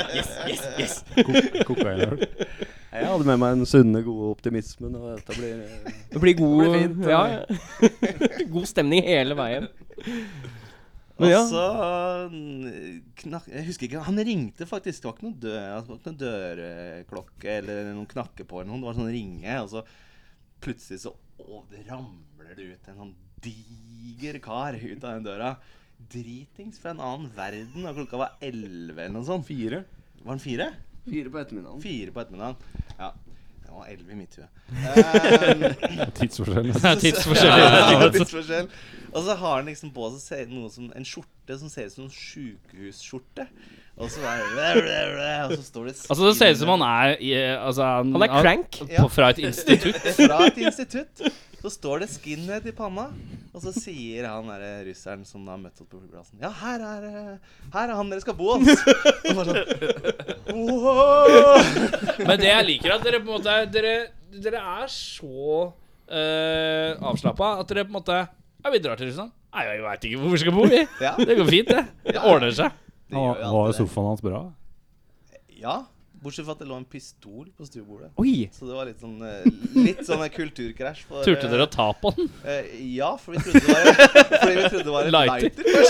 [SPEAKER 1] Herøya.
[SPEAKER 2] Kok- kokainøl.
[SPEAKER 9] Jeg hadde med meg den sunne, gode optimismen. Og dette blir eh,
[SPEAKER 3] Det blir god,
[SPEAKER 9] Det blir fint,
[SPEAKER 3] ja, ja. god stemning hele veien. Men
[SPEAKER 8] Og
[SPEAKER 3] ja.
[SPEAKER 8] så eh, Altså, knak, Jeg husker ikke Han ringte faktisk. Det var ikke noen, dø, altså, det var ikke noen dørklokke eller noen knakke på eller noe. Det var sånn ringe, og så plutselig så å, det ramler det ut en sånn diger kar ut av den døra. Dritings fra en annen verden. Og klokka var elleve eller noe sånt.
[SPEAKER 9] Fire.
[SPEAKER 8] Var den fire?
[SPEAKER 9] Fire på ettermiddagen.
[SPEAKER 8] Fire på ettermiddagen. Ja. Det var elleve i mitt hue. Eh,
[SPEAKER 2] Tidsforskjell.
[SPEAKER 1] Tidsforskjell.
[SPEAKER 8] Ja, det er tidsforskjell. Og så har han liksom på seg ser- noe som, en skjorte som ser ut som en sjukehusskjorte. Og så er det Og så står det
[SPEAKER 1] Altså, det ser ut som han er i, altså, han,
[SPEAKER 3] Han er crank.
[SPEAKER 1] på, fra et institutt.
[SPEAKER 8] Fra et institutt. Så står det 'skinhead' i panna, og så sier han der russeren som da har møtt oss på flyplassen 'Ja, her er, eh, her er han dere skal bo hos'. Og bare sånn Wow!
[SPEAKER 1] Men det jeg liker, er at dere på en måte er- Dere, dere er så uh, avslappa at dere på en måte Ja, vi drar til Russland. Nei, jeg veit ikke hvor vi skal bo, vi.
[SPEAKER 8] Ja, det
[SPEAKER 1] Det går fint, det. Det ordner seg.
[SPEAKER 8] gjør jo
[SPEAKER 2] Var var
[SPEAKER 8] alltid det.
[SPEAKER 2] sofaen hans bra?
[SPEAKER 8] Ja. Bortsett fra at det lå en pistol på stuebordet.
[SPEAKER 3] Oi!
[SPEAKER 8] Så det var litt sånn, eh, litt sånn eh, kulturkrasj. for,
[SPEAKER 1] Turte
[SPEAKER 8] eh,
[SPEAKER 1] dere å ta på den?
[SPEAKER 8] Eh, ja, for vi trodde det var, fordi vi trodde det var en
[SPEAKER 1] Lighter.
[SPEAKER 8] lighter. Og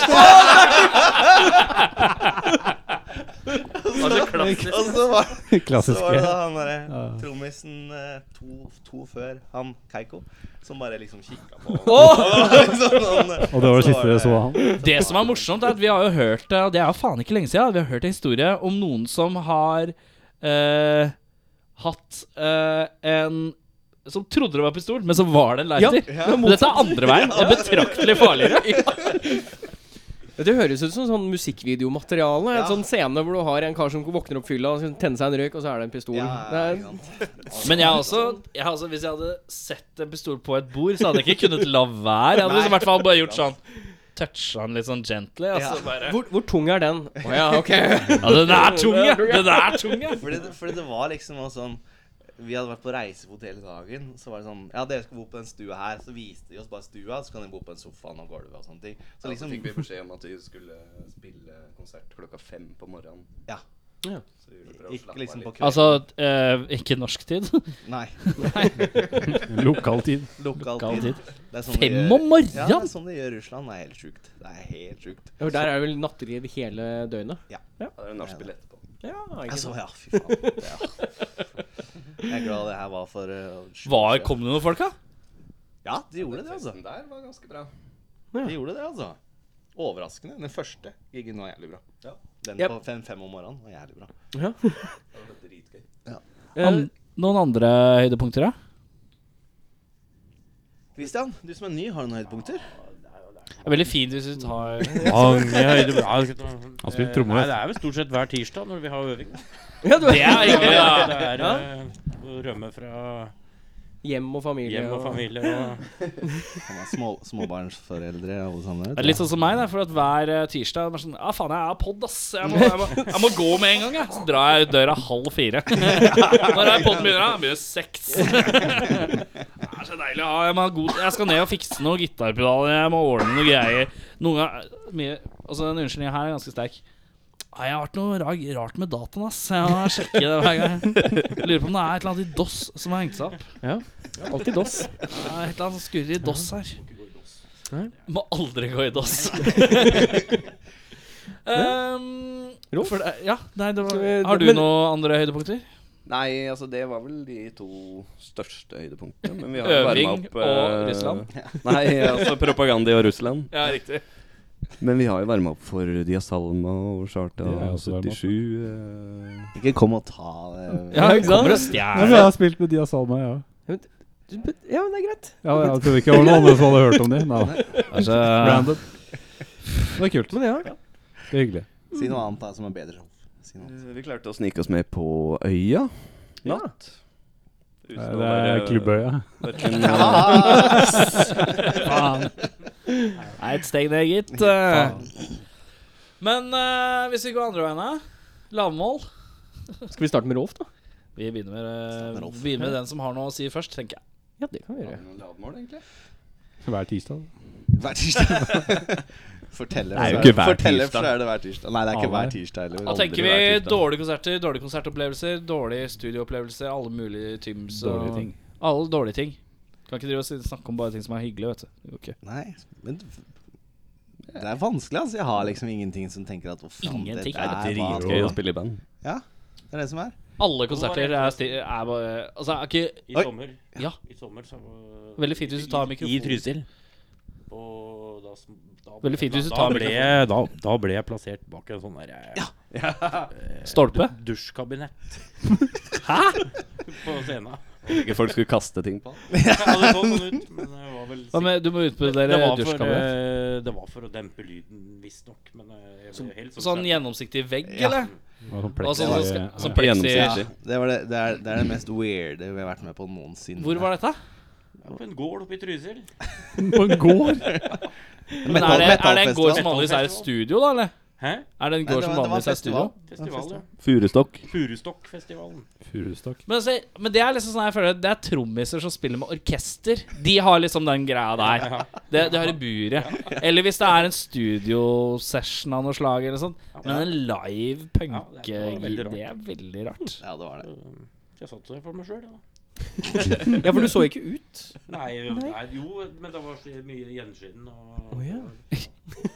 [SPEAKER 8] så var, så
[SPEAKER 2] Klassisk.
[SPEAKER 8] var det da han derre trommisen eh, to, to før, han Keiko, som bare liksom kikka på sånn, eh,
[SPEAKER 2] Og det var det siste dere så av han?
[SPEAKER 1] Det som er morsomt, er at vi har jo hørt det, og det er jo faen ikke lenge siden, vi har hørt en historie om noen som har eh, hatt eh, en som trodde det var pistol, men så var det en lighter. Men Dette er andre veien. Det er betraktelig farligere.
[SPEAKER 3] Det høres ut som sånn musikkvideomateriale. En
[SPEAKER 8] Ja.
[SPEAKER 3] sånn scene hvor du har en kar som våkner opp fylla, og så tenner seg en røyk, og så er det en pistol. det er,
[SPEAKER 1] Men jeg også, jeg har også Hvis jeg hadde sett en pistol på et bord, så hadde jeg ikke kunnet la være. Jeg hadde liksom i hvert fall bare gjort sånn Toucha den litt sånn gently. Altså,
[SPEAKER 8] Ja.
[SPEAKER 1] bare,
[SPEAKER 3] hvor, hvor tung er den? Å ja, ok.
[SPEAKER 1] ja, den er tung, ja! Den er tung, ja!
[SPEAKER 8] Fordi det, fordi det var liksom også sånn Vi hadde vært på reisefot hele dagen. Så var det sånn Ja, dere skal bo på den stua her. Så viste de oss bare stua, så kan dere bo på den sofaen og gulvet og sånne ting. Så liksom
[SPEAKER 9] fikk vi beskjed om at vi skulle spille konsert klokka fem på morgenen.
[SPEAKER 8] Ja.
[SPEAKER 3] Ja.
[SPEAKER 9] Så vi ville prøve å
[SPEAKER 8] Ikke
[SPEAKER 9] slappe
[SPEAKER 8] liksom
[SPEAKER 9] av
[SPEAKER 8] på
[SPEAKER 9] litt.
[SPEAKER 8] kvelden.
[SPEAKER 1] Altså, eh, ikke norsk tid.
[SPEAKER 8] Nei.
[SPEAKER 2] Lokal tid.
[SPEAKER 8] Lokal
[SPEAKER 1] Lokal
[SPEAKER 8] tid. Det er sånn de
[SPEAKER 1] Fem
[SPEAKER 8] gjør-
[SPEAKER 1] om
[SPEAKER 8] Ja, det er
[SPEAKER 1] morgenen!
[SPEAKER 8] sånn de gjør i Russland. Det er helt sjukt. Det er helt sjukt.
[SPEAKER 3] Og Der er det vel natteliv hele døgnet?
[SPEAKER 9] Ja, det er nachspiel etterpå.
[SPEAKER 3] Ja, ikke
[SPEAKER 8] Altså,
[SPEAKER 3] sant.
[SPEAKER 8] ja, fy faen. Ja. Jeg er glad det her var for uh, sju år
[SPEAKER 1] Var,
[SPEAKER 8] siden.
[SPEAKER 1] kom det noen folk, da?
[SPEAKER 8] Ja, de gjorde det, altså.
[SPEAKER 9] Festen der var ganske bra.
[SPEAKER 8] De gjorde det, altså. Overraskende. Den første giggen var jævlig bra. Den
[SPEAKER 3] Yep.
[SPEAKER 8] på fem, fem om morgenen var jævlig bra.
[SPEAKER 1] An noen andre høydepunkter, da?
[SPEAKER 8] Christian, du som er ny, har du noen høydepunkter?
[SPEAKER 1] Det er veldig fint hvis du tar
[SPEAKER 10] Mange høydepunkter.
[SPEAKER 2] Han spilte trommer.
[SPEAKER 10] Nei, det er vel stort sett hver tirsdag når vi har øving.
[SPEAKER 3] Ja, du
[SPEAKER 1] Det er egentlig
[SPEAKER 10] Ja,
[SPEAKER 1] ja.
[SPEAKER 10] det er
[SPEAKER 3] Ja.
[SPEAKER 10] eh, å rømme fra
[SPEAKER 3] Hjem og familie.
[SPEAKER 10] hjem og familie og
[SPEAKER 8] Han er små, småbarnsforeldre alle sammen.
[SPEAKER 1] Det er litt sånn som meg, da, for at hver eh, tirsdag er det bare sånn Ja, faen, jeg er pod, ass. Jeg må, jeg, må, jeg må gå med en gang, jeg. Så drar jeg ut døra halv fire. Når er poden begynner, da? Den Begynner seks. Det er er så deilig å ha. Jeg, må ha god, jeg skal ned og fikse noen gitarpedaler. Jeg må ordne noen greier. Noen ganger mye, Altså, den unnskyldningen her er ganske sterk. Nei, Jeg har vært noe ra- rart med dataen, ass. Jeg må sjekke det hver gang. Jeg Lurer på om det er et eller annet i DOS som har hengt seg opp.
[SPEAKER 3] Alltid DOS.
[SPEAKER 1] Det er et eller annet som skurrer i DOS her.
[SPEAKER 3] Nei.
[SPEAKER 1] Må aldri gå i DOS. um,
[SPEAKER 3] Rolf?
[SPEAKER 1] for det, ja, nei, det var,
[SPEAKER 3] Skal vi-
[SPEAKER 1] har du
[SPEAKER 3] men-
[SPEAKER 1] noen andre høydepunkter?
[SPEAKER 9] Nei, altså det var vel de to største høydepunktene. Men vi har varma
[SPEAKER 1] Øving
[SPEAKER 9] opp
[SPEAKER 1] og
[SPEAKER 9] eh,
[SPEAKER 1] Russland?
[SPEAKER 9] Nei, altså propaganda i Russland.
[SPEAKER 1] Ja, riktig.
[SPEAKER 9] Men vi har jo varma opp for Dia Salma og Charta
[SPEAKER 2] Det er også varmet opp.
[SPEAKER 9] 77. eh,
[SPEAKER 8] Ikke kom og ta det.
[SPEAKER 1] Ja,
[SPEAKER 3] ikke sant?
[SPEAKER 1] kommer og
[SPEAKER 2] Ja, men jeg
[SPEAKER 1] stjeler.
[SPEAKER 2] har spilt med de av Salma, ja.
[SPEAKER 3] Ja, men det er greit.
[SPEAKER 2] Ja, jeg trodde ikke det var noen andre som hadde hørt om de. Nei, da.
[SPEAKER 1] Altså,
[SPEAKER 2] Random. Det er kult.
[SPEAKER 3] Men ja,
[SPEAKER 2] Det er hyggelig.
[SPEAKER 8] Si noe annet da som er bedre. Si noe annet.
[SPEAKER 9] eh, Vi klarte å snike oss med på Øya natt.
[SPEAKER 2] Det
[SPEAKER 9] Uten å
[SPEAKER 2] er
[SPEAKER 9] være-
[SPEAKER 2] Klubbøya.
[SPEAKER 9] hverken,
[SPEAKER 1] faen. Nei, et steg ned, gitt. Men eh, hvis vi går andre veien, da? Lavmål?
[SPEAKER 3] Skal vi starte med Rolf, da?
[SPEAKER 1] Vi begynner med, eh, begynner med den som har noe å si først, tenker jeg.
[SPEAKER 3] Ja, det kan vi gjøre.
[SPEAKER 9] eh, lavmål, egentlig.
[SPEAKER 2] Hver tirsdag.
[SPEAKER 8] Hver tirsdag. Forteller,
[SPEAKER 9] Det er jo
[SPEAKER 8] så
[SPEAKER 9] ikke hver
[SPEAKER 8] forteller,
[SPEAKER 9] tirsdag.
[SPEAKER 8] så er det hver tirsdag. Nei, det er ikke
[SPEAKER 2] Alle.
[SPEAKER 8] hver tirsdag heller.
[SPEAKER 1] Da
[SPEAKER 9] Aldri
[SPEAKER 1] tenker vi
[SPEAKER 9] vært ute.
[SPEAKER 1] dårlige konserter, dårlige konsertopplevelser, dårlige studioopplevelser, alle mulige tyms og
[SPEAKER 2] Dårlige ting.
[SPEAKER 1] Alle dårlige ting. Kan ikke drive og si- snakke om bare ting som er hyggelig, vet du. Det går ikke.
[SPEAKER 8] Nei, men det er vanskelig, altså. Jeg har liksom ingenting som tenker at Å, faen,
[SPEAKER 1] Ingenting.
[SPEAKER 8] dette
[SPEAKER 9] Det er
[SPEAKER 8] er vanlig.
[SPEAKER 9] dritgøy å spille i band.
[SPEAKER 8] Ja, det er det som er.
[SPEAKER 1] Alle konserter er, sti er bare Altså, er ikke
[SPEAKER 10] I
[SPEAKER 8] Oi.
[SPEAKER 10] sommer.
[SPEAKER 1] Ja.
[SPEAKER 10] I sommer så var-
[SPEAKER 1] Veldig fint hvis du tar
[SPEAKER 10] I-
[SPEAKER 1] mikrofonen.
[SPEAKER 10] I Trysil. Og da, sm- da
[SPEAKER 1] Veldig fint hvis du
[SPEAKER 10] da-
[SPEAKER 1] tar
[SPEAKER 10] da ble, jeg- da, da ble jeg plassert bak en sånn der ja.
[SPEAKER 1] stolpe?
[SPEAKER 10] dusjkabinett. Hæ?! På scenen.
[SPEAKER 9] Ikke folk skulle kaste ting på.
[SPEAKER 10] Jeg hadde fått sånn ut, men det var vel
[SPEAKER 1] Hva med, du må
[SPEAKER 10] det,
[SPEAKER 1] utbrodere
[SPEAKER 10] var for,
[SPEAKER 1] dusjkammeret.
[SPEAKER 10] eh, det var for å dempe lyden, visstnok. Men eh, jeg ble helt
[SPEAKER 1] Sånn gjennomsiktig vegg, eller? Og sånn,
[SPEAKER 2] Ja,
[SPEAKER 1] sånn,
[SPEAKER 2] ja,
[SPEAKER 1] sånn
[SPEAKER 2] ja.
[SPEAKER 1] plexi
[SPEAKER 8] Ja,
[SPEAKER 9] Riktig.
[SPEAKER 8] det, var det, det, er, det er det mest weirde vi har vært med på noensinne.
[SPEAKER 1] Hvor var dette?
[SPEAKER 10] På en gård oppe i Trysil.
[SPEAKER 2] På en gård?
[SPEAKER 1] Men er det, er det en gård
[SPEAKER 8] Metallfestival.
[SPEAKER 1] som vanligvis er et studio, da? eller?
[SPEAKER 10] Hæ?
[SPEAKER 1] Er det en
[SPEAKER 8] Nei,
[SPEAKER 1] gård
[SPEAKER 8] det
[SPEAKER 1] som
[SPEAKER 8] var- det var
[SPEAKER 1] vanligvis er et studio?
[SPEAKER 8] festival.
[SPEAKER 10] Festival, ja.
[SPEAKER 9] Furustokk.
[SPEAKER 10] Furustokkfestivalen.
[SPEAKER 2] Furustokk.
[SPEAKER 1] Men, altså, men det er liksom sånn jeg føler Det er trommiser som spiller med orkester. De har liksom den greia der. Det, det har i buret. Eller hvis det er en studiosession av noe slag. Eller sånt. Men en live
[SPEAKER 10] Ja,
[SPEAKER 1] punk
[SPEAKER 10] det er veldig rart.
[SPEAKER 1] Det er veldig rart.
[SPEAKER 8] Ja, det var det.
[SPEAKER 10] Eh, Jeg satt der for meg sjøl, ja.
[SPEAKER 3] Ja, for du så ikke ut.
[SPEAKER 10] Nei, nei, jo, men det var så mye gjenskinn og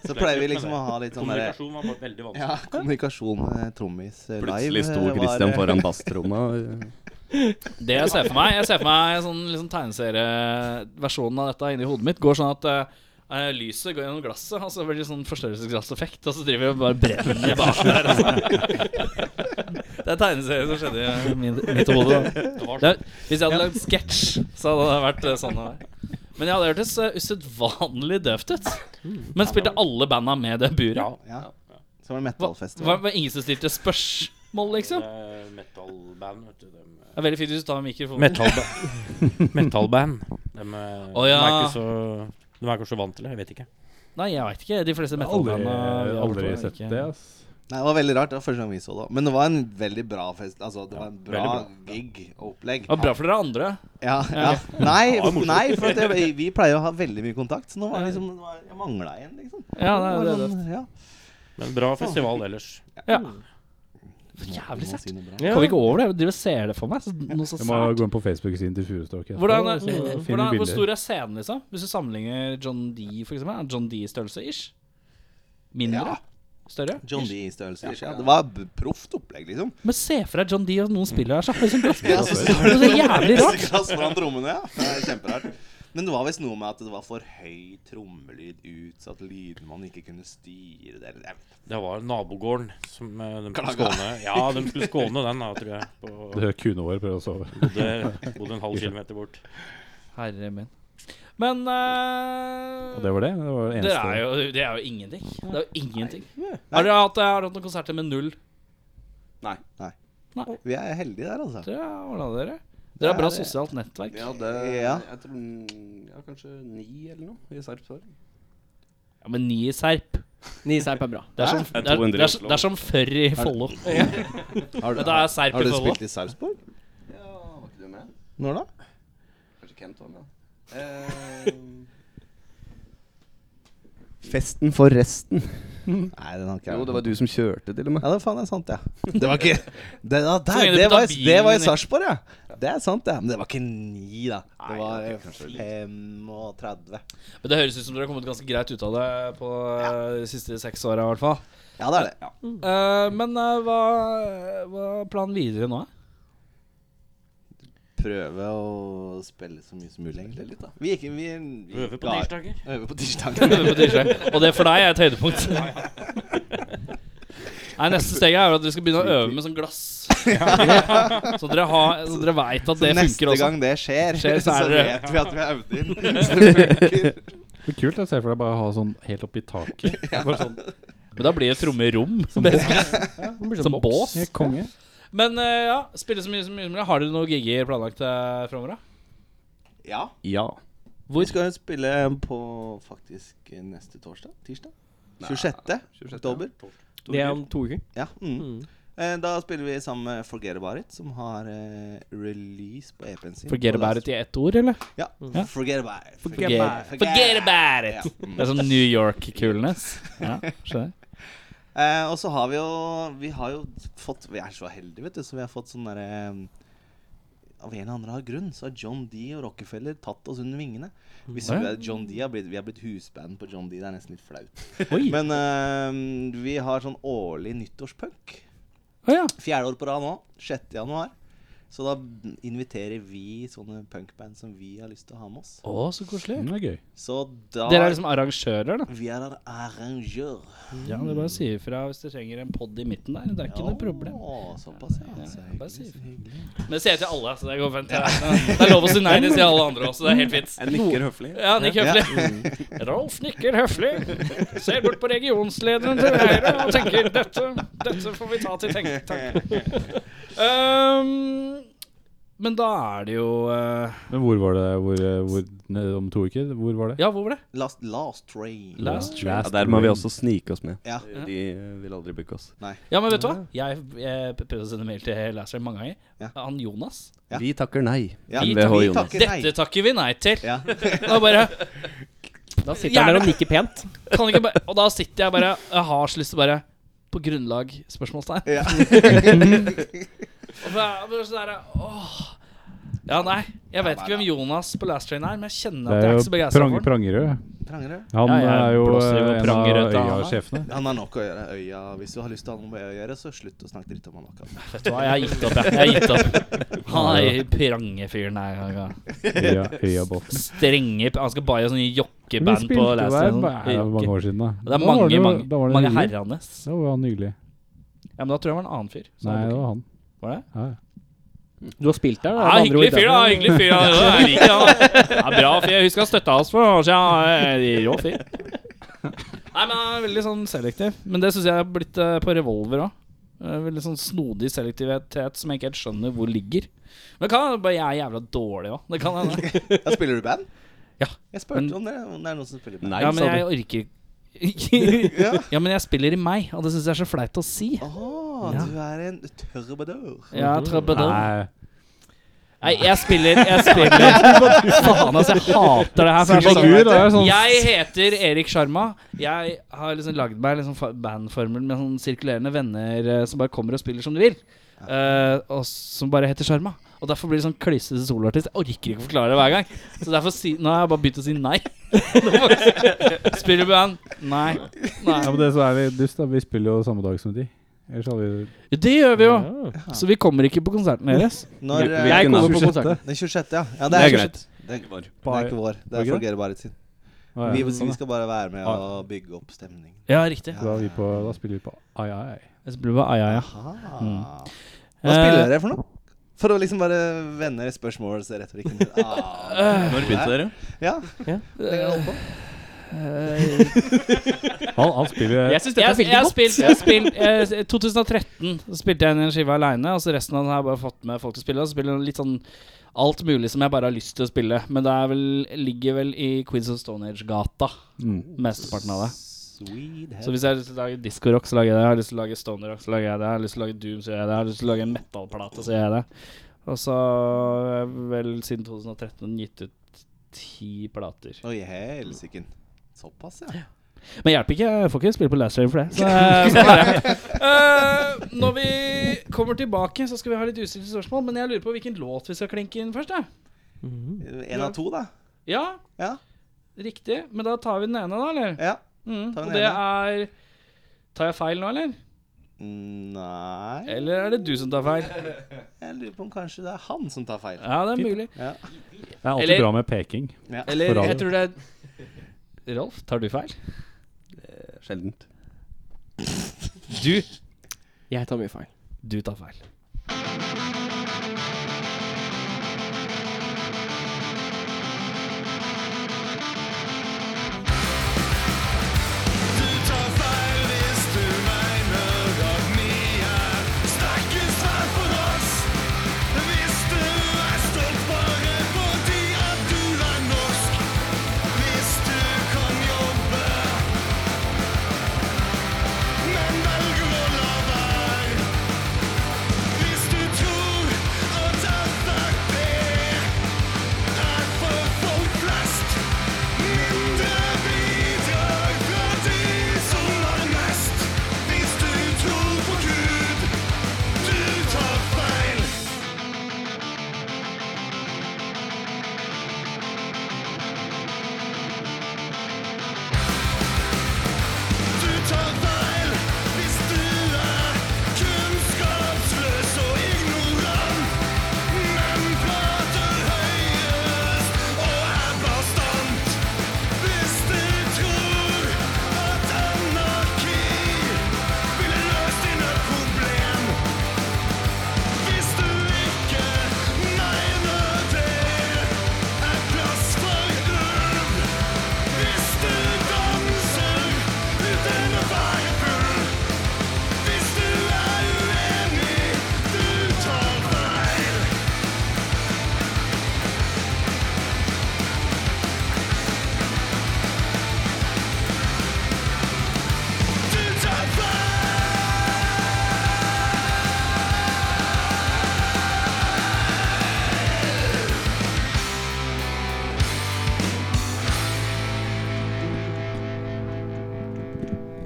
[SPEAKER 8] Så pleier vi liksom å ha litt sånn derre
[SPEAKER 10] Kommunikasjon var bare veldig vanskelig.
[SPEAKER 8] ja, kommunikasjon med trommis eh, live.
[SPEAKER 9] Plutselig sto
[SPEAKER 8] eh, var,
[SPEAKER 9] Christian
[SPEAKER 8] eh,
[SPEAKER 9] foran basstromma.
[SPEAKER 1] Det jeg ser for meg Jeg ser for meg en sånn liksom, tegneserieversjonen av dette inni hodet mitt går sånn at eh, eh, lyset går gjennom glasset, og så blir det sånn forstørrelsesglasseffekt, og så driver vi og bare brenner bak der. Altså. Det er tegneserie som skjedde i eh, min, mitt hode. da. Det, sånn. hvis jeg hadde lagd sketsj, så hadde det vært eh, sånn det var. Men ja, det hørtes eh, usedvanlig døvt ut. Men spilte alle banda med det buret?
[SPEAKER 8] Ja. Som en
[SPEAKER 1] Hva,
[SPEAKER 8] metalfestival.
[SPEAKER 1] var, var ingen som stilte spørsmål, liksom?
[SPEAKER 10] Det er Metal-band, vet du. Dem, eh,
[SPEAKER 1] Det er veldig fint hvis du tar mikrofonen.
[SPEAKER 10] Metalband. Metalband. eh, De,
[SPEAKER 1] Å, ja.
[SPEAKER 10] er ikke så De er kanskje vant til det, jeg vet ikke.
[SPEAKER 1] Nei, jeg veit ikke. De fleste
[SPEAKER 2] Aldri,
[SPEAKER 1] metalbandene vi har
[SPEAKER 2] aldri
[SPEAKER 1] hørt på,
[SPEAKER 2] sett
[SPEAKER 1] ikke-
[SPEAKER 2] det, ass.
[SPEAKER 8] Nei, det var veldig rart. Det var første gang vi så det. Men det var en veldig bra fest. Altså, det var en bra, gig og opplegg.
[SPEAKER 1] Det var bra for dere andre.
[SPEAKER 8] Ja, ja. Nei, nei for at det, vi pleier å ha veldig mye kontakt. Så nå var det liksom det var, Jeg mangla en, liksom.
[SPEAKER 1] Ja,
[SPEAKER 8] Det
[SPEAKER 1] det
[SPEAKER 8] var
[SPEAKER 1] er det.
[SPEAKER 8] sånn, ja.
[SPEAKER 10] Men bra festival ellers.
[SPEAKER 1] Ja.
[SPEAKER 8] Du
[SPEAKER 1] Jævlig
[SPEAKER 8] må
[SPEAKER 1] sært.
[SPEAKER 8] si noe bra.
[SPEAKER 1] Kommer ikke over det. Jeg driver og ser det for meg. Så, noe så
[SPEAKER 2] Jeg må
[SPEAKER 1] sært.
[SPEAKER 2] gå inn på Facebook-siden til Furustokk.
[SPEAKER 1] Hvordan, er-
[SPEAKER 2] finner vi
[SPEAKER 1] hvordan, hvor
[SPEAKER 2] bilder.
[SPEAKER 1] stor er scenen, liksom? Hvis du sammenligner John D, for eksempel. Er John D størrelse ish? Mindre?
[SPEAKER 8] Ja.
[SPEAKER 1] Større?
[SPEAKER 8] John D-størrelse. Ja, det var b- proft opplegg, liksom.
[SPEAKER 1] Men se for deg John D og noen spiller her, så er det sånn glass-
[SPEAKER 8] Ja, så står
[SPEAKER 1] Det er så jævlig rart.
[SPEAKER 8] Glass foran trommene, ja. Det er kjemperart. Men det var visst noe med at det var for høy trommelyd utsatt lyder man ikke kunne styre det eller jeg vet
[SPEAKER 10] Det var nabogården som eh, de skulle
[SPEAKER 8] Klaga.
[SPEAKER 10] skåne. Ja, de skulle skåne den, da, tror jeg. På,
[SPEAKER 2] Det er Kuene våre prøver å sove.
[SPEAKER 10] bodde, bodde en halv kilometer bort.
[SPEAKER 1] Herre min. Men eh,
[SPEAKER 2] Og det var det? Det var det
[SPEAKER 1] det er,
[SPEAKER 2] eneste.
[SPEAKER 1] jo, det er jo ingenting. Det er jo ingenting. Har dere hatt, har dere hatt noen konserter med null?
[SPEAKER 8] ikke. Vi er heldige der, altså.
[SPEAKER 1] Det ordna dere. Dere har bra sosialt nettverk.
[SPEAKER 9] Vi hadde
[SPEAKER 8] Ja.
[SPEAKER 9] jeg tror, mm, ja, kanskje ni eller noe i Sarpsborg.
[SPEAKER 1] Ja, men ni i Serp
[SPEAKER 3] Niserp er bra.
[SPEAKER 1] Det er som,
[SPEAKER 9] Hæ?
[SPEAKER 1] det er, det er,
[SPEAKER 9] Oslo.
[SPEAKER 1] det er som før i Follo.
[SPEAKER 8] Har du,
[SPEAKER 1] Men da er Serp
[SPEAKER 8] har
[SPEAKER 1] i
[SPEAKER 8] du
[SPEAKER 1] Follo.
[SPEAKER 8] spilt i Sarpsborg?
[SPEAKER 9] Ja, var ikke du med?
[SPEAKER 8] Når da?
[SPEAKER 9] Kanskje Kent var med? Eh, Festen for resten.
[SPEAKER 8] Nei, den har ikke jeg.
[SPEAKER 9] Jo, det var du som kjørte, til og med.
[SPEAKER 8] Ja, det faen er sant, ja. Det var ikke Det, da, der,
[SPEAKER 1] lenge du
[SPEAKER 8] det, var,
[SPEAKER 1] putter
[SPEAKER 8] det var i
[SPEAKER 1] bilen i-
[SPEAKER 8] Sarpsborg, ja. Det er sant, ja. Men det var ikke ni, da. Det var 35.
[SPEAKER 1] Men det høres ut som dere har kommet ganske greit ut av det på eh, de siste seks åra, i hvert fall.
[SPEAKER 8] Ja, det er det.
[SPEAKER 1] Eh, men eh, hva, hva er planen videre nå?
[SPEAKER 8] Prøve å spille så mye som mulig, egentlig. Litt, da. Vi gikk vi, vi
[SPEAKER 10] Øve på
[SPEAKER 8] la-
[SPEAKER 10] tirsdager.
[SPEAKER 8] Øve på tirsdagen.
[SPEAKER 1] På tirsdag? Og det for deg er et høydepunkt. Nei, Neste steg er jo at dere skal begynne å øve med sånn glass. Så dere, har- så dere veit at det
[SPEAKER 8] Neste
[SPEAKER 1] funker også.
[SPEAKER 8] gang det skjer,
[SPEAKER 1] Skjer, så
[SPEAKER 8] så,
[SPEAKER 1] er det-
[SPEAKER 8] vet vi at vi har øvd inn. Så det funker.
[SPEAKER 2] Det er kult jeg ser for deg bare å ha sånn helt oppi taket. Bare sånn
[SPEAKER 1] Men da blir det trommerom. Som bås.
[SPEAKER 2] helt konge.
[SPEAKER 1] Men eh, ja, spille så mye som mulig. som mulig. Har dere noen gigger planlagt uh, framover? da?
[SPEAKER 8] Ja.
[SPEAKER 9] Ja.
[SPEAKER 8] Vi skal jo spille på faktisk neste torsdag. Tirsdag. 26. oktober.
[SPEAKER 3] Det er om to uker.
[SPEAKER 8] Ja. Mm. Eh, Da spiller vi sammen med Forget About It, som har eh, release på EP-en sin.
[SPEAKER 1] Forget
[SPEAKER 8] Og da-
[SPEAKER 1] about it i ett ord, eller?
[SPEAKER 8] Ja. Forget about it. Mm. Forget,
[SPEAKER 1] Forget, forget about it! Det er sånn New York-coolness. Ja, skjønner.
[SPEAKER 8] Eh, og så har vi jo Vi har jo fått Vi er så heldige, vet du, så vi har fått sånn derre eh, Av en eller annen grunn så har John D og Rockefeller tatt oss under vingene. Hvis vi, er John D har blitt, vi har blitt husband på John D. Det er nesten litt flaut. Men eh, vi har sånn årlig nyttårspunk.
[SPEAKER 1] Å ja.
[SPEAKER 8] Fjerde år på rad nå. 6. januar. Så da inviterer vi sånne punkband som vi har lyst til å ha med oss.
[SPEAKER 1] Å, så koselig.
[SPEAKER 2] Det er gøy.
[SPEAKER 8] Så da
[SPEAKER 1] Dere er liksom arrangører, da?
[SPEAKER 8] Vi er en arrangør.
[SPEAKER 1] Ja, det er bare å si ifra hvis dere trenger en pod i midten der. Det er ikke noe problem.
[SPEAKER 8] Å, såpass, ja. Så
[SPEAKER 1] Bare
[SPEAKER 8] hyggelig.
[SPEAKER 1] si ifra. Men det sier jeg til alle, så det går fint. Det er lov å si nei, det sier alle andre også. Det er helt fint.
[SPEAKER 9] Jeg nikker høflig.
[SPEAKER 1] Ja, nikk høflig.
[SPEAKER 8] Mm.
[SPEAKER 1] Rolf nikker høflig. Ser bort på regionslederen til høyre og tenker dette, dette får vi ta til tenk- tanke. Um, men da er det jo eh,
[SPEAKER 2] Men hvor var det hvor, eh, hvor, ne- om to uker? Hvor var det?
[SPEAKER 1] Ja, hvor var det?
[SPEAKER 8] Last, last train.
[SPEAKER 1] Last
[SPEAKER 9] Ja, der må vi også snike oss med.
[SPEAKER 8] Ja.
[SPEAKER 9] De eh, vil aldri booke oss.
[SPEAKER 1] Ja, men vet du hva? Jeg, jeg prøvde å sende mail til Laser mange ganger.
[SPEAKER 8] Ja.
[SPEAKER 1] Han Jonas.
[SPEAKER 8] Ja.
[SPEAKER 9] Vi takker nei.
[SPEAKER 8] Ja,
[SPEAKER 9] Vi
[SPEAKER 8] vi
[SPEAKER 9] takker-
[SPEAKER 8] takker nei.
[SPEAKER 1] Dette takker vi nei til.
[SPEAKER 8] Ja.
[SPEAKER 1] Da bare
[SPEAKER 3] Da sitter han der og nikker pent.
[SPEAKER 1] kan ikke bare, Og da sitter jeg bare Jeg har så lyst til å bare På grunnlag spørsmålstegn.
[SPEAKER 8] Ja.
[SPEAKER 1] Og bare, bare sånn der, åh. Ja, nei. Jeg vet ikke hvem Jonas på Last Train er, men jeg kjenner
[SPEAKER 2] Det
[SPEAKER 1] at jeg
[SPEAKER 2] er
[SPEAKER 1] er ikke så
[SPEAKER 2] jo
[SPEAKER 1] begeistra
[SPEAKER 2] prang,
[SPEAKER 1] for den.
[SPEAKER 2] Prangerød.
[SPEAKER 8] Prangerød.
[SPEAKER 2] Han
[SPEAKER 1] Ja, jeg
[SPEAKER 2] er jo
[SPEAKER 1] blåser jo
[SPEAKER 2] eh, en av
[SPEAKER 1] Prangerød til han, da.
[SPEAKER 2] øya-sjefene.
[SPEAKER 8] Han har nok å gjøre. Øya. Hvis du har lyst til å ha noe med øya å gjøre, så slutt å snakke dritt om han akkurat.
[SPEAKER 1] Vet du hva, jeg har gitt opp, jeg. jeg har gitt opp. Han er prangefyren her. han er
[SPEAKER 2] Øya, øyabåten.
[SPEAKER 1] Strenge Han skal bare gjøre sånne
[SPEAKER 2] Vi
[SPEAKER 1] jokkeband på
[SPEAKER 2] spilte der
[SPEAKER 1] Last
[SPEAKER 2] for
[SPEAKER 1] Train. sånn
[SPEAKER 2] mange
[SPEAKER 1] jokke.
[SPEAKER 2] år siden, da.
[SPEAKER 1] Det er
[SPEAKER 2] Da var
[SPEAKER 1] mange,
[SPEAKER 2] det jo-
[SPEAKER 1] mange,
[SPEAKER 2] da var det
[SPEAKER 1] mange
[SPEAKER 2] hyggelig.
[SPEAKER 1] herrer hans.
[SPEAKER 2] Da var han nydelig.
[SPEAKER 1] Ja, men da tror jeg det var en annen fyr. som
[SPEAKER 2] Nei,
[SPEAKER 1] hadde
[SPEAKER 2] det
[SPEAKER 1] booking.
[SPEAKER 2] var han.
[SPEAKER 1] Var det?
[SPEAKER 2] Ja, ja.
[SPEAKER 3] Du har spilt der, da.
[SPEAKER 1] Ja,
[SPEAKER 3] med andre
[SPEAKER 1] hyggelig
[SPEAKER 3] ord,
[SPEAKER 1] fyr, da.
[SPEAKER 3] der.
[SPEAKER 1] hyggelig fyr da. Ja, Jeg liker han. Ja, bra fyr. Jeg husker han støtta oss for noen år siden. Ja, Rå fyr. Nei, men han er veldig sånn selektiv. Men det syns jeg er blitt eh, på revolver òg. Veldig sånn snodig selektivitet som jeg ikke helt skjønner hvor ligger. Men det kan hende bare jeg er jævla dårlig òg. Det kan hende.
[SPEAKER 8] Ja, spiller du band?
[SPEAKER 1] Ja.
[SPEAKER 8] Jeg spurte
[SPEAKER 1] Men-
[SPEAKER 8] om det. Om det er noen som spiller band.
[SPEAKER 9] Nei,
[SPEAKER 1] Ja, men
[SPEAKER 9] sa
[SPEAKER 1] jeg
[SPEAKER 9] du.
[SPEAKER 1] orker ikke Ja, men jeg spiller i meg, og det syns jeg er så flaut å si.
[SPEAKER 8] Åh, du er en tørrbedør.
[SPEAKER 1] Ja, trøbbel.
[SPEAKER 2] Nei,
[SPEAKER 1] Nei, jeg spiller Jeg spiller Faen, altså, jeg hater det her. For det er sånn,
[SPEAKER 2] Sigurd er jo sånn
[SPEAKER 1] Jeg heter Erik Sjarma. Jeg har liksom lagd meg liksom fa- bandformel med sånn sirkulerende venner eh, som bare kommer og spiller som de vil. Eh, og som bare heter Sjarma. Og derfor blir det sånn klissete soloartist. Jeg orker ikke å forklare det hver gang. Så derfor si, nå har jeg bare begynt å si nei. Spiller du band? Nei.
[SPEAKER 2] Ja,
[SPEAKER 1] nei.
[SPEAKER 2] men det som er litt dust, da. Vi spiller jo samme dag som de. Ellers hadde vi
[SPEAKER 1] Det gjør vi jo. Så vi kommer ikke på konserten deres.
[SPEAKER 8] Når, eh,
[SPEAKER 9] Jeg
[SPEAKER 3] kommer på
[SPEAKER 2] 26..
[SPEAKER 3] konserten.
[SPEAKER 8] den 26., ja. ja det,
[SPEAKER 9] Det
[SPEAKER 8] er
[SPEAKER 9] er greit.
[SPEAKER 8] 26.. Det, det
[SPEAKER 9] Var.
[SPEAKER 8] er ikke
[SPEAKER 2] Var
[SPEAKER 8] vår. Det er
[SPEAKER 2] ikke det?
[SPEAKER 8] Forget About It sin.
[SPEAKER 2] Å, ja. Ah.
[SPEAKER 8] Vi, vi skal bare være med og bygge opp stemningen.
[SPEAKER 1] Ja, riktig.
[SPEAKER 2] Da, er vi på, da spiller vi på Ai Ai.
[SPEAKER 1] Jeg spiller bare ai, ai, ja. Eh,
[SPEAKER 2] Eh,
[SPEAKER 8] Ah. Hva spiller dere for noe? For å liksom bare vende spørsmålsretorikken litt. Ah.
[SPEAKER 9] Når begynte dere?
[SPEAKER 8] Ja. Det kan jeg holde på.
[SPEAKER 1] eh,
[SPEAKER 2] Han, han spiller
[SPEAKER 3] Jeg syns dette er veldig
[SPEAKER 1] jeg
[SPEAKER 3] godt.
[SPEAKER 1] spilt- jeg spilt- jeg- 2013 så spilte jeg en skive aleine, og så resten av den har jeg bare fått med folk til å spille. Og så spiller jeg litt sånn alt mulig som jeg bare har lyst til å spille. Men det er vel, ligger vel i Queens of Stone Age-gata, mesteparten av det.
[SPEAKER 8] Sweet
[SPEAKER 1] Så
[SPEAKER 8] head.
[SPEAKER 1] hvis jeg har lyst til å lage discorock, så lager jeg det. Har jeg lyst til å lage stoner rock, så lager jeg det. Har jeg lyst til å lage doom, så gjør jeg det. Har jeg lyst til å lage en metal-plate, så gjør jeg det. Og så har jeg vel siden 2013 gitt ut ti plater.
[SPEAKER 8] Oi, helsiken. Såpass, ja.
[SPEAKER 1] Men hjelper ikke, jeg får ikke spille på Last Train for det. Så, sånn er det. Eh, når vi kommer tilbake, så skal vi ha litt ustilte spørsmål. Men jeg lurer på hvilken låt vi skal klinke inn først. Jeg.
[SPEAKER 8] En av to, da.
[SPEAKER 1] Ja,
[SPEAKER 8] Ja.
[SPEAKER 1] riktig. Men da tar vi den ene, da, eller?
[SPEAKER 8] Ja.
[SPEAKER 1] Mm,
[SPEAKER 8] tar vi
[SPEAKER 1] og
[SPEAKER 8] den
[SPEAKER 1] det er Tar jeg feil nå, eller?
[SPEAKER 8] Nei
[SPEAKER 1] Eller er det du som tar feil?
[SPEAKER 8] Jeg lurer på om kanskje det er han som tar feil.
[SPEAKER 1] Ja, det er mulig.
[SPEAKER 2] Det er alltid
[SPEAKER 1] Eller-
[SPEAKER 2] bra med peking.
[SPEAKER 8] Ja.
[SPEAKER 1] Eller
[SPEAKER 2] radio.
[SPEAKER 1] jeg tror det er Rolf, tar du feil?
[SPEAKER 9] Sjeldent.
[SPEAKER 1] Du
[SPEAKER 3] Jeg tar mye feil.
[SPEAKER 1] Du tar feil.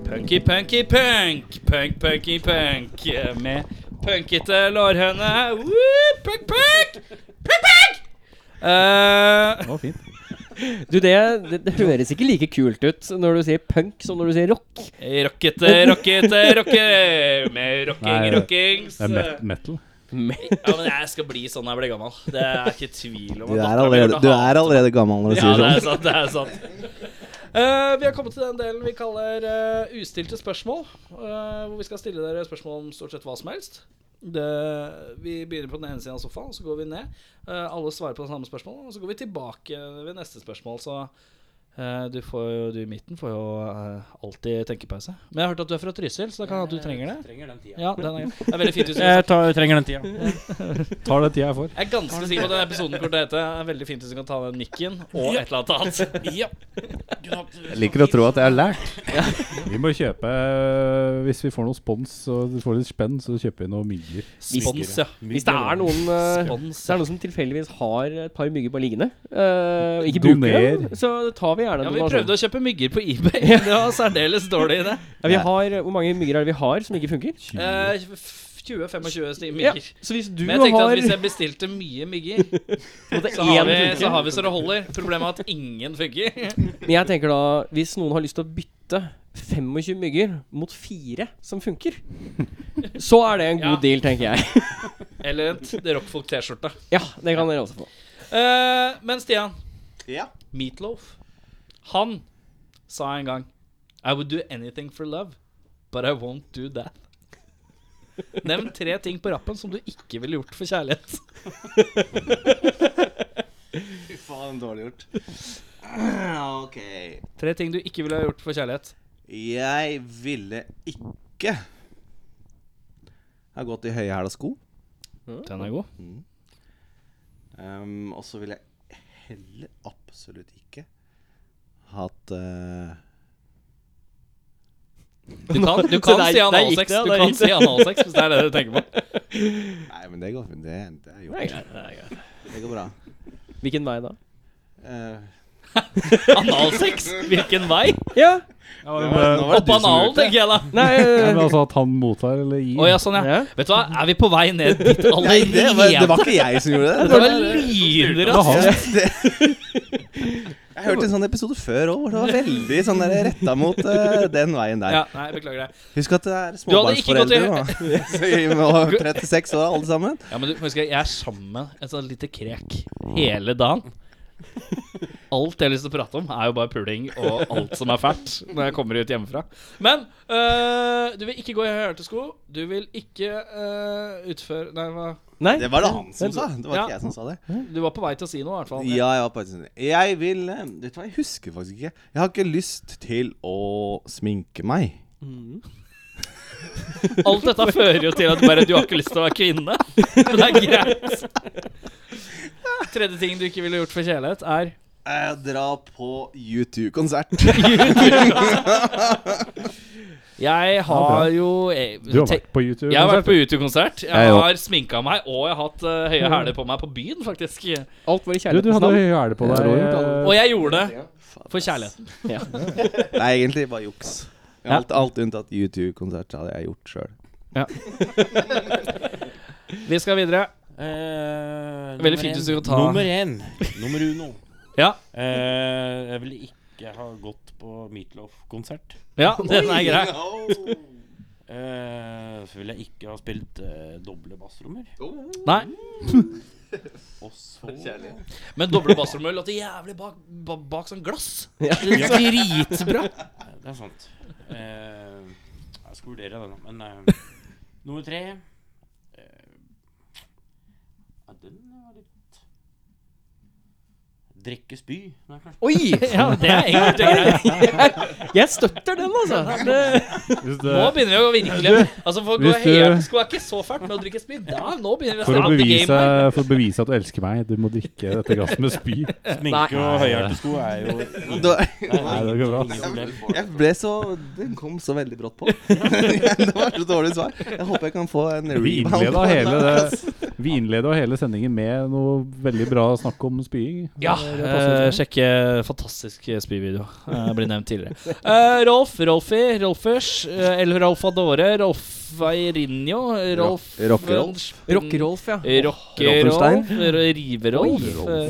[SPEAKER 1] Punky, punky, punk. Punk, punky, punk. Med punkete lårhøne. Woo, Punk, punk! Punk, punk! Eh,
[SPEAKER 2] Det var fint.
[SPEAKER 3] Du, det, det, det høres ikke like kult ut når du sier punk som når du sier rock.
[SPEAKER 1] rockete, rockete, rocker. Med rocking,
[SPEAKER 2] Nei,
[SPEAKER 1] rockings.
[SPEAKER 2] Det er met metal.
[SPEAKER 1] Ja, men jeg skal bli sånn når jeg blir gammel. Det er ikke tvil om.
[SPEAKER 8] Du er allerede, du er allerede gammel når du
[SPEAKER 1] Ja,
[SPEAKER 8] sier
[SPEAKER 1] det er
[SPEAKER 8] sånn.
[SPEAKER 1] sant. det er sant Eh, Vi har kommet til den delen vi kaller eh, ustilte spørsmål. eh, hvor vi skal stille dere spørsmål om stort sett hva som helst. Det, vi begynner på den ene siden av sofaen, så går vi ned. Eh, alle svarer på det samme spørsmålet, og så går vi tilbake ved neste spørsmål. Så eh, du, får jo, du i midten får jo eh, alltid tenkepause. Men jeg har hørt at du er fra Trysil, så da kan det hende at du trenger det.
[SPEAKER 10] Eh, Trenger den tida.
[SPEAKER 1] Ja, den er, grei. det er veldig fint hvis du
[SPEAKER 2] trenger den tida. Tar den tida jeg får.
[SPEAKER 1] jeg er ganske sikker på at den episoden kommer til å hete Det er veldig fint hvis du kan ta den nikken og et eller annet annet. Ja.
[SPEAKER 9] Jeg liker å tro at jeg har lært.
[SPEAKER 2] Vi må kjøpe øh, Hvis vi får noe spons og du får litt spenn, så kjøper vi noe mygger.
[SPEAKER 1] Spons, ja.
[SPEAKER 3] Hvis det er noen, eh,
[SPEAKER 1] Spons.
[SPEAKER 3] hvis det er noen som tilfeldigvis har et par mygger på liggende, eh, og ikke bruker
[SPEAKER 2] Doner.
[SPEAKER 3] dem, så tar vi
[SPEAKER 1] Ja,
[SPEAKER 3] gjerne en
[SPEAKER 1] vi
[SPEAKER 3] donasjon.
[SPEAKER 1] prøvde å kjøpe mygger på eBay. Det var særdeles dårlig idé.
[SPEAKER 3] Ja, vi har, eh, hvor mange mygger er det vi har som ikke funker?
[SPEAKER 1] Eh, 20-25 sti-
[SPEAKER 3] Ja,
[SPEAKER 1] mygger.
[SPEAKER 3] så hvis du
[SPEAKER 1] Men jeg tenkte
[SPEAKER 3] har
[SPEAKER 1] at hvis jeg bestilte mye mygger,
[SPEAKER 3] måtte
[SPEAKER 1] så har
[SPEAKER 3] én
[SPEAKER 1] vi
[SPEAKER 3] funke-
[SPEAKER 1] så, har vi så det holder. Problemet er at ingen funker.
[SPEAKER 3] Men jeg tenker da, hvis noen har lyst til å bytte 25 mygger mot fire som funker, så er det en god
[SPEAKER 1] Ja.
[SPEAKER 3] deal, tenker jeg.
[SPEAKER 1] Eller en t- rockfolk T-skjorte.
[SPEAKER 3] Ja, det kan dere også få.
[SPEAKER 1] Eh, men Stian,
[SPEAKER 8] Ja.
[SPEAKER 1] Meatloaf, han sa en gang I would do anything for love, but I won't do that. Nevn tre ting på rappen som du ikke ville gjort for kjærlighet.
[SPEAKER 8] Fy faen, dårlig gjort. Ok.
[SPEAKER 1] Tre ting du ikke ville ha gjort for kjærlighet.
[SPEAKER 8] Jeg ville ikke ha gått i høyhæla sko.
[SPEAKER 1] Den er god.
[SPEAKER 8] Um, og så ville jeg heller absolutt ikke hatt eh,
[SPEAKER 1] Du kan, du kan
[SPEAKER 3] der-
[SPEAKER 1] si
[SPEAKER 3] der
[SPEAKER 1] analsex
[SPEAKER 3] gikk det,
[SPEAKER 1] Du
[SPEAKER 3] der
[SPEAKER 1] kan
[SPEAKER 3] gikk
[SPEAKER 1] si analsex hvis det er det du tenker på.
[SPEAKER 8] Nei, men det går fint. Det, det er gjort. Det går bra.
[SPEAKER 3] Hvilken vei da?
[SPEAKER 8] Eh, Eh,
[SPEAKER 1] Analsex? Hvilken vei?
[SPEAKER 3] Ja.
[SPEAKER 2] Men
[SPEAKER 1] Opp analen, tenker jeg da.
[SPEAKER 3] Nei eh,
[SPEAKER 2] altså at han mottar eller gir.
[SPEAKER 1] Å ja, sånn ja.
[SPEAKER 3] Ja.
[SPEAKER 1] Vet du hva, er vi på vei ned dit
[SPEAKER 8] Nei,
[SPEAKER 1] allerede?
[SPEAKER 8] det var, det var ikke jeg som gjorde det.
[SPEAKER 1] Dette var lyder,
[SPEAKER 2] Det var
[SPEAKER 1] ass.
[SPEAKER 2] han.
[SPEAKER 8] Jeg hørte en sånn episode før òg, hvor det var veldig sånn der retta mot eh, den veien der.
[SPEAKER 1] Ja, nei, beklager det.
[SPEAKER 8] Husk at det er
[SPEAKER 1] Du hadde ikke gått
[SPEAKER 8] småbarnsforeldre nå. Så vi må ha 36 år, alle sammen.
[SPEAKER 1] Ja, men du, husker jeg, jeg er sammen med et sånt lite krek hele dagen. Alt jeg har lyst til å prate om, er jo bare puling og alt som er fælt. Når jeg kommer ut hjemmefra. Men øh, du vil ikke gå i høyhælte sko. Du vil ikke øh, utføre Nei, hva?
[SPEAKER 3] Nei.
[SPEAKER 8] Det var det han som sa. Det var
[SPEAKER 1] Ja.
[SPEAKER 8] ikke jeg som sa det.
[SPEAKER 1] du var på vei til å si noe, i hvert fall.
[SPEAKER 8] Ja, ja, på et sett. sånn, Jeg vil eh, Vet du hva, jeg husker faktisk ikke. Jeg har ikke lyst til å sminke meg.
[SPEAKER 1] Alt dette fører jo til at bare du har ikke lyst til å være kvinne. Men det er greit. Tredje ting du ikke ville gjort for kjærlighet, er
[SPEAKER 8] Eh, dra på U2-konsert.
[SPEAKER 1] Jeg har jo eh, jeg,
[SPEAKER 2] Du har vært på YouTube.
[SPEAKER 1] Jeg har vært på YouTube-konsert. Jeg
[SPEAKER 2] òg.
[SPEAKER 1] har sminka meg, og jeg har hatt eh,
[SPEAKER 2] Mm.
[SPEAKER 1] høye hæler på meg på byen, faktisk.
[SPEAKER 3] Alt var i
[SPEAKER 2] Du, du
[SPEAKER 3] kjærlighetens
[SPEAKER 2] hadde
[SPEAKER 3] navn.
[SPEAKER 2] høyhæle på deg.
[SPEAKER 1] Og jeg gjorde det for kjærligheten.
[SPEAKER 8] Det er egentlig bare juks. Alt, alt unntatt U2-konsert hadde jeg gjort sjøl.
[SPEAKER 1] Vi skal videre.
[SPEAKER 11] Eh,
[SPEAKER 1] Veldig
[SPEAKER 11] nummer
[SPEAKER 1] fint
[SPEAKER 11] en.
[SPEAKER 1] hvis du kan ta-
[SPEAKER 11] Nummer én. Nummer uno.
[SPEAKER 1] Ja.
[SPEAKER 11] Eh, jeg ville ikke ha gått på Meatloaf-konsert.
[SPEAKER 1] Ja, den er grei.
[SPEAKER 11] Eh, så ville jeg ikke ha spilt eh, doble bassrommer.
[SPEAKER 1] Nei.
[SPEAKER 11] Og så
[SPEAKER 1] Men doble bassrommer låter jævlig bak, ba- bak sånn glass. Dritbra.
[SPEAKER 11] Eh, Det er sant. Eh, jeg skal vurdere det, da. Men eh, nummer tre eh, ja, Den var litt Drikke spy. Nei, kanskje.
[SPEAKER 3] Oi!
[SPEAKER 1] Ja, det er egentlig greit.
[SPEAKER 3] Jeg støtter den, altså. Det,
[SPEAKER 2] Hvis
[SPEAKER 1] Nå
[SPEAKER 2] det-
[SPEAKER 1] begynner vi å virkelig Altså, for å gå
[SPEAKER 2] Hvis du-
[SPEAKER 1] helt Sko er ikke så fælt med å drikke spy. Da, nå begynner vi å
[SPEAKER 2] For å,
[SPEAKER 1] starte game.
[SPEAKER 2] bevise,
[SPEAKER 1] her.
[SPEAKER 2] for å bevise at du elsker meg, du må drikke dette glasset med spy.
[SPEAKER 11] Sminke og høyhælte sko er jo
[SPEAKER 2] Nei, det går bra.
[SPEAKER 8] Jeg ble så Den kom så veldig brått på. det var så dårlig svar. Jeg håper jeg kan få en
[SPEAKER 2] Vi
[SPEAKER 8] rebound.
[SPEAKER 2] innleda
[SPEAKER 8] på den
[SPEAKER 2] hele,
[SPEAKER 8] der.
[SPEAKER 2] det, vi innleda hele sendingen med noe veldig bra snakk om spying.
[SPEAKER 1] Ja, eh, sjekke fantastisk spyvideo. Uh, blir nevnt tidligere. Eh, Rolf, Rolfi, Rolfers, uh, El Rolfadore, Rolfeirinho, Rolf
[SPEAKER 8] Rockerolf.
[SPEAKER 3] Rockerolf, ja.
[SPEAKER 1] Rockerolf, Riverolf eh,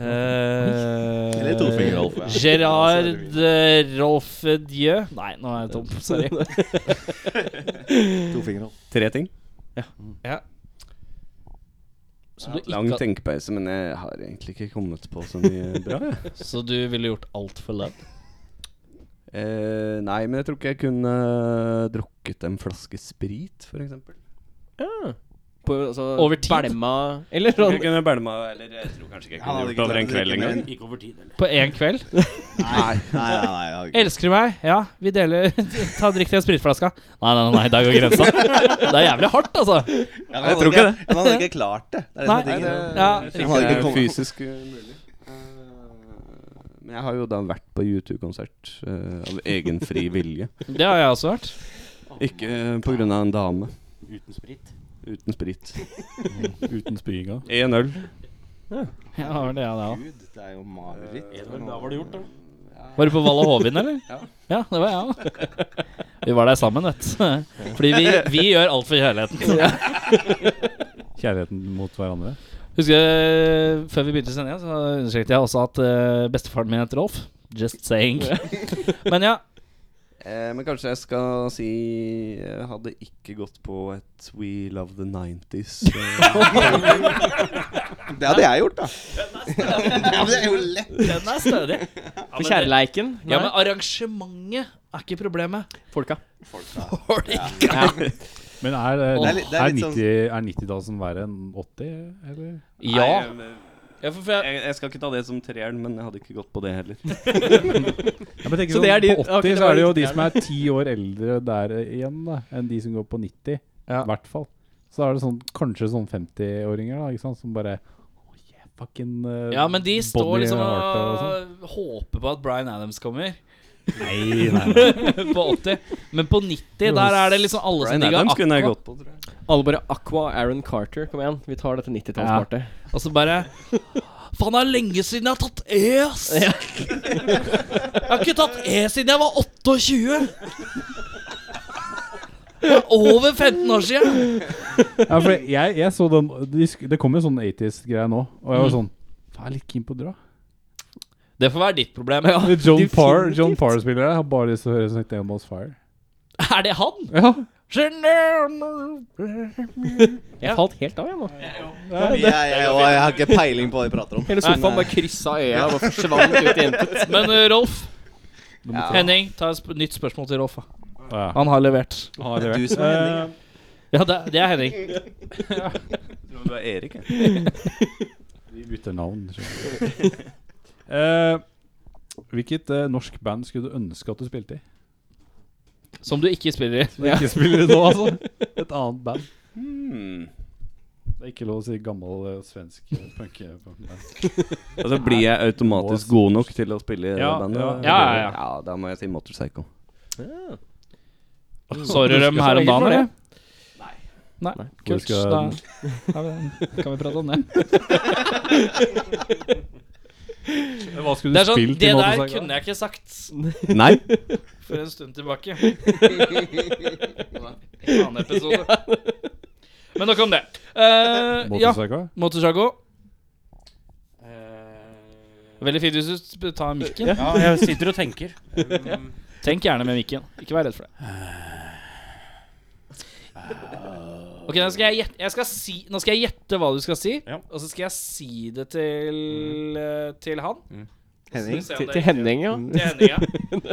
[SPEAKER 1] eh,
[SPEAKER 8] Eller Tofinger-Rolf, ja.
[SPEAKER 1] Gerard eh, Rolf Dieu Nei, nå er jeg tom. Sorry.
[SPEAKER 8] To fingre opp.
[SPEAKER 9] Tre ting.
[SPEAKER 1] Som du
[SPEAKER 9] Lang
[SPEAKER 1] ikke har,
[SPEAKER 9] tenkepause, men jeg har egentlig ikke kommet på så mye bra. jeg.
[SPEAKER 1] så du ville gjort alt for love?
[SPEAKER 9] Eh, nei, men jeg tror ikke jeg kunne eh, drukket en flaske sprit, f.eks.
[SPEAKER 3] På, altså,
[SPEAKER 1] Over tid?
[SPEAKER 3] Belma Eller sånn.
[SPEAKER 9] Jeg kunne bælma Eller jeg tror kanskje ikke jeg
[SPEAKER 8] Han
[SPEAKER 9] kunne
[SPEAKER 8] hadde
[SPEAKER 9] gjort
[SPEAKER 8] ikke
[SPEAKER 9] det over en
[SPEAKER 8] klart å
[SPEAKER 9] kveld
[SPEAKER 8] drikke mer
[SPEAKER 9] engang.
[SPEAKER 8] enn-
[SPEAKER 11] Ikke over tid, eller?
[SPEAKER 1] På én kveld?
[SPEAKER 8] Nei, nei, nei. nei, jeg har ikke-
[SPEAKER 1] Elsker du meg? Ja, vi deler Ta og Drikk til en spritflaske. Nei, nei, nei, nei, der går grensa. Det er jævlig hardt, altså.
[SPEAKER 8] Ja, men
[SPEAKER 9] Jeg
[SPEAKER 8] han
[SPEAKER 9] tror
[SPEAKER 8] hadde
[SPEAKER 9] ikke
[SPEAKER 8] Han hadde ikke klart det. det, er det som
[SPEAKER 1] Nei,
[SPEAKER 8] er tingen.
[SPEAKER 1] Ja,
[SPEAKER 9] Jeg
[SPEAKER 8] Han hadde
[SPEAKER 9] tror
[SPEAKER 8] ikke
[SPEAKER 9] ikke det er
[SPEAKER 8] kommet-
[SPEAKER 9] fysisk umulig. Eh, Men jeg har jo da vært på YouTube-konsert eh, av egen fri vilje.
[SPEAKER 1] Det har jeg også vært.
[SPEAKER 9] Ikke eh, på grunn av en dame
[SPEAKER 11] Uten sprit.
[SPEAKER 9] uten sprit.
[SPEAKER 2] Uten spyinga.
[SPEAKER 9] Én øl.
[SPEAKER 1] Jeg har det, jeg, det også.
[SPEAKER 8] Gud, det er jo mareritt.
[SPEAKER 1] Eh,
[SPEAKER 11] Ja, men Da var det gjort, da.
[SPEAKER 1] Var du på Valla Hovin, eller? Ja. det var jeg òg. Vi var der sammen, vet du. Fordi vi, vi gjør alt for kjærligheten.
[SPEAKER 2] Kjærligheten mot hverandre.
[SPEAKER 1] Husker jeg, Før vi begynte sendinga, så understreket jeg også at eh, bestefaren min heter Rolf. Just saying. Men ja.
[SPEAKER 9] Eh, men kanskje jeg skal si Jeg hadde ikke gått på et We Love The 90s. eh,
[SPEAKER 8] Det hadde jeg gjort, da. det hadde jeg jo lett.
[SPEAKER 1] Den er stødig.
[SPEAKER 3] For kjærleiken.
[SPEAKER 1] Ja, men arrangementet er ikke problemet.
[SPEAKER 3] Folka.
[SPEAKER 2] Men er, eh,
[SPEAKER 8] Det er litt- det er
[SPEAKER 2] er
[SPEAKER 8] litt sånn-
[SPEAKER 2] 90 er 90-tallet verre enn 80, eller?
[SPEAKER 1] Ja.
[SPEAKER 9] Nei, eh,
[SPEAKER 1] ja for, for jeg,
[SPEAKER 9] Jeg, jeg skal ikke ta det som treeren, men jeg hadde ikke gått på det heller.
[SPEAKER 2] Ja, men tenker
[SPEAKER 3] Så
[SPEAKER 2] sånn,
[SPEAKER 3] det er de-
[SPEAKER 2] på 80
[SPEAKER 3] ok, det
[SPEAKER 2] så
[SPEAKER 3] var
[SPEAKER 2] er det jo
[SPEAKER 3] litt
[SPEAKER 2] de som er ti år eldre der eh, igjen, da, enn de som går på 90. I
[SPEAKER 1] Ja.
[SPEAKER 2] hvert fall. Så da er det sånn, kanskje sånn 50-åringer da, ikke sant, som bare «Å, yeah, fucking, eh,
[SPEAKER 1] Ja, men de står
[SPEAKER 2] Bonnie
[SPEAKER 1] liksom
[SPEAKER 2] Hart og sånn».
[SPEAKER 1] og håper på at Bryan Adams kommer
[SPEAKER 2] Nei, nei, nei.
[SPEAKER 1] på 80. Men på 90, der er det liksom alle som
[SPEAKER 9] Bryan
[SPEAKER 1] digger
[SPEAKER 9] Adams kunne jeg
[SPEAKER 1] Aqua.
[SPEAKER 9] gått på, tror jeg.
[SPEAKER 3] Alle bare Aqua, Aaron Carter. Kom igjen, vi tar dette 90-tallspartiet.
[SPEAKER 1] Og så bare Faen, det er lenge siden jeg har tatt E, ass! Jeg har ikke tatt E siden jeg var 28! Det er over 15 år siden!
[SPEAKER 2] Ja, for jeg, jeg så den de sk- Det kom jo sånn 80s-greie nå, og
[SPEAKER 1] Mm.
[SPEAKER 2] jeg var sånn Faen, jeg er litt keen på å dra.
[SPEAKER 1] Det får være ditt problem. ja
[SPEAKER 2] Men John Parr John Parr spiller der. Har bare lyst til å høre St. Elmo's Fire.
[SPEAKER 1] Er det han?
[SPEAKER 2] Ja,
[SPEAKER 3] Jeg falt helt av, jeg nå.
[SPEAKER 9] Jeg, jeg, jeg, jeg har ikke peiling på hva de prater om.
[SPEAKER 3] Hele sofaen bare kryssa øya og bare forsvant ut i intet.
[SPEAKER 1] Men eh, Rolf Henning, ta et sp nytt spørsmål til Rolf. da.
[SPEAKER 2] Ja.
[SPEAKER 1] Han har levert.
[SPEAKER 2] har det
[SPEAKER 9] Du
[SPEAKER 2] vært.
[SPEAKER 9] som er Henning.
[SPEAKER 2] Eh,
[SPEAKER 1] Ja, det, det er Henning.
[SPEAKER 9] Du er Erik, jeg.
[SPEAKER 2] Vi bytter navn. skjønner du. Eh, hvilket eh, norsk band skulle du ønske at du spilte i?
[SPEAKER 1] Som du ikke spiller i.
[SPEAKER 2] Ikke spiller i nå, altså. Et annet band.
[SPEAKER 9] Hmm.
[SPEAKER 2] Det er ikke lov å si gammel eh, svensk eh, punk. eh, punkband.
[SPEAKER 9] Altså Blir jeg automatisk god nok til å spille i det
[SPEAKER 2] Ja,
[SPEAKER 9] bandet?
[SPEAKER 2] ja,
[SPEAKER 1] ja, ja.
[SPEAKER 9] Da må jeg si Motorcycle.
[SPEAKER 1] Sorry dem her om dagen, eller? Nei. Nei,
[SPEAKER 2] Hvor
[SPEAKER 1] kult.
[SPEAKER 2] skal
[SPEAKER 1] Da
[SPEAKER 2] den?
[SPEAKER 1] da er vi- kan vi prate om det.
[SPEAKER 2] Men Hva skulle
[SPEAKER 1] Det
[SPEAKER 2] du
[SPEAKER 1] er sånn,
[SPEAKER 2] spilt
[SPEAKER 1] det
[SPEAKER 2] i
[SPEAKER 1] der
[SPEAKER 2] Motorcycle?
[SPEAKER 1] kunne jeg ikke sagt
[SPEAKER 9] Nei?
[SPEAKER 1] for en stund tilbake. En annen episode. Men nok om det. Eh, ja,
[SPEAKER 2] Motorcycle?
[SPEAKER 1] Motorsago.
[SPEAKER 11] Eh,
[SPEAKER 1] Veldig fint hvis du sp- tar mikken.
[SPEAKER 11] ja, jeg sitter og tenker. Um,
[SPEAKER 1] Tenk gjerne med mikken. Ikke vær redd for det. Ok, Nå skal jeg, gjette, jeg skal si, nå skal jeg gjette hva du skal si,
[SPEAKER 11] Ja.
[SPEAKER 1] og så skal jeg si det til, eh, til han.
[SPEAKER 8] Henning.
[SPEAKER 1] Så vi ser om
[SPEAKER 3] Til,
[SPEAKER 1] det
[SPEAKER 3] til
[SPEAKER 1] er
[SPEAKER 3] Henning, ja.
[SPEAKER 1] riktig. Til Henning, ja.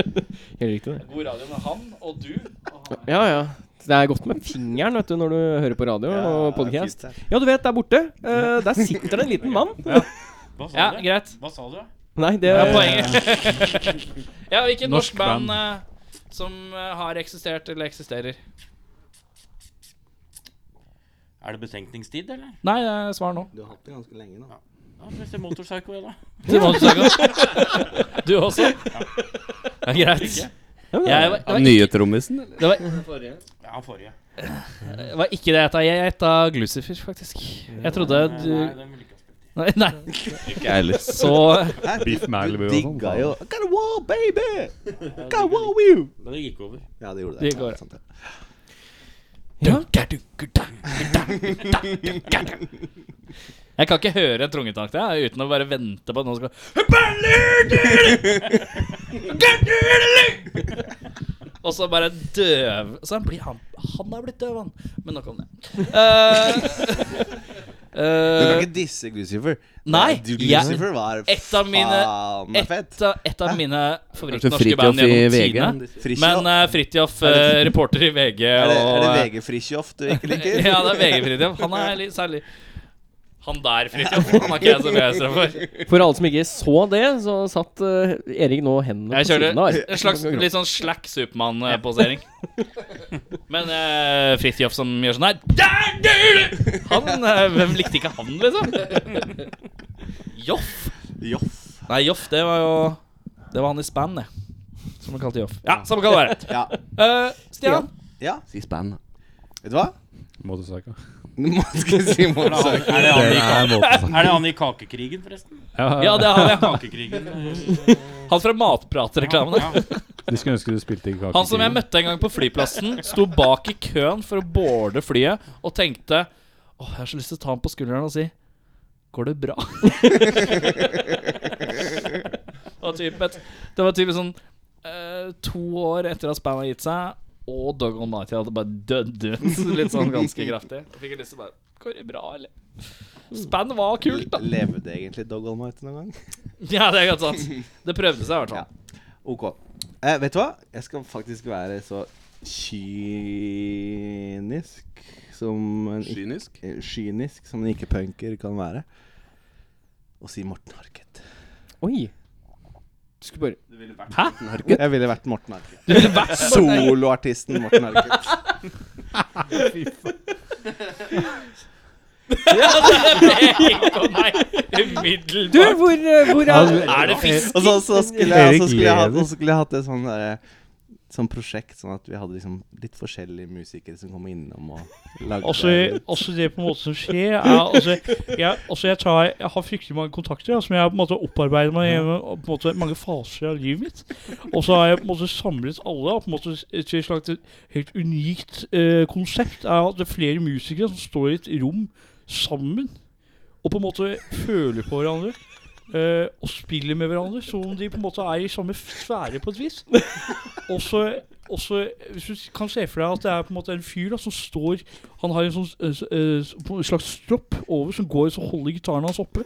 [SPEAKER 3] Helt riktig, det.
[SPEAKER 1] God radio med han og du. Og han.
[SPEAKER 3] Ja, ja. Det er godt med fingeren vet du, når du hører på radio og podkast. Ja, du vet, der borte. eh, der sitter det en liten mann.
[SPEAKER 11] hva sa
[SPEAKER 1] Ja,
[SPEAKER 11] du?
[SPEAKER 1] greit.
[SPEAKER 11] Hva sa du?
[SPEAKER 3] Nei, det
[SPEAKER 1] Det er poenget. ja, hvilket norsk,
[SPEAKER 2] Norsk
[SPEAKER 1] band eh, som eh, har eksistert eller eksisterer?
[SPEAKER 11] Er det betenkningstid, eller?
[SPEAKER 1] Nei, eh, svar nå.
[SPEAKER 8] Du har hatt det ganske lenge nå.
[SPEAKER 11] Ja, hvis det er motorpsycho, ja da.
[SPEAKER 1] Til Motorsaga. Du også? Ja, greit. Jeg, var- det, var,
[SPEAKER 9] Nye trommisen? eller?
[SPEAKER 1] det, var,
[SPEAKER 11] Ja, forrige.
[SPEAKER 1] det var ikke det jeg gjetta. Jeg gjetta Glucifer, faktisk. Jeg trodde
[SPEAKER 11] Eh,
[SPEAKER 1] du
[SPEAKER 11] Nei, den vil ikke ha spilt.
[SPEAKER 1] Nei, nei.
[SPEAKER 9] Ikke jeg heller.
[SPEAKER 1] så
[SPEAKER 2] Beef Malibu og sånn.
[SPEAKER 8] Digga jo I got a wall, baby! Got a wall with you!
[SPEAKER 11] Men det gikk over.
[SPEAKER 8] Ja, det gjorde det.
[SPEAKER 1] Det går.
[SPEAKER 8] Ja, sant det.
[SPEAKER 1] Jeg kan ikke høre en trommetakt jeg, uten å bare vente på at noen skal Og så bare døv Så han blir han Han har blitt døv, han. Men nok om det. Eh,
[SPEAKER 8] Du kan
[SPEAKER 1] eh,
[SPEAKER 8] ikke disse Glucifer.
[SPEAKER 1] Nei,
[SPEAKER 8] Du,
[SPEAKER 1] jeg-
[SPEAKER 8] Glucifer var
[SPEAKER 1] et av mine
[SPEAKER 8] faen meg fett.
[SPEAKER 1] et av, et av mine favorittnorske
[SPEAKER 9] Fridtjof
[SPEAKER 1] band
[SPEAKER 9] i
[SPEAKER 1] gjennom
[SPEAKER 9] VG?
[SPEAKER 1] tidene.
[SPEAKER 8] Frisjof.
[SPEAKER 1] Men eh, Fridtjof, eh, reporter i VG
[SPEAKER 8] er, det, er det
[SPEAKER 1] og, eh,
[SPEAKER 8] VG Frisjof du ikke liker?
[SPEAKER 1] ja, det er VG Fridtjof. Han er litt særlig Han der Fridtjof, han er ikke jeg så begeistra for.
[SPEAKER 3] For alle som ikke så det, så satt eh, Erik nå hendene
[SPEAKER 1] Jeg
[SPEAKER 3] på siden
[SPEAKER 1] kjører
[SPEAKER 3] av.
[SPEAKER 1] en slags litt sånn slack Supermann-posering. Men uh, Fridtjof som gjør sånn her Der dør du! Han eh, Hvem likte ikke han, liksom? Joff?
[SPEAKER 8] Joff.
[SPEAKER 1] Nei, Joff, det var jo Det var han i Span, det. Som han kalte Joff. Ja, samme kan det være.
[SPEAKER 8] Ja.
[SPEAKER 1] Eh, Stian?
[SPEAKER 8] ja.
[SPEAKER 9] Si Span, da.
[SPEAKER 8] Vet du hva?
[SPEAKER 2] Motorcycle.
[SPEAKER 8] Nå må jeg si
[SPEAKER 11] Er det han,
[SPEAKER 8] motorsak.
[SPEAKER 11] er det han, i, ka-
[SPEAKER 2] motorcycle.
[SPEAKER 11] er det han i kakekrigen, forresten?
[SPEAKER 1] Ja, det har jeg.
[SPEAKER 11] Kakekrigen.
[SPEAKER 1] Han fra Matpratreklamen.
[SPEAKER 11] Ja, ja.
[SPEAKER 2] De skulle ønske du spilte i Kake
[SPEAKER 1] Han som jeg møtte en gang på flyplassen, sto bak i køen for å boarde flyet og tenkte Åh, jeg har så lyst til å ta ham på skulderen og si Går det bra? det, var typ et, det var typ sånn eh, to år etter at bandet hadde gitt seg, og Dog On Nighty hadde bare dødd ut. Litt sånn ganske kraftig. Jeg fikk lyst til å bare Går det bra, eller? Span var kult, da.
[SPEAKER 8] Levde egentlig Dog Almighty noen gang?
[SPEAKER 1] Ja, det er godt sant. Det prøvde seg i hvert fall.
[SPEAKER 8] Ok. Eh, vet du hva? Jeg skal faktisk være så kynisk som en ik-
[SPEAKER 9] Kynisk?
[SPEAKER 8] eh, Kynisk som en ikke-punker kan være. Og si Morten Harket.
[SPEAKER 3] Oi. Du skulle bare
[SPEAKER 8] Jeg ville vært Morten Harket. Soloartisten Morten Harket.
[SPEAKER 1] Å nei, umiddelbart.
[SPEAKER 3] Du, hvor, eh, hvor er
[SPEAKER 2] Ja,
[SPEAKER 1] er det fisk?
[SPEAKER 8] Og så, så skulle jeg, og så skulle jeg hatt, og så skulle jeg hatt det sånn derre som prosjekt, sånn at vi hadde liksom litt forskjellige musikere som kom innom og lagde
[SPEAKER 12] Altså, altså det på en måte som skjer er, altså, jeg, altså jeg, tar, jeg har fryktelig mange kontakter ja, som jeg på en måte opparbeider meg gjennom på en måte, mange faser av livet mitt. Og så har jeg på en måte samlet alle og på en måte til et slags helt unikt eh, konsept. er at det er flere musikere som står i et rom sammen og på en måte føler på hverandre. eh, og spiller med hverandre som om de på en måte er i samme sfære på et vis. Og så og så, hvis du kan se for deg at det er på en måte en fyr da, som står Han har en sånn eh, s- eh, s- på en slags stropp over som går og holder gitaren hans oppe.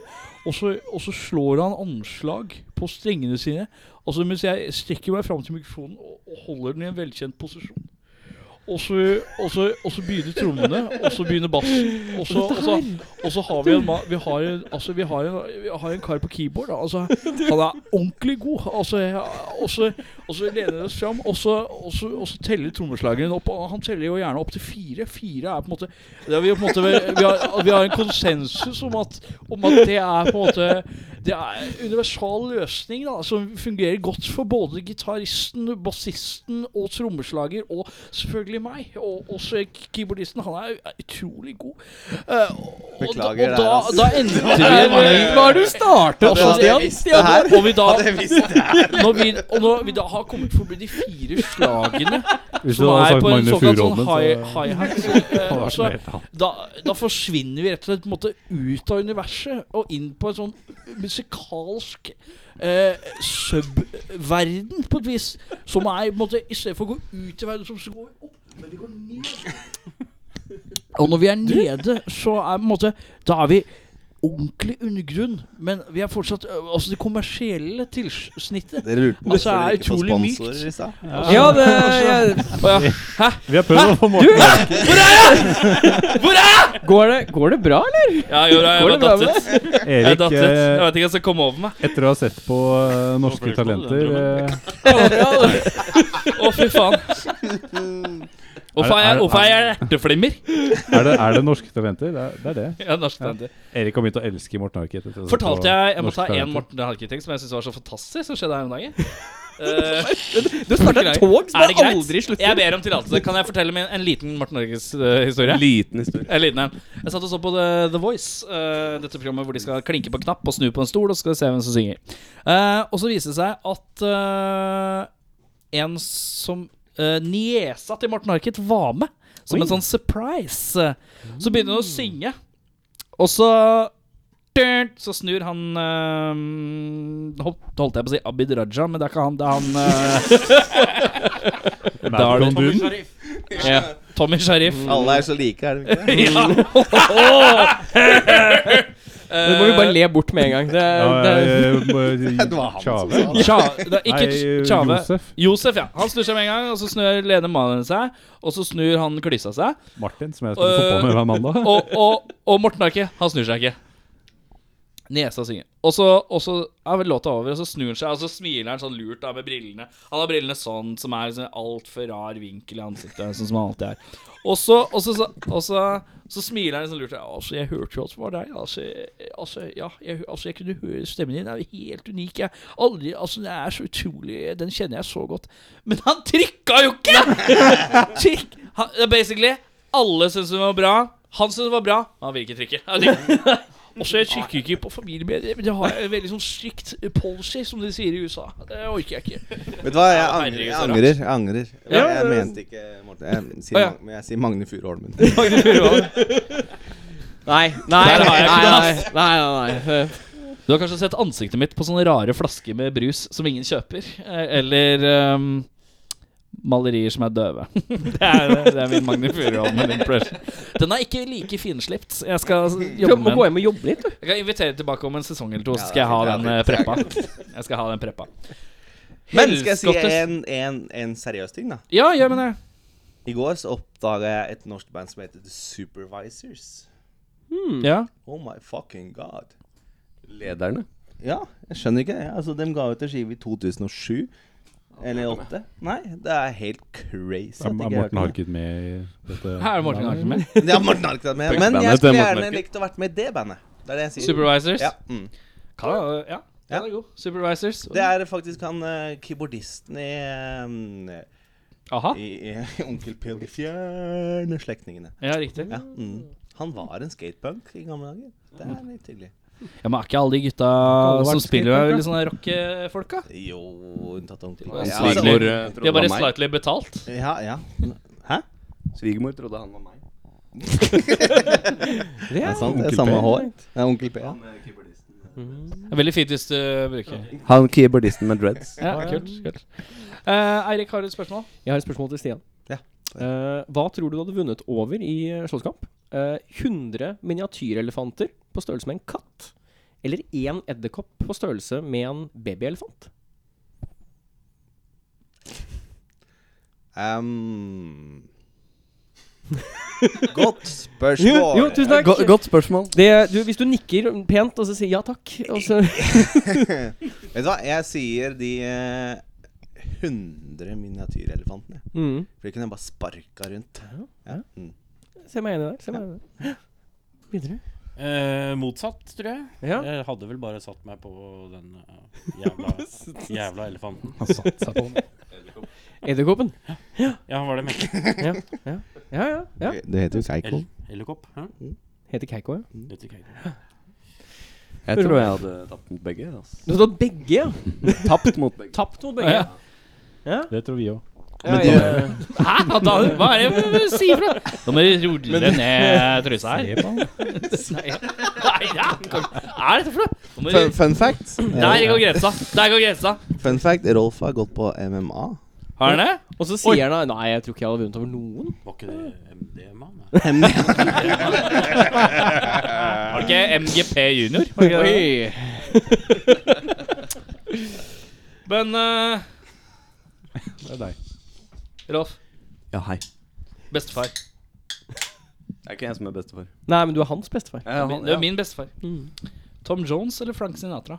[SPEAKER 12] Og så, og så slår han anslag på strengene sine. Altså Mens jeg strekker meg fram til mikrofonen og, og holder den i en velkjent posisjon. Og så, og, så, og så begynner trommene, og så begynner bassen. Og så, og så, og så har vi en, ma- vi har en, altså, vi har en, vi har en kar på keyboard. da. Altså, han er ordentlig god. Altså, jeg- og så og så lener vi oss fram, og så, og så, og så teller trommeslageren opp. Og han teller jo gjerne opp til fire. Fire er på en måte det er vi, på en måte vi, har, vi har en konsensus om at, om at det er på en måte Det er en universal løsning da, som fungerer godt for både gitaristen, bassisten og trommeslager, og selvfølgelig meg. Og også keyboardisten. Han er er utrolig god. Eh, og,
[SPEAKER 8] Beklager
[SPEAKER 12] og
[SPEAKER 8] der,
[SPEAKER 12] da,
[SPEAKER 8] altså.
[SPEAKER 12] da endte vi Hva er det du startet Og vi da, når vi, og når vi da har kommet forbi de fire slagene
[SPEAKER 2] Hvis du
[SPEAKER 12] som
[SPEAKER 2] hadde
[SPEAKER 12] er
[SPEAKER 2] sagt
[SPEAKER 12] på en
[SPEAKER 2] Magne
[SPEAKER 12] såkalt sånn
[SPEAKER 2] Furuholmen, så
[SPEAKER 12] hi- hi-hat,
[SPEAKER 2] hadde det
[SPEAKER 12] eh,
[SPEAKER 2] vært
[SPEAKER 12] så
[SPEAKER 2] noe helt annet.
[SPEAKER 12] da, da forsvinner vi rett og slett på en måte ut av universet og inn på en sånn musikalsk eh, subverden, på et vis. Som er på en måte I stedet for å gå ut i verden, som så går vi opp, men vi går ned. Og når vi er nede, så er på en måte Da er vi ordentlig undergrunn, men vi er fortsatt ø, Altså, det kommersielle tilsnittet
[SPEAKER 8] Dere lurte på
[SPEAKER 12] Altså,
[SPEAKER 8] hvorfor
[SPEAKER 12] er
[SPEAKER 8] dere ikke får
[SPEAKER 12] utrolig mykt.
[SPEAKER 8] sponsorer i stad?
[SPEAKER 3] Ja, det jeg,
[SPEAKER 2] Vi har prøvd å få Morten
[SPEAKER 3] går, det, går det bra, eller?
[SPEAKER 1] Ja, jo, da,
[SPEAKER 3] Går
[SPEAKER 1] jeg
[SPEAKER 3] det
[SPEAKER 1] var
[SPEAKER 3] bra med
[SPEAKER 1] datt ut. Jeg
[SPEAKER 2] Erik,
[SPEAKER 1] datt ut. Jeg
[SPEAKER 2] eh,
[SPEAKER 1] vet ikke hva som kom over meg.
[SPEAKER 2] etter å ha sett på eh, Norske
[SPEAKER 11] Hvorfor ikke?
[SPEAKER 2] Talenter eh,
[SPEAKER 1] Å, fy faen. Hvorfor er jeg- hvorfor er jeg erteflimmer?
[SPEAKER 2] er, det, er det Norske Talenter? Det er det. Er det.
[SPEAKER 1] Ja, norsktalenter.
[SPEAKER 2] Erik har begynt å elske Morten Harket. etter å ha
[SPEAKER 3] altså,
[SPEAKER 2] sett på
[SPEAKER 1] Fortalte jeg Jeg må
[SPEAKER 2] Norske
[SPEAKER 1] ta én
[SPEAKER 2] Talenter.
[SPEAKER 1] Morten Harket-ting som jeg syns var så fantastisk, som skjedde her om dagen. Eh,
[SPEAKER 3] Du starta et tog som
[SPEAKER 1] er det greit?
[SPEAKER 3] aldri slutter.
[SPEAKER 1] Jeg ber om tillatelse. Kan jeg fortelle min, en liten Morten eh, Norges-historie?
[SPEAKER 9] Liten historie.
[SPEAKER 1] En liten en. Jeg satt og så på The, The Voice, eh, dette programmet hvor de skal klinke på knapp og snu på en stol, og så skal vi se hvem som synger. Eh, og så viste det seg at eh, en som eh, Niesa til Morten Harket var med, som en sånn surprise. Så begynner hun å synge, og så så snur han eh, hopp- Holdt jeg på å si Abid Raja, men det er ikke han. Det er han eh, Da er det
[SPEAKER 2] Duden.
[SPEAKER 1] ja, Tommy Sharif.
[SPEAKER 8] Alle er så like, er det ikke?
[SPEAKER 1] Ja.
[SPEAKER 3] Det må vi bare le bort med en gang. Det,
[SPEAKER 2] Ja,
[SPEAKER 3] det,
[SPEAKER 2] eh, eh,
[SPEAKER 8] Det var han
[SPEAKER 2] Tjave.
[SPEAKER 8] som sa det.
[SPEAKER 1] Tja- det er ikke
[SPEAKER 2] Nei,
[SPEAKER 1] Tjave.
[SPEAKER 2] Josef.
[SPEAKER 1] Josef, ja. Han snur seg med en gang, og så snur Lene Malen seg. Og så snur han Klysa seg.
[SPEAKER 2] Martin, som jeg
[SPEAKER 1] Øh,
[SPEAKER 2] skulle få på med hver mandag.
[SPEAKER 1] Og, og, og Morten Harket, han snur seg ikke. Nesa synger. Og så, og så er vel låta over, og så snur han seg, og så smiler han sånn lurt da med brillene. Han har brillene sånn, som er liksom altfor rar vinkel i ansiktet, sånn som han alltid er. Og så, og så, så, og så, så smiler han sånn lurt. Ja, altså, jeg hørte jo at det var deg. Altså, jeg- altså ja, jeg, altså, jeg kunne høre stemmen din. Den er jo helt unik. Jeg aldri Altså, den er så utrolig Den kjenner jeg så godt. Men han trykka jo ikke! Trykk. Han, det er basically Alle syntes den var bra. Han syntes den var bra, men han vil ikke trykke. Han trykker. Og så jeg trykker ikke på familiemedier, men det har jeg en veldig sånn strikt policy, som de sier i USA. Det orker jeg ikke.
[SPEAKER 8] Vet du hva, jeg
[SPEAKER 1] herregud,
[SPEAKER 8] angrer. Jeg
[SPEAKER 1] så rart.
[SPEAKER 8] angrer. Jeg, angrer. jeg,
[SPEAKER 1] Ja,
[SPEAKER 8] jeg
[SPEAKER 1] det-
[SPEAKER 8] mente ikke Morten. Jeg sier,
[SPEAKER 1] Å, ja.
[SPEAKER 8] Mag- men jeg sier Magne Furuholmen.
[SPEAKER 3] nei, nei,
[SPEAKER 1] Der har
[SPEAKER 3] nei,
[SPEAKER 1] jeg ikke
[SPEAKER 3] nei,
[SPEAKER 1] det,
[SPEAKER 3] nei, nei, nei.
[SPEAKER 1] Du har kanskje sett ansiktet mitt på sånne rare flasker med brus som ingen kjøper. eh, Eller ehm, malerier som er døve. det, er, det er min Magne Furuholmen impression. Den er ikke like finslipt. Jeg skal
[SPEAKER 3] Du
[SPEAKER 1] jobbe
[SPEAKER 3] må
[SPEAKER 1] med
[SPEAKER 3] gå
[SPEAKER 1] den.
[SPEAKER 3] hjem og jobbe litt, du.
[SPEAKER 1] Jeg kan invitere tilbake om en sesong eller to, så
[SPEAKER 8] Ja,
[SPEAKER 1] skal jeg ha
[SPEAKER 8] det er
[SPEAKER 1] den
[SPEAKER 8] fint.
[SPEAKER 1] eh, preppa. Jeg skal ha den preppa.
[SPEAKER 8] Men skal jeg si
[SPEAKER 1] Helskottes-
[SPEAKER 8] en, en, en seriøs ting, da?
[SPEAKER 1] Ja, gjør med det.
[SPEAKER 8] I går så oppdaga jeg et norsk band som heter The Supervisors.
[SPEAKER 1] Ja.
[SPEAKER 8] Oh my fucking god.
[SPEAKER 9] Lederne.
[SPEAKER 8] Ja, jeg skjønner ikke. Ja, altså, De ga ut en skive i 2007. Eller 2008. Nei, det er helt crazy. at
[SPEAKER 2] Er
[SPEAKER 8] ikke
[SPEAKER 2] er
[SPEAKER 8] jeg har hørt
[SPEAKER 2] Morten
[SPEAKER 8] om det.
[SPEAKER 2] Harket med i dette?
[SPEAKER 1] Her er Morten Arnesen med.
[SPEAKER 8] Ja, Morten Harket er med. Men
[SPEAKER 2] Punkbandet til
[SPEAKER 8] jeg skulle
[SPEAKER 2] Morten
[SPEAKER 8] gjerne
[SPEAKER 2] Harket.
[SPEAKER 8] likt å vært med i det bandet. Det er det jeg sier.
[SPEAKER 1] Supervisors.
[SPEAKER 8] Ja, mm.
[SPEAKER 1] Kan, jeg- ja. ja.
[SPEAKER 8] Ja.
[SPEAKER 1] Den er god. Supervisors.
[SPEAKER 8] Det er faktisk han eh, keyboardisten i eh,
[SPEAKER 3] Ah.
[SPEAKER 1] Aha.
[SPEAKER 8] I, i Onkel P og de fjerne slektningene.
[SPEAKER 1] Ja, riktig.
[SPEAKER 8] Ja, mm. Han var en skatepunk i gamle dager. Det er litt tydelig.
[SPEAKER 1] Ja, men er ikke alle de gutta
[SPEAKER 8] vært
[SPEAKER 1] som spiller
[SPEAKER 8] skatepunk,
[SPEAKER 1] med
[SPEAKER 8] da?
[SPEAKER 1] litt sånne rockefolk, da?
[SPEAKER 8] Jo, unntatt onkel
[SPEAKER 1] Ja,
[SPEAKER 8] Ja,
[SPEAKER 1] slightly-
[SPEAKER 8] altså-
[SPEAKER 9] eh,
[SPEAKER 1] de er bare slightly betalt.
[SPEAKER 8] Ja, ja. Hæ?
[SPEAKER 9] Svigermor trodde han var meg.
[SPEAKER 8] Det er sant. Det er samme hår. Det er onkel P. Ja.
[SPEAKER 1] Det er Veldig fint hvis du bruker
[SPEAKER 9] Han keyboardisten med dreads.
[SPEAKER 1] Ja, kult, kult. Eh, Eirik, har du et spørsmål?
[SPEAKER 3] Jeg har et spørsmål til Stian. Eh, hva tror du du hadde vunnet over i eh, slåsskamp? Eh, 100 miniatyrelefanter på størrelse med en katt? Eller én edderkopp på størrelse med en babyelefant?
[SPEAKER 8] Ehm, Godt spørsmål.
[SPEAKER 3] Jo, jo, tusen takk.
[SPEAKER 9] Go- godt spørsmål.
[SPEAKER 3] Det, du, hvis du nikker pent og så sier ja takk og så
[SPEAKER 8] Vet du hva, jeg sier de eh, 100 miniatyrelefantene.
[SPEAKER 3] Mhm.
[SPEAKER 8] For de kunne jeg bare sparka rundt. Ja. Mm.
[SPEAKER 3] Se meg enig der. Se meg enig der. Videre.
[SPEAKER 11] Eh, motsatt, tror jeg.
[SPEAKER 3] Ja.
[SPEAKER 11] Jeg hadde vel bare satt meg på den eh, jævla, jævla elefanten.
[SPEAKER 2] Han satt seg på den.
[SPEAKER 3] Edderkoppen.
[SPEAKER 11] Ja, ja var det meg?
[SPEAKER 3] Ja, ja, ja. ja, ja.
[SPEAKER 8] Det heter jo Keiko.
[SPEAKER 11] Edderkopp? hæ?
[SPEAKER 3] Heter Keiko, ja.
[SPEAKER 11] Det heter Keiko.
[SPEAKER 9] Jeg tror jeg hadde tapt mot begge. Altså.
[SPEAKER 3] Du har tatt begge, ja.
[SPEAKER 9] Tapt mot begge.
[SPEAKER 3] Tapt mot begge.
[SPEAKER 2] Det tror vi òg.
[SPEAKER 3] Ja, ja.
[SPEAKER 1] Hæ? Da, hva er det du sier fra? Nå må du rulle ned trusa her. Nei, ja. Hva er dette for noe? Nå må
[SPEAKER 8] Fun,
[SPEAKER 1] du-
[SPEAKER 8] fun fact
[SPEAKER 1] Der går grensa. Der går grensa.
[SPEAKER 8] Fun fact Rolf har gått på MMA.
[SPEAKER 1] Har han det?
[SPEAKER 3] Og så sier han da Nei, jeg tror ikke jeg hadde vunnet over noen.
[SPEAKER 11] Var ikke det MDMA? Nei.
[SPEAKER 1] Har han ikke MGP junior? Har han ikke det?
[SPEAKER 3] Oi.
[SPEAKER 1] Men eh,
[SPEAKER 2] Det er deg.
[SPEAKER 1] Rolf,
[SPEAKER 9] Ja, hei.
[SPEAKER 1] bestefar.
[SPEAKER 9] Det er ikke jeg som er bestefar.
[SPEAKER 3] Nei, men du er hans bestefar. Mm.
[SPEAKER 9] Ja,
[SPEAKER 1] Min- Det er min bestefar. Tom Jones eller Frank Sinatra?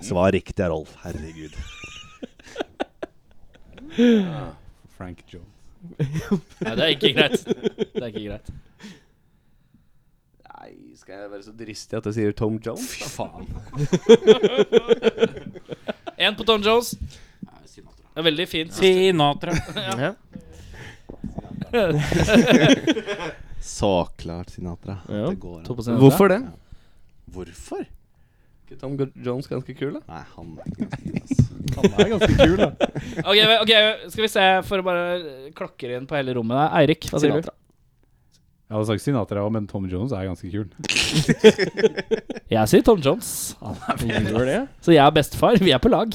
[SPEAKER 8] Svar riktig er Rolf. Herregud.
[SPEAKER 2] Frank Joe.
[SPEAKER 1] Nei, det er ikke greit. Det er ikke greit.
[SPEAKER 9] Nei, skal jeg være så dristig at jeg sier Tom Jones? Fy faen.
[SPEAKER 1] Én på Tom Jones.
[SPEAKER 11] Nei, Sinatra.
[SPEAKER 1] Det er veldig fint.
[SPEAKER 11] Sinatra.
[SPEAKER 8] Så klart, Sinatra. at
[SPEAKER 3] Ja,
[SPEAKER 8] det går an.
[SPEAKER 1] Hvorfor?
[SPEAKER 9] det?
[SPEAKER 8] Hvorfor?
[SPEAKER 9] Er Tom Jones ganske kul, da?
[SPEAKER 8] Nei, han er ikke ganske kul,
[SPEAKER 2] Han er ganske kul, da.
[SPEAKER 1] Ok, ok, skal vi se for å bare klokke inn på hele rommet der. Eirik, hva sier du?
[SPEAKER 2] Jeg hadde sagt Sinatra òg, men Tom Jones er ganske kul.
[SPEAKER 1] Jeg sier Tom Jones.
[SPEAKER 3] Gjør det?
[SPEAKER 1] Så jeg og bestefar, vi er på lag.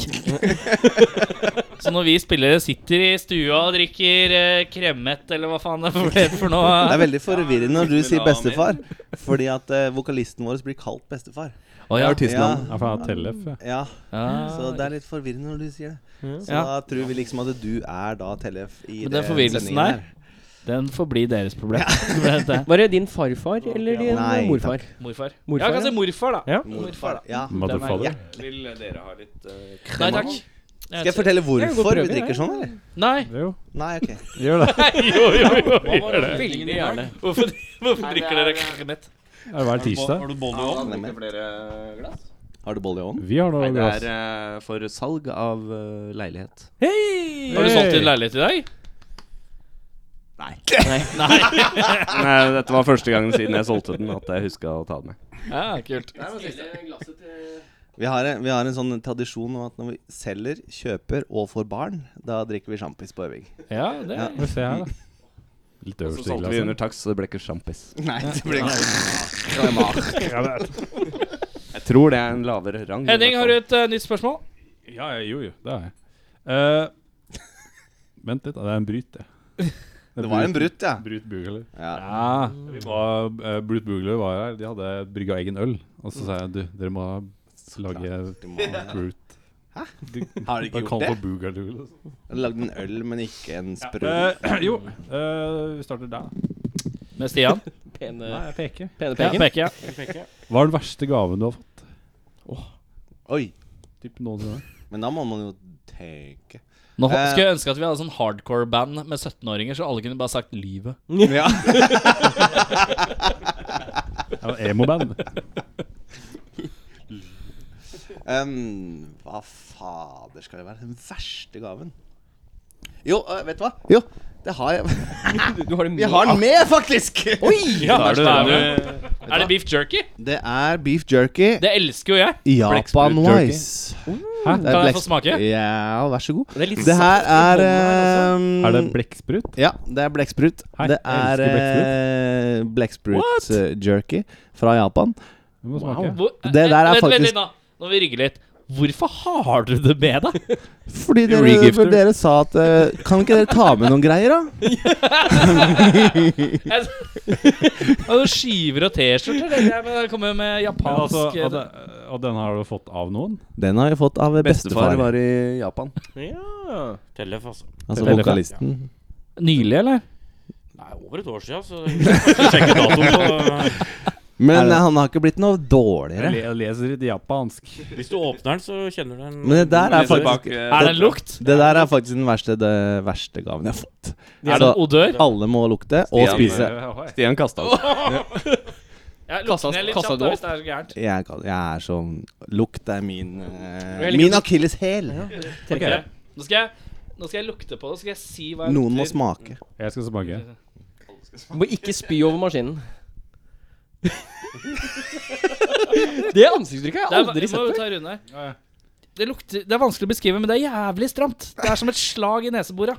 [SPEAKER 1] så når vi spillere sitter i stua og drikker eh, kremmet, eller hva faen det er for- det er for
[SPEAKER 8] Det er
[SPEAKER 1] noe
[SPEAKER 8] veldig forvirrende når du sier bestefar, fordi at eh, vokalisten vår blir kalt bestefar.
[SPEAKER 1] Å ja.
[SPEAKER 8] Artistnavn.
[SPEAKER 2] Ja, for han er Tellef. ja.
[SPEAKER 8] Ja,
[SPEAKER 1] Ja.
[SPEAKER 8] så det er litt forvirrende når du sier det. Så
[SPEAKER 1] Ah, Ja.
[SPEAKER 8] da tror vi liksom at du er da Tellef i
[SPEAKER 1] Men den
[SPEAKER 8] det
[SPEAKER 1] forvirrelsen
[SPEAKER 8] sendingen
[SPEAKER 1] der, Den får bli deres problem. Det er
[SPEAKER 3] Var det din farfar eller din
[SPEAKER 8] Nei,
[SPEAKER 3] morfar?
[SPEAKER 1] morfar.
[SPEAKER 3] Morfar,
[SPEAKER 1] Ja, kan
[SPEAKER 3] ja.
[SPEAKER 1] si morfar, da.
[SPEAKER 3] Ja.
[SPEAKER 1] Morfar, da.
[SPEAKER 8] Ja.
[SPEAKER 2] Motherfather.
[SPEAKER 9] Vil dere ha litt uh,
[SPEAKER 1] Nei takk.
[SPEAKER 8] Skal jeg fortelle
[SPEAKER 3] kan godt
[SPEAKER 8] hvorfor
[SPEAKER 3] prøve,
[SPEAKER 8] vi drikker sånn, eller?
[SPEAKER 1] Nei.
[SPEAKER 2] Det er jo.
[SPEAKER 8] Nei, ok.
[SPEAKER 2] Gjør det.
[SPEAKER 1] Jo, jo, jo. gjør det.
[SPEAKER 3] Veldig gjerne.
[SPEAKER 1] Hvorfor, hvorfor drikker dere kremmet?
[SPEAKER 2] Er det hver tirsdag?
[SPEAKER 11] Har du bolle om?
[SPEAKER 8] Nei, men-
[SPEAKER 9] flere glass?
[SPEAKER 8] Har du bolle i ovnen?
[SPEAKER 2] Vi har noe
[SPEAKER 9] Nei, det
[SPEAKER 2] glass.
[SPEAKER 9] er eh, for salg av eh, leilighet.
[SPEAKER 1] Har du solgt din leilighet i dag?
[SPEAKER 9] Nei. Nei, dette var første gangen siden jeg solgte den at jeg huska å ta den med.
[SPEAKER 1] Ja, kult.
[SPEAKER 8] Vi har, en, vi har en sånn tradisjon om at når vi selger, kjøper og får barn, da drikker vi sjampis på øving.
[SPEAKER 1] Ja, det
[SPEAKER 8] Ja.
[SPEAKER 1] er
[SPEAKER 2] Får vi se her, da. Litt
[SPEAKER 9] Så
[SPEAKER 2] øverst i
[SPEAKER 9] solgte vi
[SPEAKER 2] glasset.
[SPEAKER 9] under taks, så det ble ikke sjampis.
[SPEAKER 8] Nei, det blir ikke
[SPEAKER 9] Jeg tror det er en lavere rang. i
[SPEAKER 1] Henning,
[SPEAKER 9] hvert
[SPEAKER 1] har
[SPEAKER 9] fall.
[SPEAKER 1] du et eh, nytt spørsmål?
[SPEAKER 2] Ja, ja, jo, jo. Det har jeg. Eh, vent litt, da. Det er en bryt, det.
[SPEAKER 8] Det var en brutt, ja.
[SPEAKER 2] Brut Bugler.
[SPEAKER 8] ja.
[SPEAKER 2] Ja. Vi var, eh, Brut Bugler var her. De hadde brygga egen øl. Og så sa jeg du, dere må lage Brut.
[SPEAKER 8] Har du ikke
[SPEAKER 2] Kall det
[SPEAKER 8] gjort det?
[SPEAKER 2] for Boogaloo. liksom.
[SPEAKER 8] Lagd en øl, men ikke en sprø.
[SPEAKER 2] Eh, jo, eh, vi starter der. da.
[SPEAKER 1] Med Stian?
[SPEAKER 3] Pene,
[SPEAKER 2] jeg peker.
[SPEAKER 3] pene
[SPEAKER 1] Ja,
[SPEAKER 3] peken.
[SPEAKER 1] peker jeg.
[SPEAKER 2] Hva er den verste gaven du har fått?
[SPEAKER 8] Oi.
[SPEAKER 2] Typ noensinne.
[SPEAKER 8] Men da må man jo tenke.
[SPEAKER 1] Nå
[SPEAKER 8] Eh.
[SPEAKER 1] skulle jeg ønske at vi hadde sånn hardcore-band med 17-åringer, så alle kunne bare sagt 'livet'.
[SPEAKER 8] Ja.
[SPEAKER 2] Ja, Emo-band.
[SPEAKER 8] Ehm, hva fader skal det være? Den verste gaven? Jo, øh, vet du hva? Jo, det har jeg. Jeg har den med, faktisk!
[SPEAKER 1] Oi! Ja, der er det. Er det beef jerky?
[SPEAKER 8] Det er beef jerky.
[SPEAKER 1] Det elsker jo jeg.
[SPEAKER 8] Japan Wise.
[SPEAKER 1] Kan jeg få smake?
[SPEAKER 8] Ja, vær så god.
[SPEAKER 1] Det er litt
[SPEAKER 8] Det, her er ehm,
[SPEAKER 2] Er det blekksprut?
[SPEAKER 8] Ja, det er blekksprut.
[SPEAKER 2] Hei,
[SPEAKER 8] Det
[SPEAKER 2] jeg
[SPEAKER 8] er
[SPEAKER 2] elsker
[SPEAKER 8] eh, blekksprut eh, jerky fra Japan.
[SPEAKER 2] Du må smake.
[SPEAKER 1] Hvor,
[SPEAKER 8] Det der er
[SPEAKER 1] vent, Vent
[SPEAKER 8] faktisk-
[SPEAKER 1] litt, da. Nå må vi rygge litt. Hvorfor har du det med deg?
[SPEAKER 8] Fordi dere,
[SPEAKER 2] Regifter.
[SPEAKER 8] for dere sa at eh, Kan ikke dere ta med noen greier, da?
[SPEAKER 1] Jeg- Ja, du Skiver og T-skjorter. tenker jeg, men Det kommer jo med
[SPEAKER 2] Men
[SPEAKER 1] japansk
[SPEAKER 2] altså, og, det, og den har du fått av noen?
[SPEAKER 8] Den har jeg fått av bestefar.
[SPEAKER 9] Bestefar var i Japan.
[SPEAKER 3] Ja.
[SPEAKER 11] Tellef, altså.
[SPEAKER 8] Altså
[SPEAKER 2] Eller-
[SPEAKER 8] vokalisten.
[SPEAKER 1] eh, Nylig, eller?
[SPEAKER 11] Nei, over et år siden, så jeg skal sjekke datoen på
[SPEAKER 8] Men eh, han har ikke blitt noe
[SPEAKER 2] Jeg,
[SPEAKER 8] dårligere.
[SPEAKER 2] le, jeg leser litt japansk.
[SPEAKER 11] Hvis du åpner den, så kjenner du den.
[SPEAKER 8] Men det der er faktisk
[SPEAKER 1] Er det en lukt?
[SPEAKER 8] det der er faktisk den verste, det verste gaven jeg har fått.
[SPEAKER 1] Er det en
[SPEAKER 8] Så
[SPEAKER 1] odør?
[SPEAKER 8] alle må lukte og
[SPEAKER 9] Stian,
[SPEAKER 8] spise.
[SPEAKER 9] Stian kasta den.
[SPEAKER 1] Ja, lukten er litt
[SPEAKER 3] kassa
[SPEAKER 1] kjapt
[SPEAKER 3] du
[SPEAKER 1] da,
[SPEAKER 3] opp?
[SPEAKER 1] hvis det er så gærent.
[SPEAKER 8] Jeg, kan, jeg er sånn Lukt er min eh, Min akilleshæl.
[SPEAKER 1] Ok, Nå, skal jeg, nå skal jeg lukte på det, så skal jeg si hva jeg
[SPEAKER 8] Noen må
[SPEAKER 1] lukter.
[SPEAKER 8] smake.
[SPEAKER 2] Jeg skal smake.
[SPEAKER 3] Du må ikke spy over maskinen. det ansiktsuttrykket har
[SPEAKER 1] Det er,
[SPEAKER 3] jeg aldri
[SPEAKER 1] må
[SPEAKER 3] sett
[SPEAKER 1] vi
[SPEAKER 3] før.
[SPEAKER 1] ta runde her. Det, lukter, det er vanskelig å beskrive, men det er jævlig stramt. Det er som et slag i nesebora.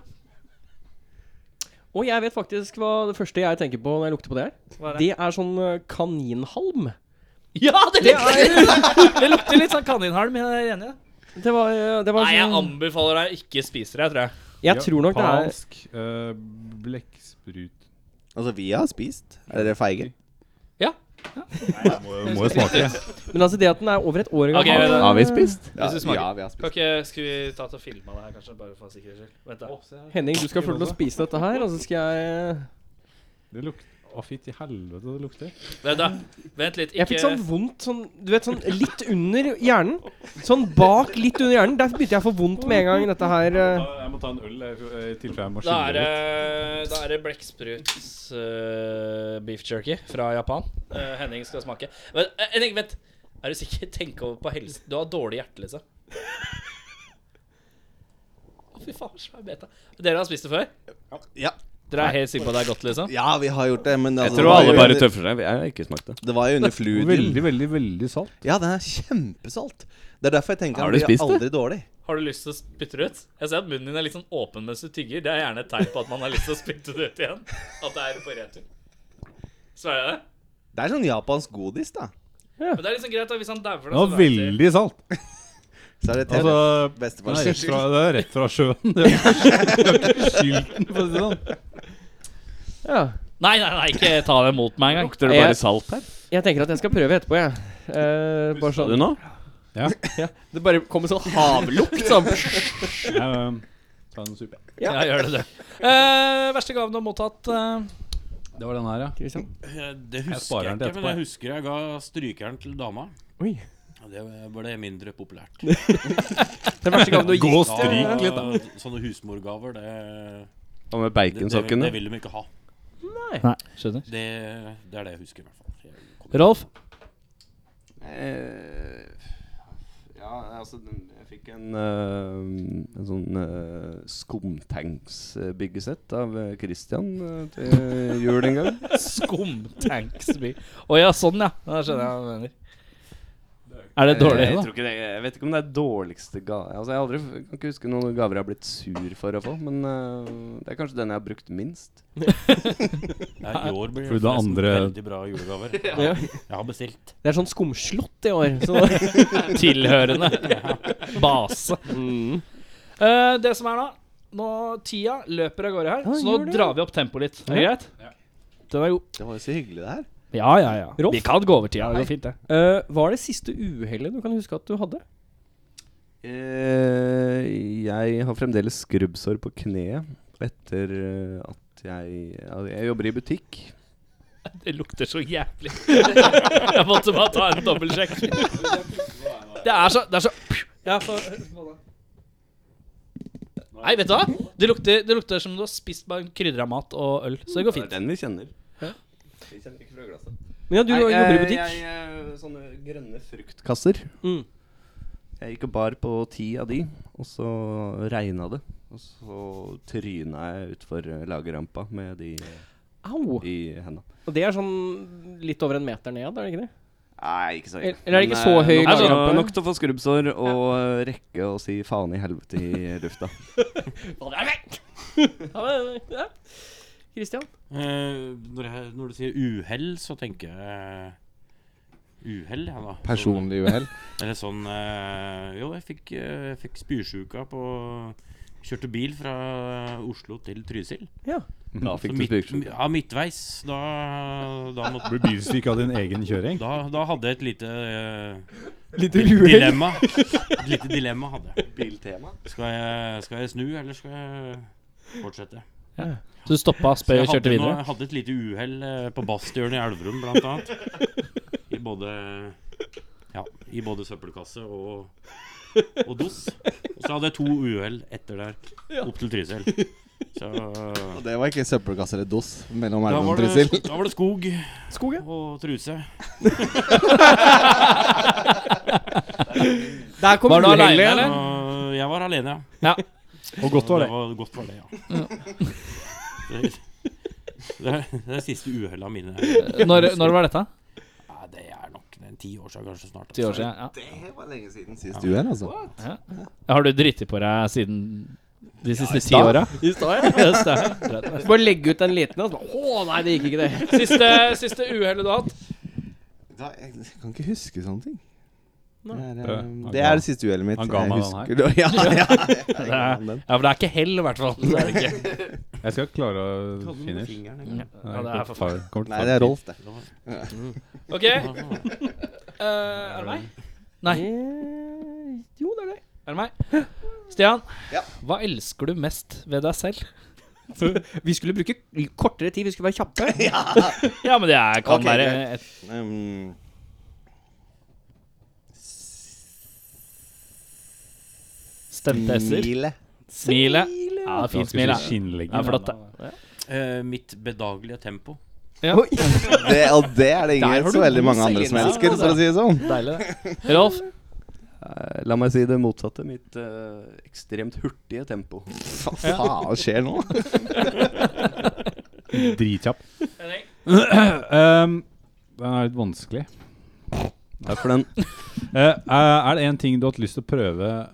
[SPEAKER 3] Og jeg vet faktisk hva det første jeg tenker på når jeg lukter på det her.
[SPEAKER 1] er
[SPEAKER 3] Det er sånn eh, kaninhalm.
[SPEAKER 1] Ja, det lukter, det lukter litt sånn kaninhalm. men Jeg er enig. i det.
[SPEAKER 3] Det var, eh, det var
[SPEAKER 1] Nei, jeg
[SPEAKER 3] sånn
[SPEAKER 1] anbefaler deg å ikke spise det, jeg tror jeg.
[SPEAKER 3] Jeg tror nok det er
[SPEAKER 2] Japansk eh, blekksprut.
[SPEAKER 8] Altså, vi har spist. Er dere feige?
[SPEAKER 2] Må jo smake.
[SPEAKER 3] Men altså, det at den er over et år
[SPEAKER 1] Ok,
[SPEAKER 3] gammel
[SPEAKER 1] vent da.
[SPEAKER 8] Har vi spist?
[SPEAKER 1] Hvis du smaker.
[SPEAKER 8] ja, vi har spist.
[SPEAKER 1] Kan ikke, skal vi ta til å filme det her, kanskje? Bare for sikkerhets skyld. Vent da.
[SPEAKER 3] Henning, du skal få lov til å spise dette her, og så skal jeg
[SPEAKER 2] Det lukter Å, fy til helvete, det lukter.
[SPEAKER 1] Vent, da. Vent litt.
[SPEAKER 3] Jeg
[SPEAKER 1] Ikke
[SPEAKER 3] fikk sånn vondt sånn Du vet, sånn litt under hjernen. Sånn bak, litt under hjernen. Der begynte jeg å få vondt med en gang, dette her. eh.
[SPEAKER 2] Jeg må ta en øl i tilfelle jeg må
[SPEAKER 1] Da er det, da er det blekksprut eh, beef jerky fra Japan. Eh, Henning skal smake. Men, eh, Henning, vent! Er du sikker? Tenk over på helse. Du har dårlig hjerte, liksom. Å, fy faen, så er jeg beta. Dere har spist det før?
[SPEAKER 8] Ja.
[SPEAKER 1] Dere er helt sikre på at det er godt, liksom?
[SPEAKER 8] ja, vi har gjort det, men
[SPEAKER 9] Jeg
[SPEAKER 8] altså,
[SPEAKER 9] tror alle
[SPEAKER 8] det, var jo
[SPEAKER 9] bare
[SPEAKER 8] under,
[SPEAKER 9] tøffer seg. Jeg har ikke smakt det.
[SPEAKER 8] det var jo under fludien.
[SPEAKER 2] Veldig, veldig, veldig salt.
[SPEAKER 8] Ja, den er kjempesalt. Det er derfor jeg tenker
[SPEAKER 9] Har
[SPEAKER 8] han
[SPEAKER 9] du
[SPEAKER 8] blir
[SPEAKER 9] spist det?
[SPEAKER 8] aldri dårlig.
[SPEAKER 1] Har du lyst til å spytte det ut? Jeg ser at munnen din er litt sånn åpen mens du tygger. Det er gjerne et tegn på at man har lyst til å spytte det ut igjen. At det er på retur. Sverger jeg det?
[SPEAKER 8] Det er sånn japansk godis, da.
[SPEAKER 1] Men det er liksom greit, da. Hvis han dauer,
[SPEAKER 2] Det var veldig salt.
[SPEAKER 8] Så er det TV.
[SPEAKER 2] Altså, den
[SPEAKER 8] Bestefar
[SPEAKER 2] er rett fra,
[SPEAKER 8] skyld.
[SPEAKER 2] det er rett fra sjøen. Det er ikke skyld den, for å si det sånn.
[SPEAKER 3] Ja.
[SPEAKER 1] Nei, nei, nei, ikke ta det mot meg engang.
[SPEAKER 9] Lukter det
[SPEAKER 3] Jeg-
[SPEAKER 9] bare salt her?
[SPEAKER 3] Jeg tenker at jeg skal prøve etterpå, jeg. Eh, bare
[SPEAKER 9] Sa
[SPEAKER 3] sånn.
[SPEAKER 9] du nå?
[SPEAKER 3] Det bare kommer sånn havlukt sånn.
[SPEAKER 2] Ja, men, ta en suppe.
[SPEAKER 1] Ja, gjør det, det. Eh, verste gaven du har mottatt? eh,
[SPEAKER 2] Det var den her, ja.
[SPEAKER 3] Christian.
[SPEAKER 11] Eh, Det
[SPEAKER 2] Jeg
[SPEAKER 11] husker
[SPEAKER 2] sparer den til
[SPEAKER 11] jeg, ikke,
[SPEAKER 2] etterpå,
[SPEAKER 11] men jeg husker jeg ga strykeren til dama.
[SPEAKER 3] Oi.
[SPEAKER 11] Og det ble mindre populært.
[SPEAKER 3] Den verste gangen du har
[SPEAKER 2] Gå
[SPEAKER 3] gitt
[SPEAKER 2] og stryk litt, da.
[SPEAKER 11] Ja, Sånne husmorgaver, det,
[SPEAKER 9] Og med
[SPEAKER 11] det, det, vil-
[SPEAKER 9] baconsokkene?
[SPEAKER 11] det vil de ikke ha.
[SPEAKER 1] Nei, skjønner.
[SPEAKER 11] Det, det er det jeg husker, i hvert fall. Jeg kom-
[SPEAKER 1] Rolf?
[SPEAKER 9] Eh, Ja, altså den- Jeg fikk en, eh, en sånn uh, skumtanksbyggesett av eh, Christian eh, til jul en gang.
[SPEAKER 1] Skumtanksby. Å ja, sånn, ja. Da skjønner jeg hva du mener. Eh, Er det dårlig,
[SPEAKER 9] Eh, jeg, jeg,
[SPEAKER 1] da?
[SPEAKER 9] tror ikke det, jeg vet ikke om det er dårligste ga... Altså, jeg, har aldri, jeg kan ikke huske noen gaver jeg har blitt sur for å få, men eh, det er kanskje den jeg har brukt minst.
[SPEAKER 11] Nei, I år
[SPEAKER 2] For
[SPEAKER 11] blir det
[SPEAKER 2] det
[SPEAKER 11] forresten
[SPEAKER 2] andre-
[SPEAKER 11] veldig bra julegaver. Jeg,
[SPEAKER 3] Ja.
[SPEAKER 11] jeg har bestilt.
[SPEAKER 3] Det er sånn skumslått i år. Så.
[SPEAKER 1] Tilhørende base.
[SPEAKER 3] Mm.
[SPEAKER 1] Eh, det som er da Nå Tida løper av gårde her, så nå drar vi opp tempoet litt. Er det greit? Den er god.
[SPEAKER 8] Det var jo så hyggelig, det her.
[SPEAKER 1] Ja, ja, ja.
[SPEAKER 3] Rolf?
[SPEAKER 1] Vi kan gå over tida. Det går fint, det.
[SPEAKER 3] Eh, hva er det siste uhellet du kan huske at du hadde?
[SPEAKER 9] Eh, jeg har fremdeles skrubbsår på kneet etter eh, at jeg ja, Jeg jobber i butikk.
[SPEAKER 1] Det lukter så jævlig. Jeg måtte bare ta en dobbeltsjekk. Det er så Det er så Nei, vet du hva? Det lukter, det lukter som om du har spist bare krydder av mat og øl. Så det går
[SPEAKER 9] Det er
[SPEAKER 1] fint.
[SPEAKER 9] den vi kjenner. Vi kjenner ikke fra glasset.
[SPEAKER 3] Men ja, du jobber i butikk.
[SPEAKER 9] Jeg, jeg, eh, sånne grønne fruktkasser.
[SPEAKER 3] Mm.
[SPEAKER 9] Jeg gikk og bar på ti av de, og så regna det. Og så tryna jeg utfor eh, lagerrampa med de eh,
[SPEAKER 3] Au!
[SPEAKER 9] i henda.
[SPEAKER 3] Og det er sånn litt over en meter ned, er det ikke det?
[SPEAKER 9] Nei, ikke så
[SPEAKER 3] Eller- eller er det ikke så
[SPEAKER 9] eh,
[SPEAKER 3] høy
[SPEAKER 1] altså,
[SPEAKER 9] nok-
[SPEAKER 3] lagerrampe?
[SPEAKER 9] Nok til å få skrubbsår og eh, rekke å si faen i helvete i lufta.
[SPEAKER 3] Hva det er det? Ja, men, ja. Christian?
[SPEAKER 11] Eh, når, jeg, når du sier uhell, så tenker jeg uhell, jeg, da.
[SPEAKER 13] Personlig uhell?
[SPEAKER 11] Eller sånn eh, Jo, jeg fikk, eh, jeg fikk spysjuka på Kjørte bil fra Oslo til Trysil.
[SPEAKER 3] Ja.
[SPEAKER 2] Da fikk
[SPEAKER 11] Så
[SPEAKER 2] du
[SPEAKER 11] midt-
[SPEAKER 2] spysjuke.
[SPEAKER 11] Ja, midtveis. Da, da måtte
[SPEAKER 2] Ble bilsyk av din egen kjøring?
[SPEAKER 11] Da, da hadde jeg et lite eh,
[SPEAKER 2] Lite
[SPEAKER 11] lite
[SPEAKER 2] uhell.
[SPEAKER 11] dilemma. Et lite dilemma hadde jeg.
[SPEAKER 9] Biltema?
[SPEAKER 11] Skal jeg, skal jeg snu, eller skal jeg fortsette?
[SPEAKER 1] Ja. Så du stoppa, spøy
[SPEAKER 11] Så jeg
[SPEAKER 1] og kjørte
[SPEAKER 11] hadde
[SPEAKER 1] videre?
[SPEAKER 11] noe- Jeg hadde et lite uhell eh, på Bastjørnet i Elverum, blant annet. I både Ja, i både søppelkasse og, og dos. Og så hadde jeg to uhell etter der, opp til Trysil. Så
[SPEAKER 13] Og det var ikke søppelkasse eller dos mellom
[SPEAKER 11] da
[SPEAKER 13] Elven og
[SPEAKER 11] var,
[SPEAKER 13] Trysil.
[SPEAKER 11] det, da var det skog.
[SPEAKER 3] Skog, ja.
[SPEAKER 11] Og truse.
[SPEAKER 3] Der kom Var du uhellet. alene, eller?
[SPEAKER 11] Uh, Jeg var alene,
[SPEAKER 1] ja.
[SPEAKER 2] Og godt var det.
[SPEAKER 11] var, godt var det, ja. Det, det, er- det er siste uhellet mine.
[SPEAKER 1] Når, når var dette?
[SPEAKER 11] Ja, det er nok en ti år siden, kanskje snart.
[SPEAKER 1] Ti år siden, ja.
[SPEAKER 9] Det var lenge siden sist
[SPEAKER 11] Ja.
[SPEAKER 13] uhell, altså.
[SPEAKER 1] Ja. Har du driti på deg siden de siste ti
[SPEAKER 3] stad.
[SPEAKER 1] åra?
[SPEAKER 3] I stad, ja.
[SPEAKER 1] I stad, ja. Rett og slett.
[SPEAKER 3] Bare legge ut en liten og så bare Å, nei, det gikk ikke, det.
[SPEAKER 1] Siste, siste uhellet du har hatt?
[SPEAKER 13] Da, jeg jeg kan ikke huske sånne ting. Det er,
[SPEAKER 2] Det-
[SPEAKER 13] um,
[SPEAKER 2] han
[SPEAKER 13] det
[SPEAKER 2] ga-
[SPEAKER 13] er det siste uhellet mitt.
[SPEAKER 2] han ga
[SPEAKER 13] Jeg
[SPEAKER 2] meg den
[SPEAKER 13] husker
[SPEAKER 2] her.
[SPEAKER 13] det. Ja, ja, jeg ga
[SPEAKER 1] Det er-
[SPEAKER 13] han den.
[SPEAKER 1] Ja, for det er ikke hell, i hvert fall. Det er det ikke.
[SPEAKER 2] Jeg skal klare å
[SPEAKER 11] Kan du med
[SPEAKER 2] finish.
[SPEAKER 11] fingeren, eller?
[SPEAKER 1] Ja, det er for faen.
[SPEAKER 13] Nei, det er Rolf, det.
[SPEAKER 1] OK. Eh, er det meg? Nei.
[SPEAKER 3] Eh, Jo, det er det.
[SPEAKER 1] Er det meg? Stian, hva elsker du mest ved deg selv?
[SPEAKER 3] Vi skulle bruke l- kortere tid, vi skulle være kjappe.
[SPEAKER 1] Ja, men det er, kan
[SPEAKER 13] Ok,
[SPEAKER 1] være
[SPEAKER 13] greit.
[SPEAKER 1] et,
[SPEAKER 13] Um,
[SPEAKER 1] stemte s-er.
[SPEAKER 13] Mile.
[SPEAKER 1] Smilet. Ja, det er fint smil.
[SPEAKER 2] Skulle
[SPEAKER 1] ja.
[SPEAKER 2] si skinnleggen,
[SPEAKER 1] Det er flott,
[SPEAKER 2] da.
[SPEAKER 1] det.
[SPEAKER 11] Eh, mitt bedagelige tempo.
[SPEAKER 1] Ja.
[SPEAKER 13] Det, og det er det
[SPEAKER 1] Der
[SPEAKER 13] ingen
[SPEAKER 1] har
[SPEAKER 13] så
[SPEAKER 1] du
[SPEAKER 13] veldig
[SPEAKER 1] god
[SPEAKER 13] mange andre som
[SPEAKER 1] selvinnsikt,
[SPEAKER 13] elsker, for å si det sånn.
[SPEAKER 1] Deilig, det. Rolf?
[SPEAKER 9] Eh, La meg si det motsatte. Mitt eh, ekstremt hurtige tempo.
[SPEAKER 13] Hva faen skjer nå?
[SPEAKER 2] Dritkjapp. um, den er litt vanskelig.
[SPEAKER 9] Takk for den.
[SPEAKER 2] Eh, er det én ting du har hatt lyst til å prøve, eh,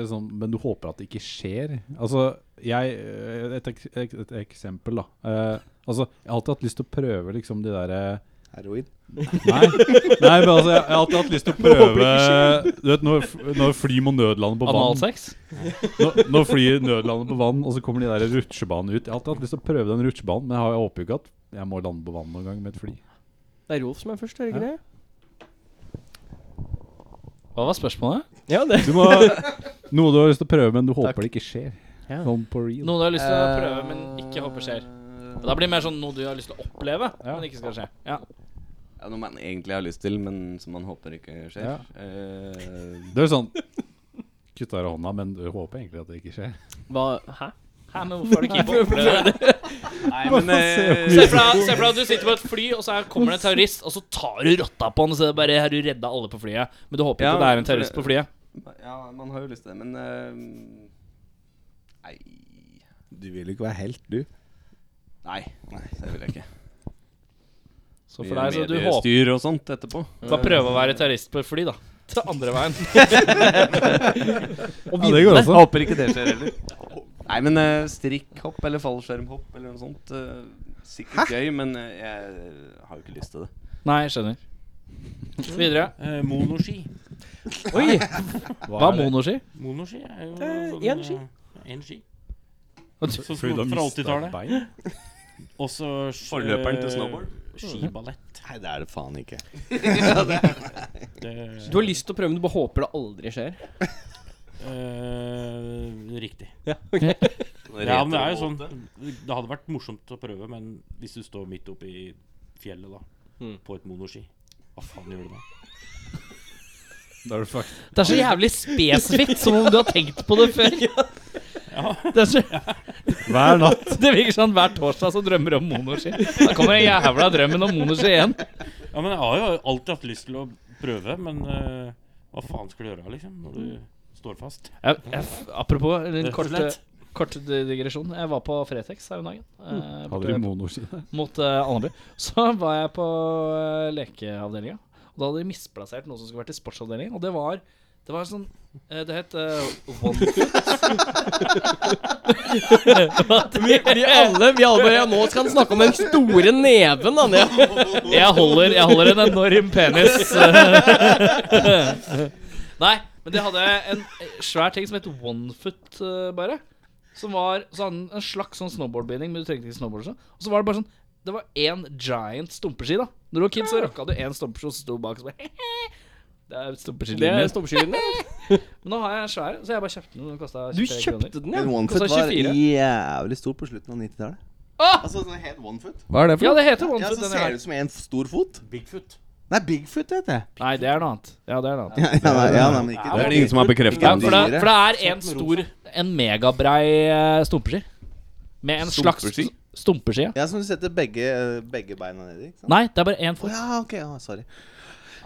[SPEAKER 2] liksom, men du håper at det ikke skjer? Altså, jeg eh, Et, ek, ek, et eksempel, da. Eh, altså, jeg har alltid hatt lyst til å prøve liksom de derre
[SPEAKER 13] Heroin.
[SPEAKER 2] Nei, nei, men altså, jeg jeg har alltid hatt lyst til å prøve Du vet når, f- når fly må nødlande på vann
[SPEAKER 1] Analsex?
[SPEAKER 2] Når, når flyet nødlander på vann, og så kommer de der rutsjebanene ut. Jeg har alltid hatt lyst til å prøve den rutsjebanen, men jeg, har, jeg håper jo ikke at jeg må lande på vann noen gang med et fly.
[SPEAKER 3] Det er Rolf som er først, er det ikke det?
[SPEAKER 1] Hva var spørsmålet?
[SPEAKER 3] Ja, det.
[SPEAKER 2] Du må, noe du har lyst til å prøve, men du håper det ikke skjer.
[SPEAKER 3] Ja.
[SPEAKER 2] Sånn på real.
[SPEAKER 1] Noe du har lyst til å
[SPEAKER 9] Eh,
[SPEAKER 1] prøve, men ikke håper skjer. Da blir det mer sånn noe du har lyst til å oppleve,
[SPEAKER 2] Ja.
[SPEAKER 1] men ikke skal skje. Ja.
[SPEAKER 9] Ja, noe man egentlig har lyst til, men som man håper ikke skjer.
[SPEAKER 2] Ja.
[SPEAKER 9] Eh,
[SPEAKER 2] Det er jo sånn Kutta i hånda, men du håper egentlig at det ikke skjer.
[SPEAKER 3] Hva Hæ?
[SPEAKER 1] Hæ, men hvorfor har du ikke opplevd det?
[SPEAKER 9] Nei, men eh,
[SPEAKER 1] Se for deg- se for deg at du sitter på et fly, og så her kommer det en terrorist, og så tar du rotta på han, og så er det bare har du redda alle på flyet. Men du håper ikke
[SPEAKER 9] Ja,
[SPEAKER 1] det er en
[SPEAKER 9] for
[SPEAKER 1] terrorist
[SPEAKER 9] det-
[SPEAKER 1] på flyet.
[SPEAKER 9] Ja, man har jo lyst til det, men eh, Nei.
[SPEAKER 13] Du vil ikke være helt, du.
[SPEAKER 9] Nei, det vil jeg ikke.
[SPEAKER 1] Så for deg, så du håper
[SPEAKER 9] Mediestyr og sånt etterpå.
[SPEAKER 1] Skal prøve å være terrorist på et fly, da. Til andre veien.
[SPEAKER 2] Ja, det går også.
[SPEAKER 9] Håper ikke det skjer heller. Nei, men eh, strikkhopp eller fallskjermhopp eller noe sånt eh, Sikkert gøy, men eh, jeg har jo ikke lyst til det.
[SPEAKER 1] Nei, jeg skjønner. Videre.
[SPEAKER 11] Eh, monoski.
[SPEAKER 1] Oi! Hva er
[SPEAKER 2] det?
[SPEAKER 1] monoski?
[SPEAKER 11] Monoski er jo
[SPEAKER 3] Det er
[SPEAKER 11] sånn,
[SPEAKER 3] én ski.
[SPEAKER 11] eh, Én ski.
[SPEAKER 1] Hva
[SPEAKER 11] Så
[SPEAKER 2] Fordi du har
[SPEAKER 11] fra
[SPEAKER 2] mistet
[SPEAKER 11] 80-tallet.
[SPEAKER 2] bein.
[SPEAKER 11] Også
[SPEAKER 9] Forløperen til snowboard.
[SPEAKER 11] eh, Skiballett.
[SPEAKER 13] Nei, det er det faen ikke.
[SPEAKER 11] Det-
[SPEAKER 3] Du har lyst til å prøve, men du bare håper det aldri skjer.
[SPEAKER 11] eh, Riktig. Ja, men det er jo sånn
[SPEAKER 9] Retrobåte.
[SPEAKER 11] Det hadde vært morsomt å prøve, men hvis du står midt oppe i fjellet, da,
[SPEAKER 3] Mm.
[SPEAKER 11] på et monoski Hva faen gjør du da?
[SPEAKER 2] Da er du fucked.
[SPEAKER 1] Det er så jævlig spesifikt, som om du har tenkt på det før. Det, er så,
[SPEAKER 2] Hver natt.
[SPEAKER 1] det virker sånn hver torsdag så drømmer du om monoski. Da kommer den jævla drømmen om monoski igjen.
[SPEAKER 11] Ja, men jeg har jo alltid hatt lyst til å prøve, men eh, Hva faen skal du gjøre, liksom? Når du står fast.
[SPEAKER 1] Jeg, jeg, f- apropos en
[SPEAKER 11] Rett og
[SPEAKER 1] kort,
[SPEAKER 11] slett.
[SPEAKER 1] kort digresjon. Jeg var på Fretex her om dagen. eh,
[SPEAKER 2] Hadde
[SPEAKER 1] borte
[SPEAKER 2] de monoski der?
[SPEAKER 1] Mot eh, Andebu. Så var jeg på uh, lekeavdelinga. Og da hadde de misplassert noe som skulle vært i sportsavdelingen. Og det var Det var sånn eh, Det het uh, OneFoot.
[SPEAKER 3] Vi, vi alle, vi alle bare ja, Nå skal han snakke om den store neven, han. Ja.
[SPEAKER 1] Jeg holder, jeg holder en enorm penis. Nei, men de hadde en svær ting som het onefoot, eh, bare. Som var så hadde den en slags sånn snowboardbinding, men du trengte ikke snowboard. og sånn. Og så var det bare sånn Det var én giant stumpeski, da. Når du var kid, så rocka du én stumpeski og så sto du bak og så bare Det er
[SPEAKER 3] Det
[SPEAKER 1] stumpeskilinjen
[SPEAKER 3] er
[SPEAKER 1] min.
[SPEAKER 3] stoppskylinjen,
[SPEAKER 1] Men nå har jeg en svær, så jeg bare kjøpte den. Den kosta
[SPEAKER 3] Du kjøpte den, ja?
[SPEAKER 13] Men
[SPEAKER 1] Kosta
[SPEAKER 13] OneFoot var
[SPEAKER 1] 24.
[SPEAKER 13] jævlig stor på slutten av 90-tallet. Altså sånn helt OneFoot.
[SPEAKER 6] Hva er det for
[SPEAKER 1] Ja,
[SPEAKER 6] noe?
[SPEAKER 1] det heter
[SPEAKER 13] Ja,
[SPEAKER 1] onefoot,
[SPEAKER 13] så
[SPEAKER 1] den jeg
[SPEAKER 13] ser det ut
[SPEAKER 1] har.
[SPEAKER 13] som en stor fot.
[SPEAKER 11] Bigfoot.
[SPEAKER 13] Nei, Bigfoot heter det.
[SPEAKER 1] Nei, det er noe annet. Ja, det er noe annet.
[SPEAKER 13] Ja, ja, nei, ja, nei, men ikke
[SPEAKER 9] Det er det ingen som har bekreftet.
[SPEAKER 1] Ja, for det,
[SPEAKER 13] Dyre.
[SPEAKER 1] for det er en stor En megabrei eh, stumpeski. Med en slags
[SPEAKER 9] Stumpeski?
[SPEAKER 1] stumpeski. ja.
[SPEAKER 13] Ja, som du setter begge, begge beina nedi. ikke sant?
[SPEAKER 1] Nei, det er bare én
[SPEAKER 13] Å
[SPEAKER 1] fot.
[SPEAKER 13] ja, ok. Ja, sorry.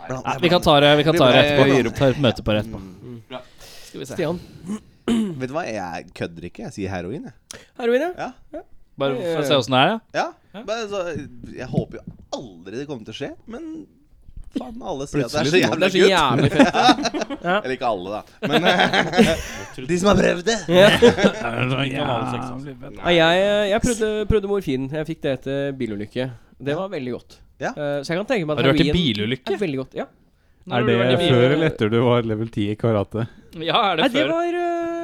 [SPEAKER 13] Blant-
[SPEAKER 1] Vi kan ta det, vi kan ta det
[SPEAKER 13] Nei, vi
[SPEAKER 1] etterpå.
[SPEAKER 13] gir opp.
[SPEAKER 1] Ta et møte på det etterpå. Skal vi se.
[SPEAKER 3] Stian.
[SPEAKER 13] Vet du hva, jeg kødder ikke. Jeg sier heroin, jeg.
[SPEAKER 3] Heroin, ja.
[SPEAKER 13] Ja.
[SPEAKER 1] Bare for å se åssen det er, ja.
[SPEAKER 13] ja. Bare, så, jeg håper jo aldri det kommer til å skje, men faen, alle sier at det er så
[SPEAKER 3] Det
[SPEAKER 13] jævlig
[SPEAKER 3] er så
[SPEAKER 13] gutt.
[SPEAKER 3] jævlig fett.
[SPEAKER 13] Eller ikke alle, da. Men de som har prøvd det.
[SPEAKER 3] Nei, jeg, jeg prøvde, prøvde morfin. Jeg fikk det etter bilulykke. Det var veldig godt.
[SPEAKER 13] Ja.
[SPEAKER 3] Eh, så jeg kan tenke meg at
[SPEAKER 1] Har du vært i
[SPEAKER 3] heroin
[SPEAKER 1] bilulykke?
[SPEAKER 3] er veldig godt. Ja.
[SPEAKER 2] Er det før eller etter du var level 10 i karate?
[SPEAKER 1] Ja, er det
[SPEAKER 3] Nei, det eh,
[SPEAKER 1] før?
[SPEAKER 3] var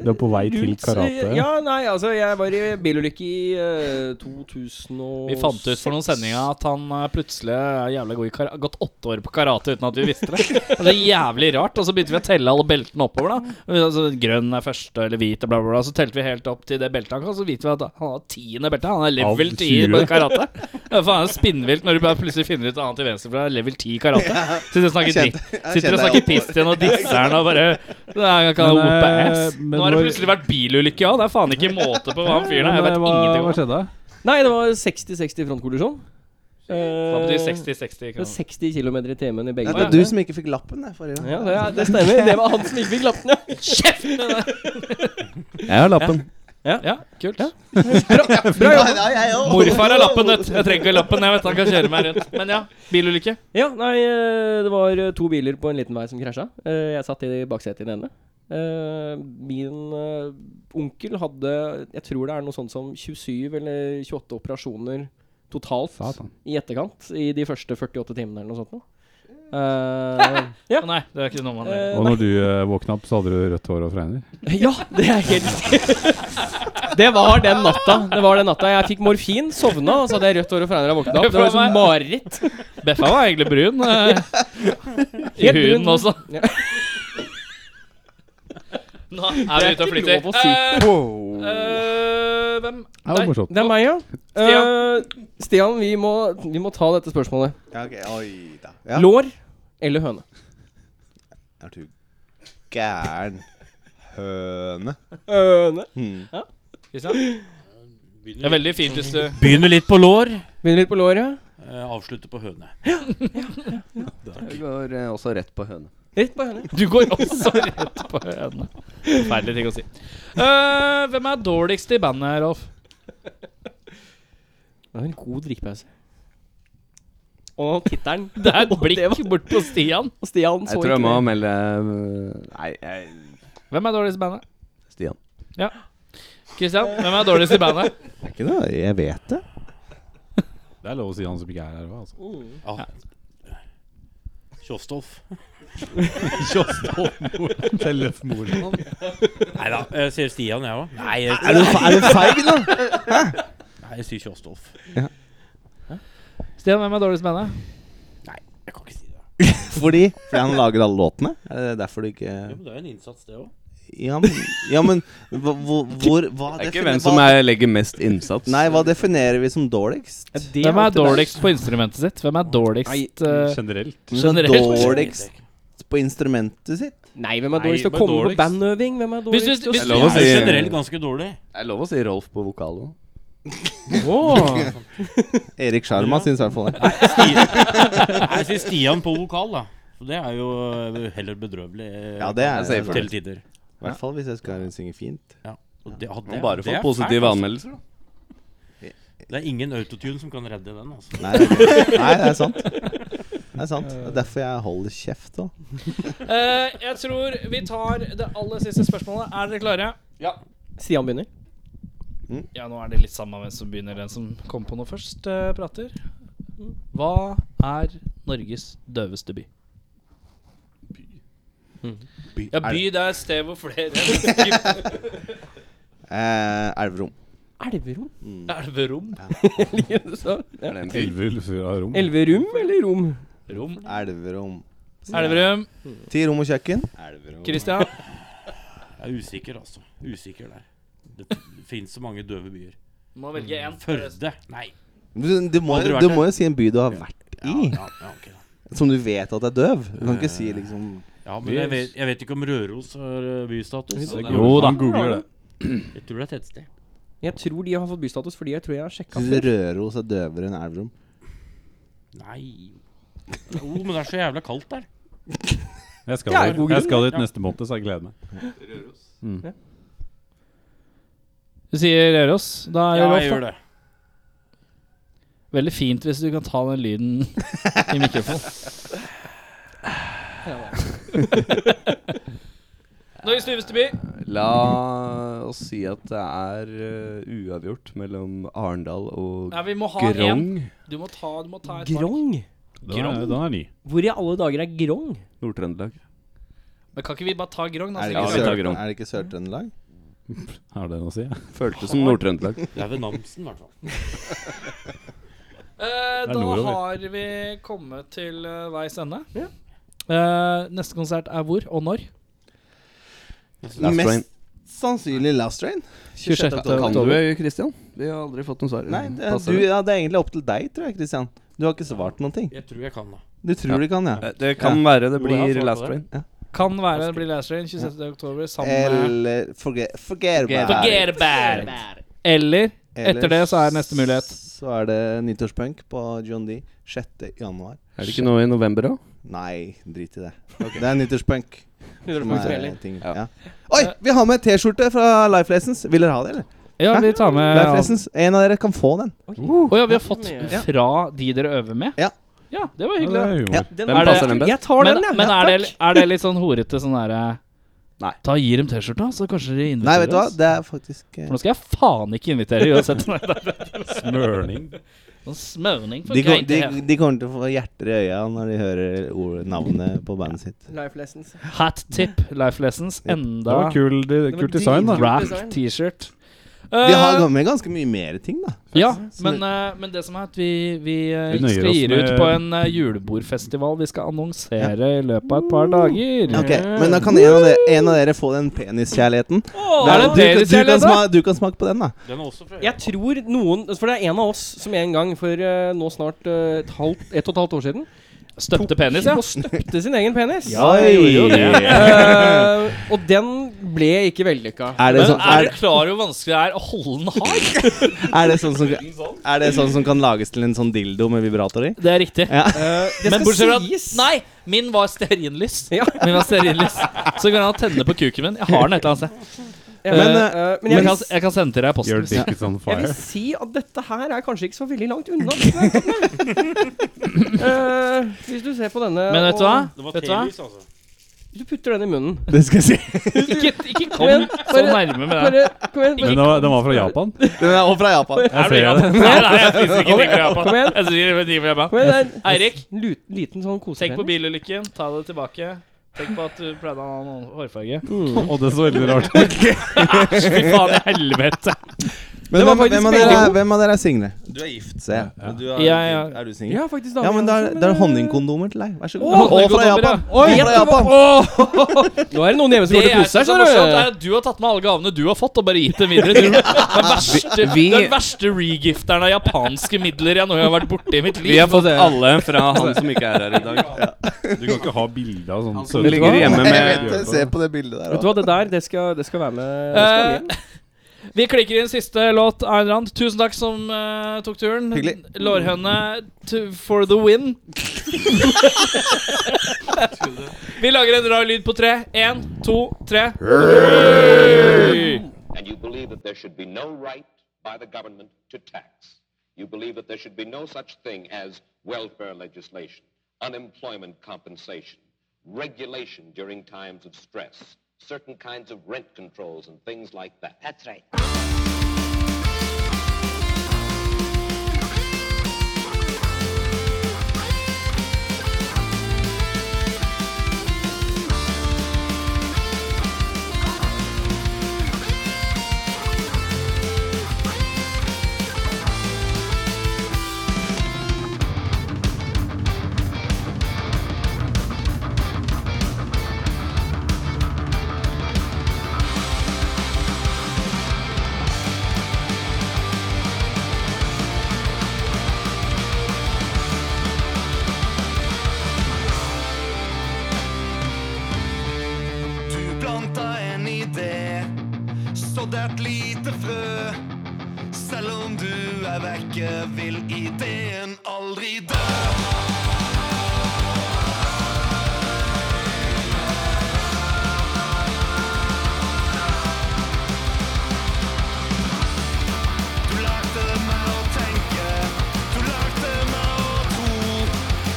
[SPEAKER 2] Du er på vei til karate?
[SPEAKER 3] Ja, nei, altså, jeg var i bilulykke i eh, 2006.
[SPEAKER 1] Vi fant ut for noen sendinger at han eh, plutselig er jævlig god i karate. Gått åtte år på karate uten at vi visste det. Det er jævlig rart. Og så begynte vi å telle alle beltene oppover, da. Altså, grønn er første, eller hvit, bla, bla, bla. Så telte vi helt opp til det beltet han kan, så viste vi at han har tiende belte. Han er level
[SPEAKER 2] Av
[SPEAKER 1] 10 på
[SPEAKER 2] 20.
[SPEAKER 1] karate. Det er faen spinnvilt når du bare plutselig finner ut annet til venstre for deg. Level 10 i karate. Sitter og snakker,
[SPEAKER 13] Jeg kjente-
[SPEAKER 1] dritt-
[SPEAKER 13] jeg
[SPEAKER 1] sitter og
[SPEAKER 13] kjente
[SPEAKER 1] snakker
[SPEAKER 13] jeg
[SPEAKER 1] piss til henne og disser henne og bare Han kan
[SPEAKER 2] Men,
[SPEAKER 1] whoop
[SPEAKER 2] eh,
[SPEAKER 1] ass.
[SPEAKER 2] men
[SPEAKER 1] Nå har det
[SPEAKER 2] det var-
[SPEAKER 1] plutselig vært bilulykke òg. Det er faen ikke måte på hva han fyren er. Jeg vet
[SPEAKER 2] eh, hva,
[SPEAKER 1] ingenting om
[SPEAKER 2] hva
[SPEAKER 1] han.
[SPEAKER 2] skjedde?
[SPEAKER 3] Nei, det var 60-60 frontkollisjon.
[SPEAKER 1] Hva
[SPEAKER 3] Uh,
[SPEAKER 1] betyr 60-60
[SPEAKER 3] Det er
[SPEAKER 1] kroner?
[SPEAKER 3] 60 km i timen i begge
[SPEAKER 13] Det er du som ikke fikk lappen der forrige
[SPEAKER 3] Ja,
[SPEAKER 13] gang.
[SPEAKER 3] det, er- det stemmer. Det var han som ikke fikk lappen, ja.
[SPEAKER 6] Jeg har lappen.
[SPEAKER 1] Ja, kult.
[SPEAKER 13] Bra, ja, jeg også.
[SPEAKER 1] Morfar har lappen, vet du. Jeg trenger ikke lappen. Jeg vet han kan kjøre meg rundt. Men ja, bilulykke.
[SPEAKER 3] Ja, nei, eh, det var eh, to biler på en liten vei som krasja. Eh, Jeg satt i baksetet i den ene. Eh, Min eh, onkel hadde Jeg tror det er noe sånt som 27 eller 28 operasjoner totalt
[SPEAKER 2] Satan.
[SPEAKER 3] i etterkant. I de første 48 timene eller noe sånt. nå. Eh, ja.
[SPEAKER 1] Å nei, det er ikke noe man
[SPEAKER 3] Eh,
[SPEAKER 2] Og når du eh, våkna opp, så hadde du rødt hår og fregner?
[SPEAKER 3] Ja, det er helt Det var den natta. Det var den natta Jeg fikk morfin, sovna, og så hadde jeg rødt hår og fregner da jeg våkna opp. Det var som mareritt.
[SPEAKER 1] Beffa var egentlig brun. eh, I
[SPEAKER 3] Helt brun.
[SPEAKER 1] huden også.
[SPEAKER 3] Ja.
[SPEAKER 1] Nå er vi ute og flytter.
[SPEAKER 3] lov å si.
[SPEAKER 1] Eh,
[SPEAKER 2] Wow.
[SPEAKER 1] eh, hvem?
[SPEAKER 2] Det var
[SPEAKER 1] Nei.
[SPEAKER 2] morsomt.
[SPEAKER 3] Det er meg, ja.
[SPEAKER 1] Stian.
[SPEAKER 3] Eh, Stian, vi må, vi må ta dette spørsmålet.
[SPEAKER 13] Ja, ok. Oi da. Ja.
[SPEAKER 3] Lår eller høne?
[SPEAKER 13] Er du gæren høne?
[SPEAKER 3] Høne.
[SPEAKER 13] Hmm.
[SPEAKER 1] Kristian? Det er veldig fint hvis du
[SPEAKER 11] Begynner litt på lår,
[SPEAKER 3] Begynner litt på låret.
[SPEAKER 11] eh, avslutter på høne.
[SPEAKER 9] Jeg går eh, også rett på høne.
[SPEAKER 3] Rett på høne.
[SPEAKER 1] Du går også rett på henne. Forferdelig ting å si. Eh, hvem er dårligst i bandet, Rolf?
[SPEAKER 3] Det var en god drikkepause. Og tittelen
[SPEAKER 1] Det er et
[SPEAKER 3] Og det
[SPEAKER 1] blikk
[SPEAKER 3] var-
[SPEAKER 1] bort på Stian.
[SPEAKER 3] Og Stian så
[SPEAKER 9] Jeg tror jeg må
[SPEAKER 3] ikke det.
[SPEAKER 9] melde eh, Nei, jeg
[SPEAKER 1] Hvem er dårligst i bandet?
[SPEAKER 9] Stian.
[SPEAKER 1] Kristian, hvem er dårligst i bandet?
[SPEAKER 13] Det er ikke noe Jeg vet det.
[SPEAKER 2] Det er lov å si han som ikke er her òg, altså.
[SPEAKER 11] Ja. Kjostolf. Nei da, jeg sier Stian, jeg òg. Nei, jeg-
[SPEAKER 13] Er du, er du feig nå?
[SPEAKER 11] nei, jeg sier Kjostolf.
[SPEAKER 1] Stian, hvem er dårligst i bandet?
[SPEAKER 11] Jeg kan ikke si det.
[SPEAKER 13] Fordi Fordi han lager alle låtene? Er det derfor du ikke
[SPEAKER 11] Jo, men det er jo en innsats, det òg.
[SPEAKER 13] Ja, men, ja, men hva, hvor, hvor hva
[SPEAKER 9] Det er ikke
[SPEAKER 13] definer-
[SPEAKER 9] hvem som
[SPEAKER 13] hva-
[SPEAKER 9] er, legger mest innsats.
[SPEAKER 13] Nei, hva definerer vi som dårligst?
[SPEAKER 1] Hvem er dårligst på instrumentet sitt? Hvem er dårligst eh,
[SPEAKER 2] Generelt.
[SPEAKER 13] Hvem som er
[SPEAKER 1] generelt?
[SPEAKER 13] Dårligst på instrumentet sitt?
[SPEAKER 3] Nei, hvem er
[SPEAKER 2] Nei,
[SPEAKER 3] dårligst til å
[SPEAKER 2] men
[SPEAKER 3] komme
[SPEAKER 2] dårligst.
[SPEAKER 3] på bandøving? Hvem er
[SPEAKER 1] Hvis-
[SPEAKER 3] dårligst
[SPEAKER 1] hvis-
[SPEAKER 3] til å
[SPEAKER 1] hvis-
[SPEAKER 9] Det er lov å
[SPEAKER 11] Jeg
[SPEAKER 9] si,
[SPEAKER 11] er generelt ganske dårlig.
[SPEAKER 9] det er lov å si Rolf på vokal òg.
[SPEAKER 1] Åh.
[SPEAKER 13] Erik Sjarma syns i hvert fall det.
[SPEAKER 11] Stian. Nei, Jeg sier Stian på vokal, da. Så det er jo heller bedrøvelig eh,
[SPEAKER 8] Ja, det er det.
[SPEAKER 11] til tider.
[SPEAKER 8] I hvert fall hvis jeg skal synge fint.
[SPEAKER 11] Ja. Og det, ja,
[SPEAKER 8] Man
[SPEAKER 11] det,
[SPEAKER 8] bare
[SPEAKER 11] det
[SPEAKER 8] får
[SPEAKER 11] er
[SPEAKER 8] positive
[SPEAKER 11] fælt, altså.
[SPEAKER 8] anmeldelser, da.
[SPEAKER 11] Det er ingen autotune som kan redde den, altså.
[SPEAKER 8] Nei, nei, det er sant. Det er sant. Det er derfor jeg holder kjeft da
[SPEAKER 1] Eh, jeg tror vi tar det aller siste spørsmålet. Er dere klare? Ja.
[SPEAKER 3] Stian begynner.
[SPEAKER 1] Ja, nå er det litt samme hvem som begynner. Den som kom på noe først, eh, prater. Hva er Norges døveste by? By. Ja, by det er et sted hvor flere mennesker
[SPEAKER 8] Eh, Elverum.
[SPEAKER 3] Elverom?
[SPEAKER 8] Mm.
[SPEAKER 1] Elverom?
[SPEAKER 3] Liker du så? Ja.
[SPEAKER 8] Elverum.
[SPEAKER 3] Elverum eller rom?
[SPEAKER 1] Rom.
[SPEAKER 8] Elverum.
[SPEAKER 1] Elverum.
[SPEAKER 8] Ti rom og kjøkken.
[SPEAKER 1] Christian?
[SPEAKER 11] Jeg er usikker, altså. Usikker der. Det fins så mange døve byer.
[SPEAKER 1] Må velge en.
[SPEAKER 11] Førde. Nei.
[SPEAKER 8] Du, du, må,
[SPEAKER 11] Aldri vært
[SPEAKER 8] du
[SPEAKER 11] der.
[SPEAKER 8] må jo si en by du har vært i.
[SPEAKER 11] ja, ja, ok
[SPEAKER 8] Som du vet at er døv. Du kan ikke si liksom
[SPEAKER 11] Ja, men jeg vet, jeg vet ikke om Røros har eh, bystatus.
[SPEAKER 8] Jo da. Han googler det.
[SPEAKER 11] Jeg tror det er tettsted.
[SPEAKER 3] Jeg tror de har fått bystatus fordi jeg tror jeg har sjekka
[SPEAKER 8] Synes Røros er døvere enn Elverum.
[SPEAKER 11] Nei Jo, men det er så jævla kaldt der.
[SPEAKER 2] Jeg skal,
[SPEAKER 11] Ja,
[SPEAKER 2] dit. jeg
[SPEAKER 11] god grunn,
[SPEAKER 2] skal dit
[SPEAKER 11] ja.
[SPEAKER 2] neste måned, så jeg gleder meg. Mm.
[SPEAKER 1] Du sier Røros. Da er
[SPEAKER 11] Ja,
[SPEAKER 1] Rolf,
[SPEAKER 11] jeg
[SPEAKER 1] da.
[SPEAKER 11] gjør det.
[SPEAKER 1] Veldig fint hvis du kan ta den lyden i mikrofonen. Norges dyreste by.
[SPEAKER 9] La oss si at det er eh, uavgjort mellom Arendal og
[SPEAKER 1] Nei, vi må ha
[SPEAKER 9] Grong.
[SPEAKER 1] en. Du må ta, du må ta et
[SPEAKER 3] Grong?
[SPEAKER 9] Den er- Grong? den er ny.
[SPEAKER 3] Hvor i alle dager er Grong?
[SPEAKER 9] Nord-Trøndelag.
[SPEAKER 1] Men kan ikke vi bare ta Grong? da? så
[SPEAKER 8] Er det ikke
[SPEAKER 1] lenge
[SPEAKER 8] Sør-
[SPEAKER 1] vi-
[SPEAKER 8] er det ikke Sør-Trøndelag?
[SPEAKER 1] Mm.
[SPEAKER 2] Er det noe å si?
[SPEAKER 9] Føltes som Nord-Trøndelag.
[SPEAKER 11] Det er ved Namsen, i hvert fall.
[SPEAKER 1] Eh,
[SPEAKER 9] Det er
[SPEAKER 1] da
[SPEAKER 9] nordover.
[SPEAKER 1] har vi kommet til eh, veis ende. Eh, neste konsert er hvor og når?
[SPEAKER 8] Mest sannsynlig Last Train.
[SPEAKER 1] 26.
[SPEAKER 8] oktober.
[SPEAKER 9] Kan du, Christian? Vi har aldri fått noe svar.
[SPEAKER 8] Nei, det,
[SPEAKER 9] Passer
[SPEAKER 8] du,
[SPEAKER 9] det?
[SPEAKER 8] ja, det er egentlig opp til deg, tror jeg, Christian. Du har ikke svart noen ting.
[SPEAKER 11] Jeg tror jeg kan, da.
[SPEAKER 8] Du tror
[SPEAKER 9] Ja. Eh,
[SPEAKER 8] du kan, ja?
[SPEAKER 9] Det- det kan være det Jo, jeg har blir svart på Last det. Train.
[SPEAKER 8] Ja.
[SPEAKER 1] Kan være det blir Last Train 26. oktober sammen med
[SPEAKER 8] Eller Forget, forget, about it.
[SPEAKER 1] Forget about it. Eller etter det så er neste mulighet.
[SPEAKER 8] Så er det nyttårspunk på John D. 6. januar.
[SPEAKER 9] Er det ikke noe i november da?
[SPEAKER 8] Nei, drit i det. Det er nyttårspunk. som
[SPEAKER 9] Nyttårspunk
[SPEAKER 8] er
[SPEAKER 9] spiller.
[SPEAKER 8] ting- ja. Oi, vi har med T-skjorte fra Life Lessons. Vil dere ha det, eller?
[SPEAKER 1] Ja,
[SPEAKER 8] Hæ?
[SPEAKER 1] vi tar med
[SPEAKER 8] Life Lessons. En av dere kan få den.
[SPEAKER 3] Å
[SPEAKER 1] ja, vi har fått fra de dere øver med?
[SPEAKER 8] Ja.
[SPEAKER 1] Ja, det var
[SPEAKER 8] Ja, det er
[SPEAKER 1] hyggelig.
[SPEAKER 8] humor. Ja, den
[SPEAKER 1] Er
[SPEAKER 8] passer den best. Jeg tar den,
[SPEAKER 1] men,
[SPEAKER 8] jeg.
[SPEAKER 1] Men
[SPEAKER 8] Ja,
[SPEAKER 1] er det,
[SPEAKER 8] takk.
[SPEAKER 1] er det litt sånn horete sånn derre
[SPEAKER 9] Nei.
[SPEAKER 1] Ta og Gi dem T-skjorta, så kanskje de inviterer
[SPEAKER 8] Nei, vet du hva?
[SPEAKER 1] oss.
[SPEAKER 8] Det er faktisk eh,
[SPEAKER 1] For nå skal jeg faen ikke invitere uansett.
[SPEAKER 8] Smørning.
[SPEAKER 1] Sånn smørning for
[SPEAKER 8] de, kom,
[SPEAKER 1] greit
[SPEAKER 8] de,
[SPEAKER 1] det her.
[SPEAKER 8] de kommer til å få hjerter i øya når de hører ord, navnet på bandet sitt.
[SPEAKER 3] Life lessons.
[SPEAKER 1] Hot tip, Life Lessons. Enda
[SPEAKER 8] Det var kul- det- kult design, da.
[SPEAKER 1] Wrapped T-shirt.
[SPEAKER 8] De har
[SPEAKER 1] Eh,
[SPEAKER 8] kommet med ganske mye mer ting, da.
[SPEAKER 1] Ja, men, eh, men det som er at vi, vi, eh,
[SPEAKER 8] Vi nøyer
[SPEAKER 1] skal
[SPEAKER 8] oss
[SPEAKER 1] gi det
[SPEAKER 8] med-
[SPEAKER 1] ut på en eh, julebordfestival vi skal annonsere i løpet av et par dager.
[SPEAKER 8] Ok, Men da kan en av dere, en av dere få den peniskjærligheten. Da-
[SPEAKER 3] er det
[SPEAKER 8] du, du,
[SPEAKER 3] peniskjærlighet,
[SPEAKER 8] kan
[SPEAKER 3] da?
[SPEAKER 8] smake, du kan smake på den, da.
[SPEAKER 3] Jeg tror noen For det er en av oss som en gang for eh, nå snart eh, et, halvt, et og et halvt år siden
[SPEAKER 1] Støpte
[SPEAKER 3] tok
[SPEAKER 1] penis, ja.
[SPEAKER 3] Og støpte sin egen penis.
[SPEAKER 1] Ja, jeg gjorde jo det.
[SPEAKER 3] Eh, og den ble ikke vellykka.
[SPEAKER 8] Er det
[SPEAKER 1] Men
[SPEAKER 8] sånn- er
[SPEAKER 1] er du
[SPEAKER 8] det-
[SPEAKER 1] klar over hvor vanskelig det er å holde den hard?
[SPEAKER 8] Er det, sånn som, er det sånn som kan lages til en sånn dildo med vibrator i?
[SPEAKER 1] Det er riktig.
[SPEAKER 8] Ja.
[SPEAKER 3] Eh, det
[SPEAKER 1] Men
[SPEAKER 3] skal
[SPEAKER 1] bortsett fra at
[SPEAKER 3] sies.
[SPEAKER 1] Nei, min var stearinlys. Min var stearinlys Så kan han tenne på kuken min. Jeg har den et eller annet sted.
[SPEAKER 3] Ja,
[SPEAKER 1] Eh,
[SPEAKER 3] men, eh,
[SPEAKER 1] men
[SPEAKER 3] men jeg
[SPEAKER 1] jeg,
[SPEAKER 3] vil
[SPEAKER 1] kan,
[SPEAKER 3] s-
[SPEAKER 1] jeg kan sende til deg i posten.
[SPEAKER 2] Your
[SPEAKER 1] hvis-
[SPEAKER 2] dick is on
[SPEAKER 1] Ja.
[SPEAKER 3] Jeg vil si at dette her er kanskje ikke så veldig langt unna. det som jeg kom med. Eh, hvis du ser på denne
[SPEAKER 1] Men vet du hva?
[SPEAKER 3] og-
[SPEAKER 1] Vet du hva?
[SPEAKER 11] altså.
[SPEAKER 3] Hvis du putter den i munnen
[SPEAKER 8] Det skal jeg si.
[SPEAKER 1] ikke, ikke kom så nærme med det.
[SPEAKER 3] Bare, kom igjen,
[SPEAKER 2] Men den var- den var fra Japan?
[SPEAKER 8] Den er også fra Japan.
[SPEAKER 2] Jeg ser det.
[SPEAKER 1] Nei, nei, jeg spiser ikke ting fra Japan.
[SPEAKER 3] Kom igjen.
[SPEAKER 1] Jeg spiser ikke ting fra
[SPEAKER 3] Kom
[SPEAKER 1] Japan.
[SPEAKER 3] igjen, det er-
[SPEAKER 1] Eirik,
[SPEAKER 3] Lut- liten sånn
[SPEAKER 1] tenk på
[SPEAKER 3] kosepenis.
[SPEAKER 1] bilulykken. Ta det tilbake. Tenk på at du pleide å ha noen hårfarge.
[SPEAKER 2] Og det så veldig rart ut.
[SPEAKER 1] Æsj, fy faen i helvete.
[SPEAKER 8] Men hvem, hvem, av dere, er- hvem av dere er single?
[SPEAKER 14] Du er gift,
[SPEAKER 8] ser jeg.
[SPEAKER 14] Ja.
[SPEAKER 8] Og Du
[SPEAKER 14] Ja,
[SPEAKER 8] er,
[SPEAKER 14] ja.
[SPEAKER 8] Er du singel?
[SPEAKER 14] Jeg er faktisk dame,
[SPEAKER 8] ja, men da er,
[SPEAKER 14] altså, men
[SPEAKER 8] da er
[SPEAKER 14] det-
[SPEAKER 8] honningkondomer til deg. Vær så god.
[SPEAKER 14] Å,
[SPEAKER 8] og fra
[SPEAKER 14] honningkondomer,
[SPEAKER 8] Japan!
[SPEAKER 14] ja.
[SPEAKER 8] Oi,
[SPEAKER 1] Vet
[SPEAKER 8] fra
[SPEAKER 1] du
[SPEAKER 8] Japan!
[SPEAKER 3] Nå er det noen hjemme
[SPEAKER 1] Det
[SPEAKER 3] som går til
[SPEAKER 1] jeg
[SPEAKER 3] kose
[SPEAKER 1] synes
[SPEAKER 3] her.
[SPEAKER 1] er
[SPEAKER 3] skjønner du.
[SPEAKER 1] morsomt, er at du har tatt med alle gavene du har fått, og bare gitt dem videre. Du, den verste,
[SPEAKER 9] Vi-
[SPEAKER 1] den verste regifteren av japanske midler jeg noen gang har vært borti i mitt liv.
[SPEAKER 9] Vi har fått alle fra han som ikke er her i dag.
[SPEAKER 2] Du kan ikke ha bilde av sånn
[SPEAKER 9] som ligger hjemme med
[SPEAKER 3] Vet du hva, det der, det skal, det skal være med. Det skal med.
[SPEAKER 1] Eh, vi klikker inn siste låt, Ayn Rand. Tusen takk som eh, tok turen.
[SPEAKER 3] Hyggelig.
[SPEAKER 1] Lårhøne to, for the win. Vi lager en rar lyd på tre. Én, to, tre.
[SPEAKER 12] And you believe that there should be no right by the government to tax. You believe that there should be no such thing as welfare legislation, unemployment compensation, regulation during times of stress, certain kinds of rent controls and things like that. That's right.
[SPEAKER 15] Du planta en idé, sådd et lite frø. Selv om du er vekke, vil ideen aldri dø. Du lærte meg å tenke, du lærte meg å tro.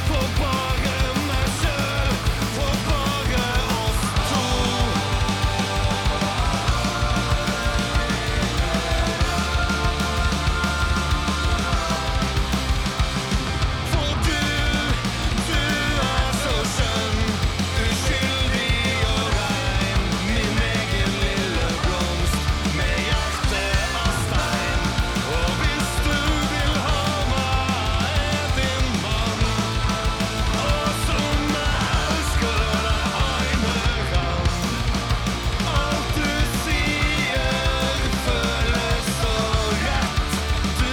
[SPEAKER 15] På bare meg sjøl, på bare oss to. For du, du er så skjønn, uskyldig og rein. Min egen lille blomst med hjerte av stein. Og hvis du vil ha meg, er din mann. Og som jeg elsker deg, Einar. Alt du sier, føles så rett. Du er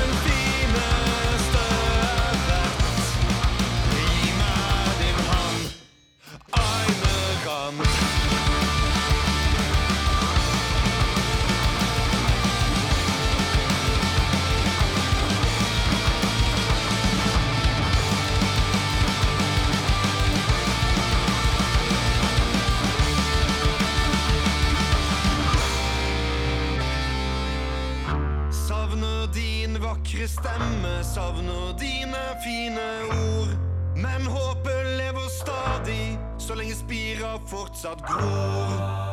[SPEAKER 15] den fineste jeg vet. Gi meg din hånd, Einar. Savner din vakre stemme, savner dine fine ord. Men håpet lever stadig, så lenge spira fortsatt gror.